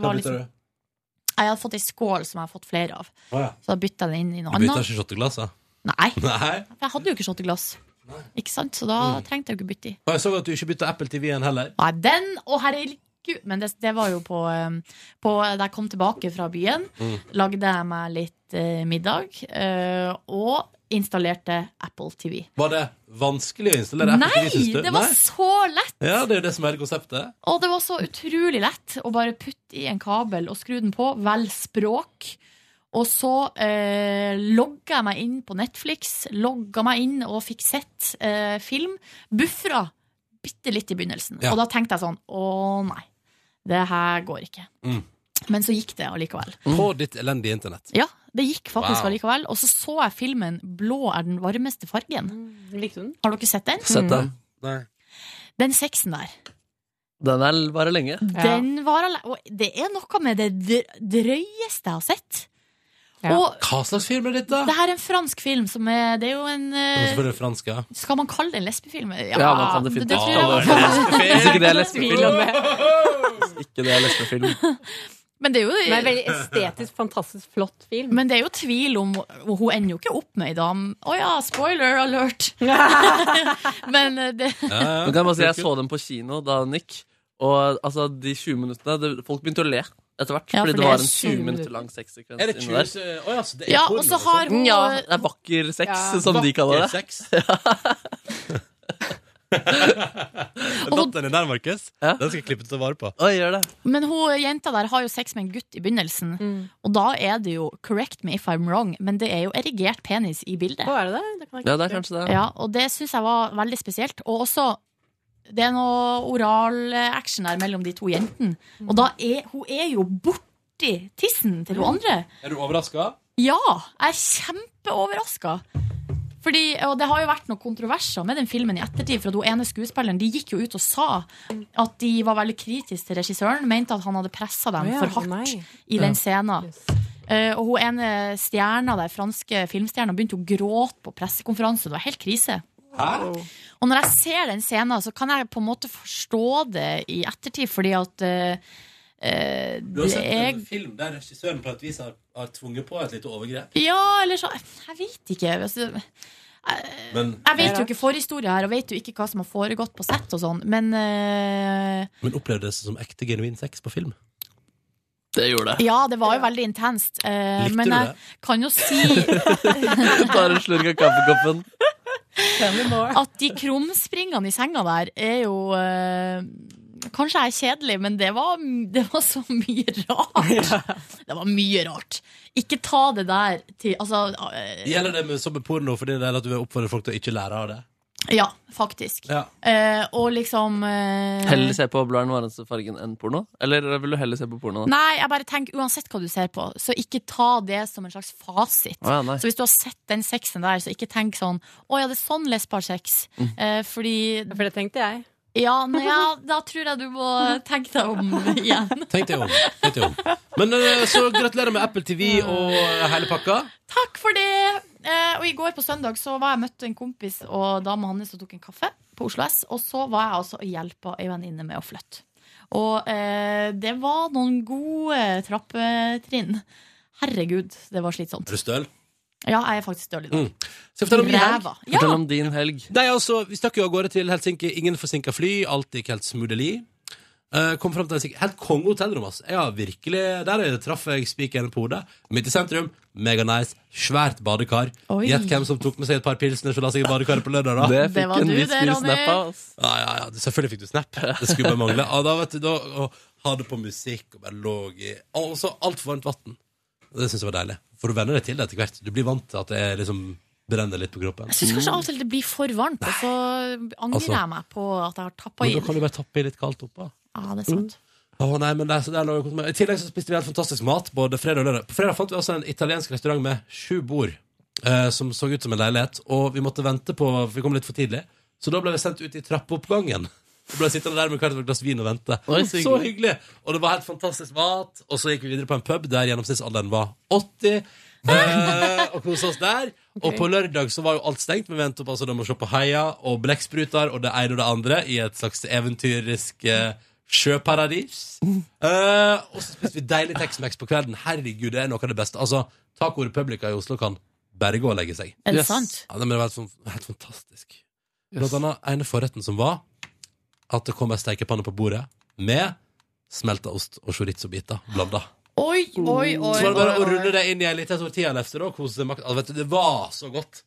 A: Hva
C: Var litt-
A: bytter du?
C: Jeg hadde fått ei skål som jeg har fått flere av.
A: Å, ja.
C: Så da bytta jeg den inn i noe
A: Du bytter
C: annet.
A: ikke shotteglass, da?
C: Nei.
A: Nei.
C: For jeg hadde jo ikke shotteglass.
A: Mm.
C: Ikke sant? Så da trengte jeg jo ikke bytte i.
A: Og jeg så at du ikke bytta Apple TV-en heller.
C: Nei, den og herre Gud, men det, det var jo på, eh, på Da jeg kom tilbake fra byen,
O: Mm.
C: lagde jeg meg litt eh, middag eh, og installerte Apple TV.
A: Var det vanskelig å installere? Apple
C: Nei!
A: TV, synes du?
C: Det var
A: Nei?
C: så lett!
A: Ja, det er jo det som er konseptet.
C: Og det var så utrolig lett å bare putte i en kabel og skru den på. Velg språk. Og så eh, logga jeg meg inn på Netflix, logga meg inn og fikk sett eh, film. Bufra bitte litt i begynnelsen.
O: Ja.
C: Og da tenkte jeg sånn Å nei, det her går ikke.
A: Mm.
C: Men så gikk det allikevel.
A: På ditt elendige internett.
C: Ja, det gikk faktisk
A: Wow.
C: allikevel. Og så så jeg filmen 'Blå er den varmeste fargen'. Har dere sett den?
J: Sett den.
C: Den sexen der.
J: Den er l- bare lenge.
C: Den var alle... Og det er noe med det dr- drøyeste jeg har sett. Og
A: Hva slags film er dette?
C: det her er en fransk film som er Det er jo en
A: Det
C: eh,
A: er Selvfølgelig fransk, ja.
C: Skal man kalle det en lesbefilm?
J: Ja, man kan definitivt
A: Ah,
C: tror jeg
J: kalle
C: man
J: det en
C: kan.
J: lesbefilm. Hvis ikke det er lesbefilm.
C: Tvil om det.
J: Ikke det jeg leste film.
C: Men det er jo
N: Men en veldig estetisk, fantastisk flott film.
C: Men det er jo tvil om og Hun ender jo ikke opp med ei dame. Å ja, spoiler alert! Men eh, det
J: Men kan jeg bare si, jeg så dem på kino da den gikk, og altså, de 20 minuttene det, Folk begynte å le etter hvert,
C: Ja, for
J: fordi det
C: det er
J: var en
C: 20
J: 20 minutter lang sexsekvens
A: Er det 20
J: inni der.
A: se- Å ja, så det er
C: Ja,
A: porno,
C: og så har
A: liksom.
C: hun
J: Ja, det er vakker sex,
C: Ja.
J: som de kaller det.
A: Vakker Datteren din der, Markus, den skal jeg klippe til å ta vare på.
C: Men hun jenta der har jo sex med en gutt i begynnelsen.
N: Mm.
C: Og da er det jo 'correct me if I'm wrong', men det er jo erigert penis i bildet.
N: Å, er det det? Det kan jeg ikke
J: Ja, det er kanskje det.
C: Ja, og det syns jeg var veldig spesielt. Og også det er noe oral eh, action der mellom de to jentene. Og da er hun er jo borti tissen til hun andre.
A: Er du overraska?
C: Ja, jeg er kjempeoverraska. Fordi, og det har jo vært noen kontroverser med den filmen i ettertid. For at hun ene skuespilleren de gikk jo ut og sa at de var veldig kritiske til regissøren. Mente at han hadde pressa dem
O: Å ja,
C: for hardt
O: nei.
C: i
O: Ja.
C: den scenen. Eh, og hun ene stjerna der, franske filmstjerna begynte å gråte på pressekonferanse. Det var helt krise. Og når jeg ser den scenen, så kan jeg på en måte forstå det i ettertid, fordi at eh, eh,
A: Du har
C: det
A: sett
C: er
A: en film der regissøren på et vis har, har tvunget på et lite overgrep.
C: Ja, eller så Jeg vet ikke. Altså,
A: Men,
C: Jeg vet jo ikke forhistoria her, og vet jo ikke hva som har foregått på sett og sånn, men eh,
A: men opplevdes det som ekte genuin sex på film?
J: Det gjorde
C: Ja, det var jo veldig intenst. eh,
A: Likte
C: men
A: du
C: jeg
A: det?
C: kan jo si
J: Bare en slurk av kaffekoppen.
C: at de krumspringene i senga der er jo eh, Kanskje jeg er kjedelig, men det var, det var så mye rart. Det var mye rart. Ikke ta det der til Altså, eh,
A: Gjelder det med, som med porno for din del at du vil oppfordre folk til å ikke lære av det?
C: ja, faktisk.
A: Ja.
C: Eh, og liksom eh,
J: Heller se på blå er den varmeste fargen enn porno? Eller vil du heller se på porno? da?
C: Nei, jeg bare tenker uansett hva du ser på, så ikke ta det som en slags fasit.
J: Å ja, nei.
C: så hvis du har sett den sexen der, så ikke tenk sånn Å ja, det er sånn lesb har sex.
J: Mm.
C: Eh, fordi
N: For det tenkte jeg.
C: Ja, nei, ja, da tror jeg du må tenke deg om igjen.
A: Tenk deg om. Tenk deg om. Men eh, så gratulerer med Apple TV og hele pakka.
C: Takk for det! Eh, og i går på søndag så var jeg møtte en kompis og dama hans og tok en kaffe på Oslo S. Og så var jeg altså og hjelpa ei venninne med å flytte. Og eh, det var noen gode trappetrinn. Herregud, det var slitsomt.
A: Er du støl?
C: Ja, jeg er faktisk støl i dag.
A: Mm. Skal jeg fortelle om min helg?
C: Ræva. Ja. Fortell om
J: din helg.
A: Nei, altså, vi stakk jo av gårde til Helsinki. Ingen forsinka fly. Alt gikk helt smoothly. Eh, kom frem til Helsinki. Helt konge hotellrom, ass. Ja, virkelig. Der er det- traff jeg spikeren på hodet. Midt i sentrum. Mega nice. Svært badekar.
O: Oi.
A: Gjett hvem som tok med seg et par pilsner og la seg i badekaret på lørdag, da.
J: Det fikk Det var en du viss det, fyr Ronny. snap av, ass.
A: Ja, ja, ja. Selvfølgelig fikk du snap. Det skulle bare mangle. Ja, da, vet du, da og hadde på musikk og bare lå i Og så altfor varmt vann. Det syns jeg var deilig. For du venner deg til det etter hvert. Du blir vant til at det er liksom brenner litt på kroppen.
C: Jeg syns kanskje av og til det blir for varmt, og så angrer
A: Altså.
C: jeg meg på at jeg har tappa i
A: Men da kan du
C: det.
A: Mm. bare tappe i litt kaldt oppå.
C: Ja, det er sant.
A: Å, nei, men det, er så der lå jeg og koste meg. I tillegg så spiste vi helt fantastisk mat både fredag og lørdag. På fredag fant vi også en italiensk restaurant med sju bord, eh, som så ut som en leilighet. Og vi måtte vente på Vi kom litt for tidlig, så da ble vi sendt ut i trappeoppgangen. Vi ble sittende der med hvert vårt glass vin og vente.
O: Oi,
A: så,
O: så
A: hyggelig. Og det var helt fantastisk mat. Og så gikk vi videre på en pub der gjennomsnittsalderen var 80. Eh, og kosa oss der. Og
O: Ok.
A: på lørdag så var jo alt stengt, men vi endte opp altså da med å se på Heia og Blekkspruter og det ene og det andre i et slags eventyrisk eh, sjøparadis. Eh, og så spiste vi deilig Tex-Mex på kvelden. Herregud, det er noe av det beste. Altså, Taco Republica i Oslo kan berge og legge seg.
O: Er det Yes. sant?
A: Ja, men det var helt, sånn- helt fantastisk. Blant annet ene forretten som var at det kom ei steikepanne på bordet med smelta ost og chorizo-biter blanda.
C: Oi, oi, oi.
A: Så var det bare
C: oi,
A: å
C: oi.
A: rulle det inn i sånn ei lita tortillalefse og kose seg. makt- Altså, vet du, Det var så godt.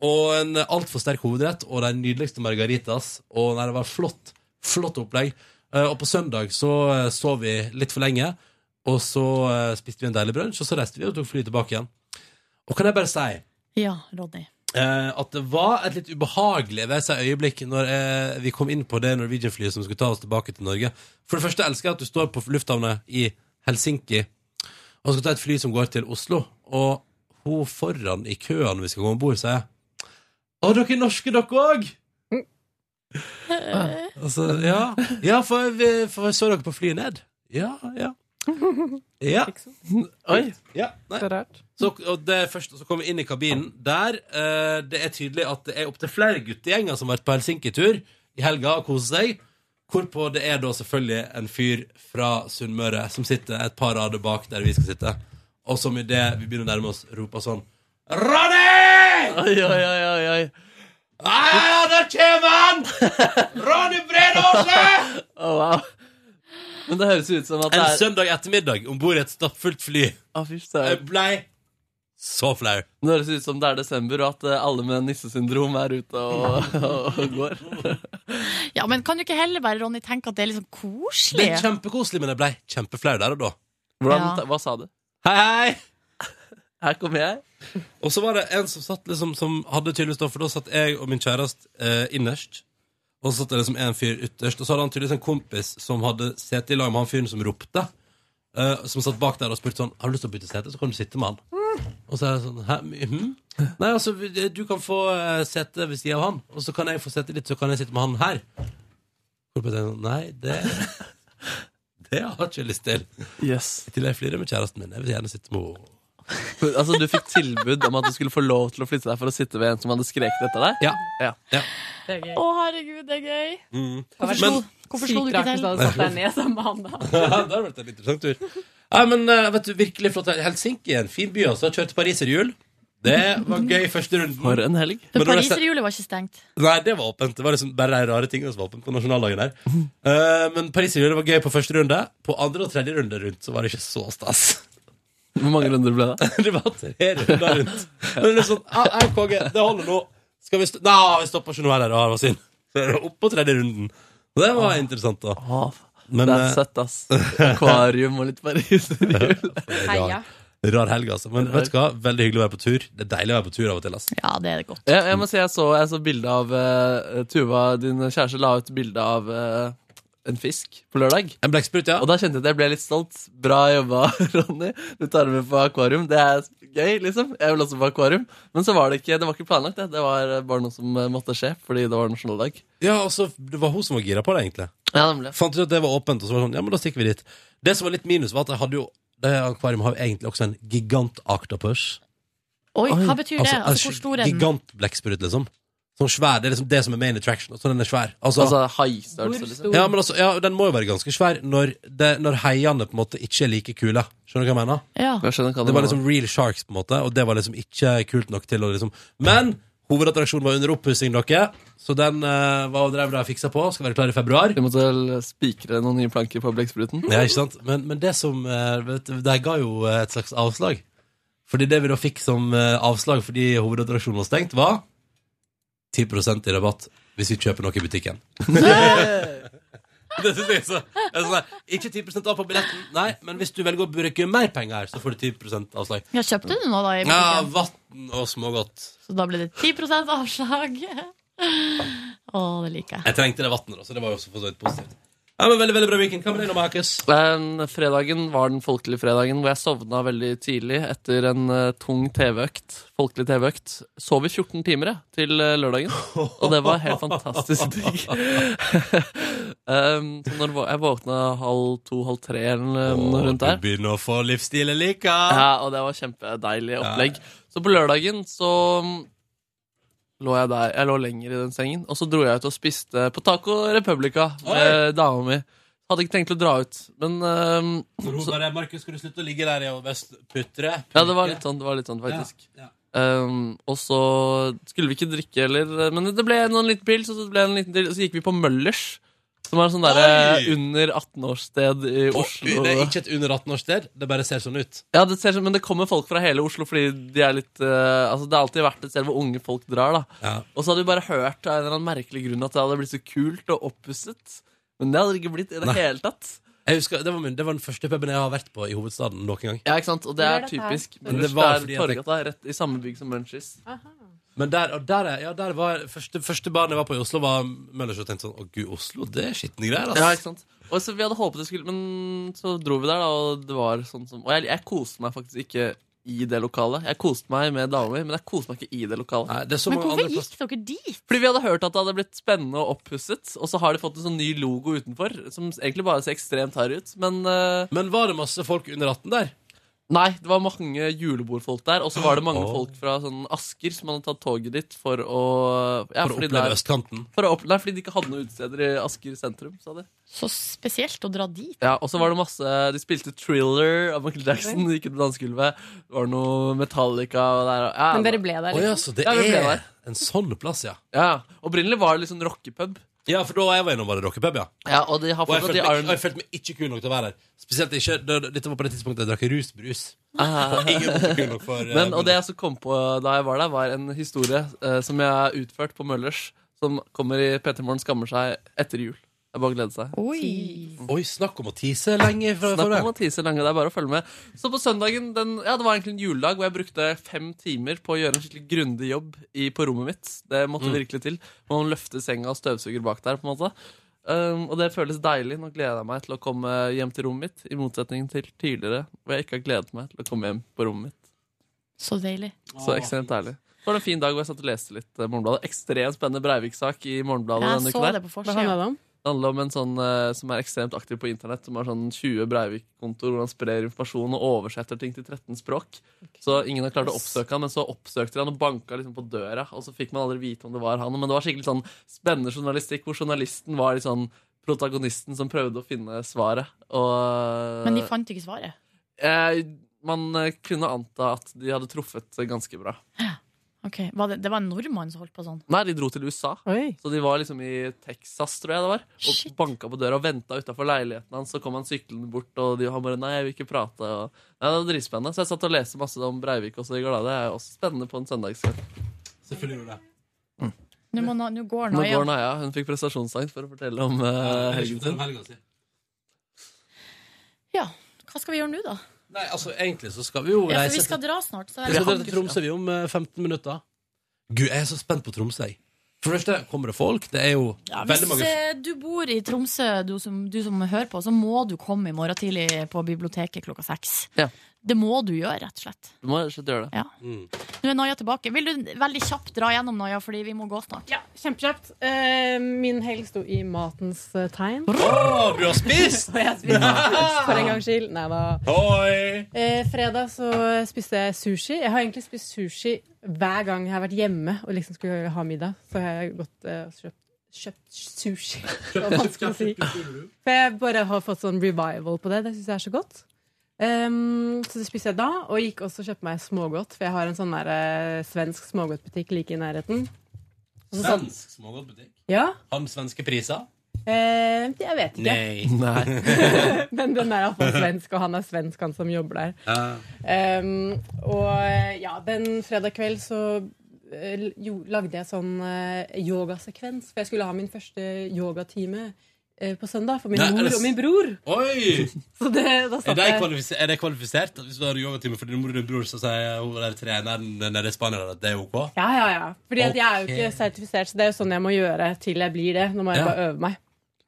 A: Og en altfor sterk hovedrett og de nydeligste margaritas. Og nei, det var flott. Flott opplegg. Eh, Og på søndag så eh, sov vi litt for lenge, og så eh, spiste vi en deilig brunsj, og så reiste vi og tok flyet tilbake igjen. Og kan jeg bare si
C: Ja, Ronny.
A: Eh, at det var et litt ubehagelig ved seg øyeblikk når eh, vi kom inn på det Norwegian-flyet som skulle ta oss tilbake til Norge. For det første elsker jeg at du står på lufthavna i Helsinki og skal ta et fly som går til Oslo, og hun foran i køen når vi skal gå om bord, sier Å, dere er norske, dere òg! Altså, ja. ja, for vi for vi så dere på flyet ned. Ja, ja. Ja.
J: Oi.
A: Ja, nei. Så, og det første, så kom vi inn i kabinen. Der eh, det er tydelig at det er opptil flere guttegjenger som har vært på Helsinki-tur i helga og koser seg. Hvorpå det er da selvfølgelig en fyr fra Sunnmøre som sitter et par rader bak der vi skal sitte, og som idet vi begynner å nærme oss, roper sånn Ronny!
J: Oi, oi, oi, oi, oi.
A: Ja, der kommer han! Ronny Bredåse!
J: Å, wow. Men det høres ut som at det
A: En
J: er
A: søndag ettermiddag om bord i et stappfullt fly.
J: Å, fy søren.
A: Jeg blei så flau.
J: Det høres ut som det er desember, og at eh, alle med nissesyndrom er ute og, og, og går.
C: Ja, men kan du ikke heller bare, Ronny, tenke at det er litt sånn koselig?
A: Det er kjempekoselig, men jeg blei kjempeflau der og da.
C: Hvordan- Ja.
J: Hva sa du?
A: Hei, hei!
J: Her kommer jeg.
A: Og så var det en som satt liksom Som hadde tydeligvis da For da satt jeg og min kjærest eh, innerst Og så satt det liksom en fyr ytterst Og så hadde han tydeligvis en kompis Som hadde sete i lag med han fyren som ropte eh, Som satt bak der og spurte sånn Har du lyst til å bytte sete? Så kan du sitte med han Og så er det sånn Hæ? mhm? Nei, altså vi- Du kan få eh, sete ved siden av han Og så kan jeg få sete litt Så kan jeg sitte med han her Hvorpå tenkte jeg sånn, Nei, det Det har jeg ikke lyst til
J: Yes.
A: Til jeg flirer med kjæresten min Jeg vil gjerne sitte med henne
J: Altså, du fikk tilbud om at du skulle få lov til å flytte deg for å sitte ved en som hadde skreket etter deg? Ja.
N: Det er gøy.
C: Å, herregud, det er gøy.
A: Mm.
C: Hvorfor
A: Men-
C: slo- hvorfor slo
N: Sykt
C: du ikke
N: rart hvis
C: til?
N: du hadde satt deg ned sammen med han da.
A: Ja, det har vært en interessant tur. Nei, men eh, vet du, virkelig flott Helsinki er en fin by, altså. Kjørte pariserhjul. Det var gøy første runden.
J: For en helg.
C: For Pariserhjulet var ikke stengt.
A: Nei, det var åpent. Det var liksom bare de rare tingene som var åpent på nasjonaldagen der. Eh, men pariserhjulet var gøy på første runde. På andre og tredje runde rundt så var det ikke så stas.
J: Hvor mange runder ble det?
A: det var tre runder rundt. Men det er sånn, ah, jeg er konge, det holder nå. Skal vi st Nei, vi stopper ikke noe her, det var synd. Så er det opp på tredje runden. Det var interessant, da. Men,
J: det er
A: eh,
J: søtt, ah, ass. Akvarium og litt pariserhjul.
A: Rar, rar helg, altså. Men vet du hva? veldig hyggelig å være på tur. Det er deilig å være på tur av og til. ass.
C: Ja, det er det godt.
J: Jeg, jeg må si jeg så, jeg så bilde av eh, Tuva, din kjæreste, la ut bilde av eh, en fisk på lørdag.
A: En blekksprut, ja.
J: Og da kjente jeg at jeg ble litt stolt. Bra jobba, Ronny. Du tar det med på akvarium. Det er gøy, liksom. Jeg vil også på akvarium. Men så var det ikke, det var ikke planlagt, det. Det var eh, bare noe som eh, måtte skje, fordi det var nasjonaldag.
A: Ja, altså, Det var hun som var gira på det, egentlig.
J: Ja, nemlig.
A: Fant ut at det var åpent, og så var det sånn, ja, men da stikker vi dit. Det som var litt minus, var at jeg hadde jo det akvariet har jo egentlig også en gigant octopus.
C: Oi, hva betyr det? Altså, hvor stor er den?
A: Gigant blekksprut, liksom. Sånn svær, Det er liksom det som er main attraction. og Så den er svær.
J: Altså, haistørrelse, Hvor liksom. stor?
A: Ja, men altså, ja, den må jo være ganske svær når, det, når heiene på en måte ikke er like kule. Skjønner du hva jeg mener?
C: Ja.
J: Jeg skjønner hva du
A: det var
J: mener.
A: liksom real sharks, på en måte, og det var liksom ikke kult nok til å liksom Men hovedattraksjonen var under oppussing, dere, så den eh, var og drev og fiksa på. Skal være klar i februar.
J: Vi måtte vel spikre noen nye planker på blekkspruten.
A: Ja, ikke sant? Men, men det som eh, vet, du, Det ga jo eh, et slags avslag. Fordi det vi da fikk som eh, avslag fordi hovedattraksjonen var stengt, var 10 i rabatt hvis vi kjøper noe i butikken. Det synes jeg er så, jeg er sånn der, Ikke 10 av på billetten, nei, men hvis du velger å bruke mer penger, her, så får du 10 avslag.
C: Ja, kjøpte du noe da i
A: Ja,
C: butikken?
A: vann og smågodt.
C: Så da ble det 10 avslag. Å, det liker jeg.
A: Jeg trengte det vannet, så det var jo også for så vidt positivt. Ja, men Veldig veldig bra weekend. Hva med deg nå, Markus?
J: Den fredagen var den folkelige fredagen hvor jeg sovna veldig tidlig etter en eh, tung TV-økt. Folkelig TV-økt. Sov i 14 timer jeg, til eh, lørdagen, og det var helt fantastisk digg. um, så når vå- jeg våkna halv to, halv tre eller noe rundt der
A: Du begynner å få livsstilen like.
J: Ja, og det var kjempedeilig opplegg. Så på lørdagen så mm, lå jeg der. Jeg lå lenger i den sengen, og så dro jeg ut og spiste på Taco Republica med dama mi. Hadde ikke tenkt å dra ut, men ehm,
A: Hun
J: så,
A: bare, Markus, skal du slutte å ligge der og best putre?
J: Ja, det var litt sånn, det var litt sånn faktisk. Ehm, og så skulle vi ikke drikke heller, men det ble noen liten pils, og så ble det en liten til, og så gikk vi på Møllers. Som er sånn derre under 18-årssted i Oslo.
A: Det er ikke et under 18-årssted, det bare ser sånn ut.
J: Ja, det ser sånn, Men det kommer folk fra hele Oslo, fordi de er litt eh, Altså, det har alltid vært et sted hvor unge folk drar. da Og så hadde vi bare hørt av en eller annen merkelig grunn at det hadde blitt så kult og oppusset. Men det hadde det ikke blitt i det
A: Nei.
J: hele tatt.
A: Jeg husker, det, var min, det var den første puben jeg har vært på i hovedstaden noen gang.
J: Ja, ikke sant? Og det
A: Hvor
J: er
A: er dette her?
J: typisk.
A: Men det
J: Brunsj,
A: var
J: det
A: fordi
J: er
A: at jeg-
J: Torgata, rett i samme bygg som Munchies.
A: Men der, og der, er- ja, der var første, første baren jeg var på i Oslo, var Møllers, og tenkte sånn Å, gud, Oslo, det er skitne greier, ass.
J: Ja, ikke sant? Og så vi hadde håpet det skulle Men så dro vi der, da, og det var sånn som Og jeg, jeg koste meg faktisk ikke i det lokalet. Jeg koste meg med damer, men jeg koste meg ikke i det lokalet.
C: Men hvorfor gikk dere dit?
J: Fordi vi hadde hørt at det hadde blitt spennende og oppusset, og så har de fått en sånn ny logo utenfor, som egentlig bare ser ekstremt hard ut, men eh,
A: Men var det masse folk under 18 der?
J: Nei, det var mange julebordfolk der, og så var det mange
A: Åh.
J: folk fra sånn Asker som hadde tatt toget dit for å ja,
A: For å
J: fordi
A: oppleve
J: der-
A: østkanten.
J: For å opp, nei, fordi de ikke hadde noen utesteder i Asker sentrum, sa de.
C: Så spesielt å dra dit.
J: Ja, og så var det masse De spilte Thriller av Michael Jackson. De gikk ut på dansegulvet. Det var noe Metallica og der. og- Ja,
I: Men dere ble der,
J: Å, ja,
I: liksom?
J: så det Ja, vi ble er- der.
A: En sånn plass, ja.
J: Ja, Opprinnelig var det liksom rockepub.
A: Ja, for da var jeg var innom bare rockepub, ja.
J: Ja, og de har
A: Og jeg
J: fortsatt de
A: følte meg-
J: Iron-
A: og jeg følte meg ikke kul nok til å være her. Spesielt ikke da- Dette var på det tidspunktet jeg drakk rusbrus.
J: Ah.
A: Og ingen var kul nok for eh,
J: Men, og det jeg så kom på da jeg var der, var en historie eh, som jeg har utført på Møllers, som kommer i P3 Morgen skammer seg etter jul. Det er bare å glede seg.
A: Oi. Oi, snakk om å tise lenge. For, for
J: snakk
A: det.
J: om å tise lenge, det er bare å følge med. Så på søndagen, den, ja, det var egentlig en juledag hvor jeg brukte fem timer på å gjøre en skikkelig grundig jobb i, på rommet mitt. Det måtte
A: Mm.
J: virkelig til. Man løfter senga og støvsuger bak der, på en måte. Um, og det føles deilig. Nå gleder jeg meg til å komme hjem til rommet mitt, i motsetning til tidligere, hvor jeg ikke har gledet meg til å komme hjem på rommet mitt.
C: Så deilig.
J: Så ekstremt ærlig. Så var det en fin dag hvor jeg satt og leste litt eh, Morgenbladet. Ekstremt spennende Breivik-sak i Morgenbladet
C: Jeg
J: denne
C: så
J: uken. her.
C: det på forsiden. Hva handler det om?
J: Det handler om en sånn eh, som er ekstremt aktiv på internett, som har sånn 20 Breivik-kontoer hvor han sprer informasjon og oversetter ting til 13 språk. Så ingen har klart å oppsøke han, men så oppsøkte de han og banka liksom på døra, og så fikk man aldri vite om det var han. Men det var skikkelig sånn spennende journalistikk, hvor journalisten var litt sånn protagonisten som prøvde å finne svaret. Og,
C: Men de fant ikke svaret.
J: eh, Man eh, kunne anta at de hadde truffet ganske bra.
C: Ok, var det, det var en nordmann som holdt på sånn.
J: Nei, de dro til USA. Så de var liksom i Texas, tror jeg det var. Og banka på døra og venta utafor leiligheten hans. Så kom han syklende bort, og de, han bare 'nei, jeg vil ikke prate'. Og... Nei, Det var dritspennende. Så jeg satt og leste masse om Breivik også i går. Da. Det er jo også spennende på en søndagskveld.
A: Selvfølgelig gjorde det.
C: Nå, må, nå går
J: Nå
C: Naja.
J: går Naja. Hun fikk prestasjonsangst for å fortelle om eh, helgen sin.
C: Ja, hva skal vi gjøre nå, da?
A: Nei, altså, egentlig så skal vi jo
C: Ja, for
A: reise
C: vi skal dra snart. Så sånn
A: Vi skal dra til Tromsø vi om eh, 15 minutter. Gud, jeg er så spent på Tromsø. jeg. For det første kommer det folk. Det er jo
C: Ja, hvis
A: veldig mange
C: eh, du bor i Tromsø, du som, du som hører på, så må du komme i morgen tidlig på biblioteket klokka seks.
J: Ja.
C: Det må du gjøre, rett og slett.
J: Du må rett og slett gjøre
C: det. Nå er Naja tilbake. Vil du veldig kjapt dra gjennom Naja, fordi vi må gå snart?
I: Ja, kjempekjapt. Eh, min helg sto i matens eh, tegn.
A: Å, du har spist!
I: Og jeg spiste for en gangs skyld. Nei da.
A: Hoi!
I: Eh, fredag så spiste jeg sushi. Jeg har egentlig spist sushi hver gang jeg har vært hjemme og liksom skulle ha middag. Så har jeg gått eh, og kjøpt, kjøpt sushi. Det var vanskelig å si. For jeg bare har fått sånn revival på det. Det syns jeg er så godt. Ehm, så det spiste jeg da, og gikk også og kjøpte meg smågodt. For jeg har en sånn der, eh, svensk smågodtbutikk like i nærheten. Og så satt-
A: Svensk smågodtbutikk.
I: Ja.
A: Har den svenske priser?
I: Eh, jeg vet ikke.
A: Nei.
I: Men den er iallfall svensk, og han er svensk, han som jobber der.
A: Ja.
I: Ehm, og eh, ja, den fredag kveld så eh, l- jo, lagde jeg sånn eh, yogasekvens. For jeg skulle ha min første yogatime eh, på søndag for min
A: Nei, er
I: mor
A: det s-
I: og min bror.
A: Oi!
I: Så det, da
A: Er
I: satt
A: de
I: jeg
A: kvalifisert, er de kvalifisert? Hvis du har yogatime for din mor og din bror, så sier hun der treneren nede i Spania at det er ok?
I: Ja, ja, ja. Fordi at jeg er jo
A: Ok.
I: ikke sertifisert, så det er jo sånn jeg må gjøre til jeg blir det. Nå må jeg
J: Ja.
I: bare øve meg.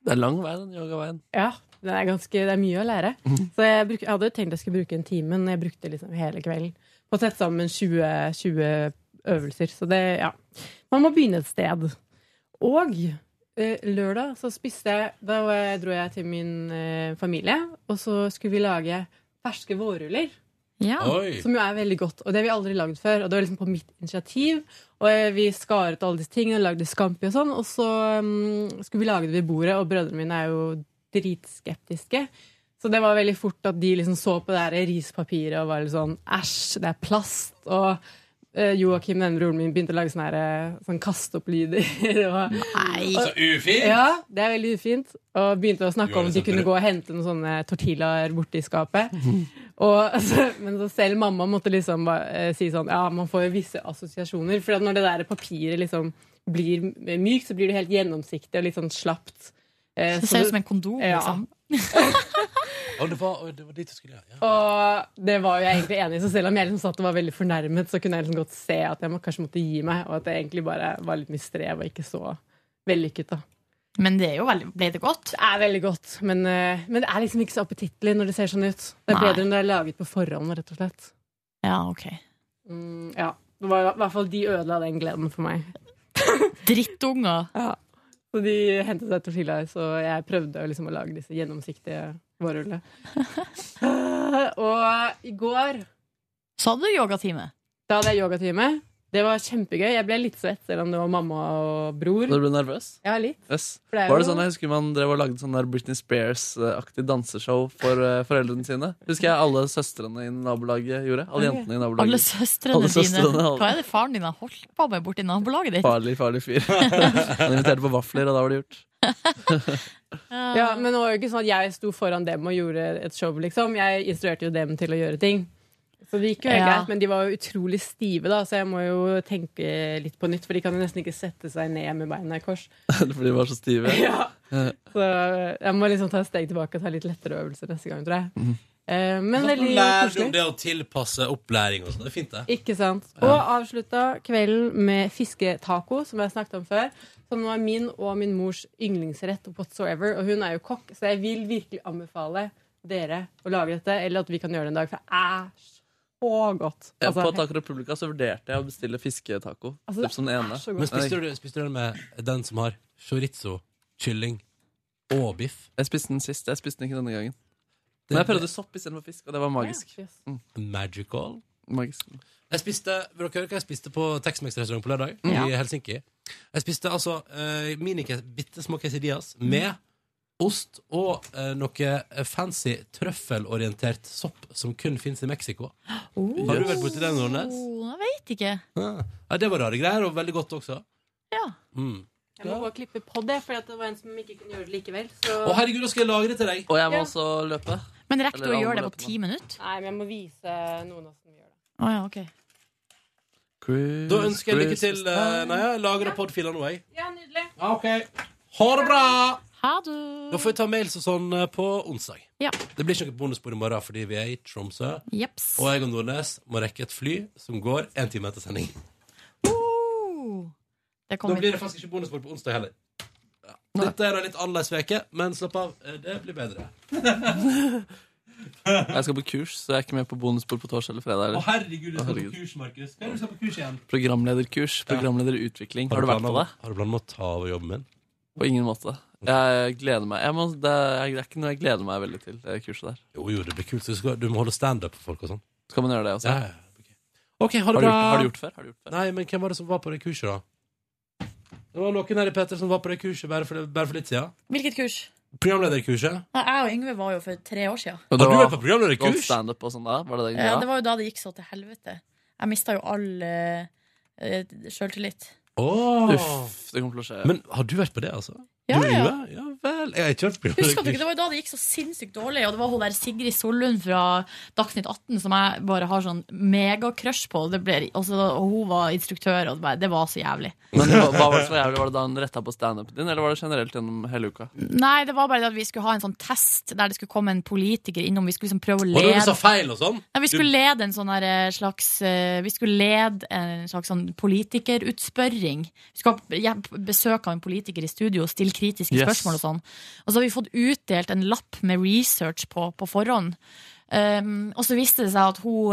J: Det er lang vei, den yogaveien.
I: Ja, det er, ganske, det er mye å lære. Så jeg, bruk, jeg hadde jo tenkt jeg skulle bruke en time, men jeg brukte liksom hele kvelden på å sette sammen 20, 20 øvelser. Så det, ja. Man må begynne et sted. Og eh, lørdag så spiste jeg Da var jeg, dro jeg til min eh, familie, og så skulle vi lage ferske vårruller.
C: Ja.
A: Oi.
I: Som jo er veldig godt, og det har vi aldri lagd før. Og det var liksom på mitt initiativ. Og eh, vi skar ut alle disse tingene og lagde scampi og sånn. Og så mm, skulle vi lage det ved bordet, og brødrene mine er jo dritskeptiske. Så det var veldig fort at de liksom så på det her rispapiret og var litt sånn æsj, det er plast. Og eh, Joakim, den broren min, begynte å lage sånne, her, eh, sånn kaste-opp-lyder. og-
A: Nei.
I: og-
A: Så ufint!
I: Ja, det er veldig ufint. Og begynte å snakke
A: Gjør
I: om
A: det
I: de kunne
A: sentere.
I: gå og hente noen sånne tortillaer borti skapet. Og, altså, men så selv mamma måtte liksom ba- eh, si sånn Ja, man får jo visse assosiasjoner. For at når det der papiret liksom blir mykt, så blir det helt gjennomsiktig og litt sånn slapt. Eh,
C: Det
I: så
C: ser ut som en kondom,
I: Ja.
C: liksom.
A: Å, det var, å, det var dit du skulle, ja.
I: Og det var jo jeg egentlig enig i, så selv om jeg liksom satt og var veldig fornærmet, så kunne jeg liksom godt se at jeg må, kanskje måtte gi meg, og at jeg egentlig bare var litt mye strev og ikke så vellykket. da.
C: Men det er jo veldig, ble det godt?
I: Det er veldig godt, men, eh, men det er liksom ikke så appetittlig når det ser sånn ut. Det er
C: Nei.
I: bedre enn det er laget på forhånd, rett og slett.
C: Ja, ok.
I: Mm, ja. Det var, I hvert fall de ødela den gleden for meg.
C: Drittunger.
I: Ja. Så de hentet seg tortilla, så jeg prøvde å liksom å lage disse gjennomsiktige vårrullene. Eh, og i går
C: Så hadde du yogatime.
I: Da hadde jeg yogatime. Det var kjempegøy. Jeg ble litt svett, selv om det var mamma og bror.
J: Når du ble nervøs?
I: Ja, litt.
J: Yes.
I: For det er
J: Var det
I: jo-
J: sånn, Jeg husker man drev og lagde sånn der Britney Spears-aktig danseshow for eh, foreldrene sine. Husker jeg alle søstrene i nabolaget gjorde. Alle
C: Ok.
J: jentene i nabolaget.
C: Alle søstrene
J: Alle søstrene,
C: dine.
J: alle-
C: Hva er det faren din har holdt på med borti nabolaget ditt?
J: Farlig, farlig fyr. Han inviterte på vafler, og da var det gjort.
I: Ja, men det var jo ikke sånn at jeg sto foran dem og gjorde et show, liksom. Jeg instruerte jo dem til å gjøre ting. Så det gikk jo helt
C: Ja.
I: greit, men de var jo utrolig stive, da, så jeg må jo tenke litt på nytt. For de kan jo nesten ikke sette seg ned med beina i kors.
J: Fordi de var så stive.
I: Så jeg må liksom ta et steg tilbake og ta litt lettere øvelser neste gang, tror jeg.
A: Mhm.
I: Eh, men veldig
A: Lær om
I: koselig.
A: det å tilpasse opplæring og sånn. Det er fint, det.
I: Ikke sant. Og avslutta kvelden med fisketaco, som jeg snakket om før. Som var min og min mors yndlingsrett whatsoever. Og hun er jo kokk, så jeg vil virkelig anbefale dere å lage dette, eller at vi kan gjøre det en dag, for det er så godt.
J: Eh,
I: Altså,
J: på Taco Republica så vurderte jeg å bestille fisketaco.
I: Altså,
J: typ som den
I: det er
J: ene.
I: så godt.
A: Men spiste du, spiste du den med den som har chorizo, kylling og biff?
J: Jeg spiste den sist. Jeg spiste den ikke denne gangen. Men jeg prøvde sopp istedenfor fisk, og det var magisk.
I: Ja,
J: Mm.
A: Magical.
J: Magisk.
A: Jeg spiste, vil dere høre hva jeg spiste på Tex-Mex-restaurant på lørdag?
J: Ja.
A: I Helsinki. Jeg spiste altså uh, mini bitte små quesadillas med ost og eh, noe fancy trøffelorientert sopp som kun fins i Mexico. Har du vært borti den, Nordnes?
C: Oh, jeg veit ikke.
A: Ja, det var rare greier, og veldig godt også.
C: Ja.
A: Mm.
I: Jeg må bare klippe på det, for det var en som ikke kunne gjøre det likevel. Så...
A: Å, herregud, da skal jeg lagre til deg.
J: Og jeg må
I: Ja.
J: også løpe.
C: Men rekker du
J: Eller
C: å
J: alle
C: gjøre det
J: må
C: på
J: løpe
C: ti minutter?
I: Nei, men jeg må vise noen av oss.
C: Å ja, ok.
A: Da ønsker jeg lykke til. eh, Nei, jeg lagrer podfiler nå, jeg.
I: Ja, nydelig.
A: Ha det bra!
C: Ha det.
A: Da får vi ta mails og sånn eh, på onsdag.
C: Ja.
A: Det blir ikke noe bonusbord i morgen fordi vi er i Tromsø.
C: Jeps.
A: Og jeg og Nordnes må rekke et fly som går en time etter sending.
C: Oh. Det
A: Da
C: kommer
A: blir det faktisk ikke bonusbord på onsdag heller. Ja. Dette er da litt annerledes uke, men slapp av, eh, det blir bedre.
J: Jeg skal på kurs, så jeg er ikke med på bonusbord på torsdag eller fredag.
A: Å,
J: Eller?
A: herregud, du
J: Å,
A: skal på
J: herregud.
A: kurs, Markus. Hva er det du skal på kurs igjen?
J: Programlederkurs. Programlederutvikling. Har du vært på det?
A: Har du planer om å ta over jobben min?
J: På ingen måte. Jeg gleder meg. Jeg må, det er det er ikke noe jeg gleder meg veldig til, det kurset der.
A: Jo, jo, det blir kult. Du, skal, du må holde standup for folk og sånn.
J: Skal man gjøre det også?
A: Ja, ja, OK, ha
J: Har
A: det
J: du
A: bra.
J: gjort- har du gjort før? Har du gjort
A: Nei, men hvem var det som var på det kurset, da? Det var noen her i Petter som var på det kurset bare for, bare for litt siden.
C: Hvilket kurs?
A: Programlederkurset.
C: Nei, Jeg og Yngve var jo for tre år siden.
A: Har du vært på programlederkurs?
J: Godt standup og sånn da? Var det det?
C: Ja, det var jo da det gikk så til helvete. Jeg mista jo all eh, eh, sjøltillit.
A: Åh.
J: Uff, det kommer til å skje.
A: Men har du vært på det, altså?
C: Ja,
A: du,
C: ja.
A: Yngve? Ja vel. Jeg har ikke vært på
C: Husker du ikke,
A: programlederkurs.
C: Det var jo da det gikk så sinnssykt dårlig, og det var hun der Sigrid Sollund fra Dagsnytt 18 som jeg bare har sånn megacrush på. Det ble, og, så, og hun var instruktør, og det, bare, det var så jævlig.
J: Men hva, hva var det som var jævlig? Var det da han retta på standupen din, eller var det generelt gjennom hele uka?
C: Nei, det var bare det at vi skulle ha en sånn test der det skulle komme en politiker innom. Vi skulle liksom prøve å
A: Var det noen
C: lede
A: som sa feil og sånn?
C: Nei, vi skulle lede en sånn her, eh, slags eh, Vi skulle lede en slags sånn politikerutspørring. Vi skulle ha ja, besøk av en politiker i studio og stille kritiske
Q: Yes.
C: spørsmål og sånn. Og så har vi fått utdelt en lapp med research på på forhånd. Um, og så viste det seg at hun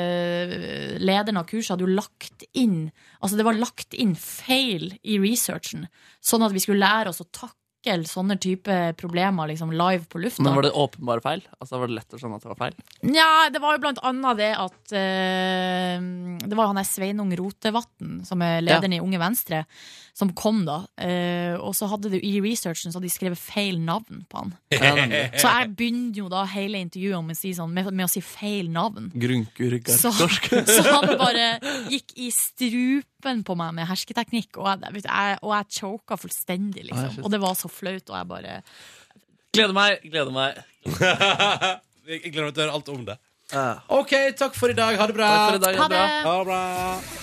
C: eh, lederen av kurset hadde jo lagt inn Altså det var lagt inn feil i researchen, sånn at vi skulle lære oss å takle sånne type problemer liksom live på lufta.
J: Men var det åpenbare feil? Altså Var det lett å skjønne at det var feil?
C: Nja, det var jo blant annet det at eh, det var han der Sveinung Rotevatn, som er lederen i Unge Venstre, som kom da. Eh, og så hadde det, i researchen så hadde de skrevet feil navn på han.
J: Ja, nemlig.
C: så jeg begynner jo da hele intervjuet med å si, sånn, med, med å si feil navn.
J: Grunkur
C: Så,
J: gartorsk.
C: så han bare gikk i strupen på meg med hersketeknikk, og jeg, vet du, jeg, og jeg choka
J: Ah,
C: fullstendig,
J: shit.
C: liksom. Og det var så flaut, og jeg bare
J: Gleder meg, gleder meg.
A: Jeg jeg gleder meg til å høre alt om det. OK, takk for i dag. Ha Eh, det bra.
D: Takk for i dag, ha det Ha det. bra.
A: Ha det bra.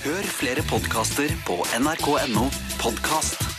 D: Hør flere podkaster på nrk.no podkast.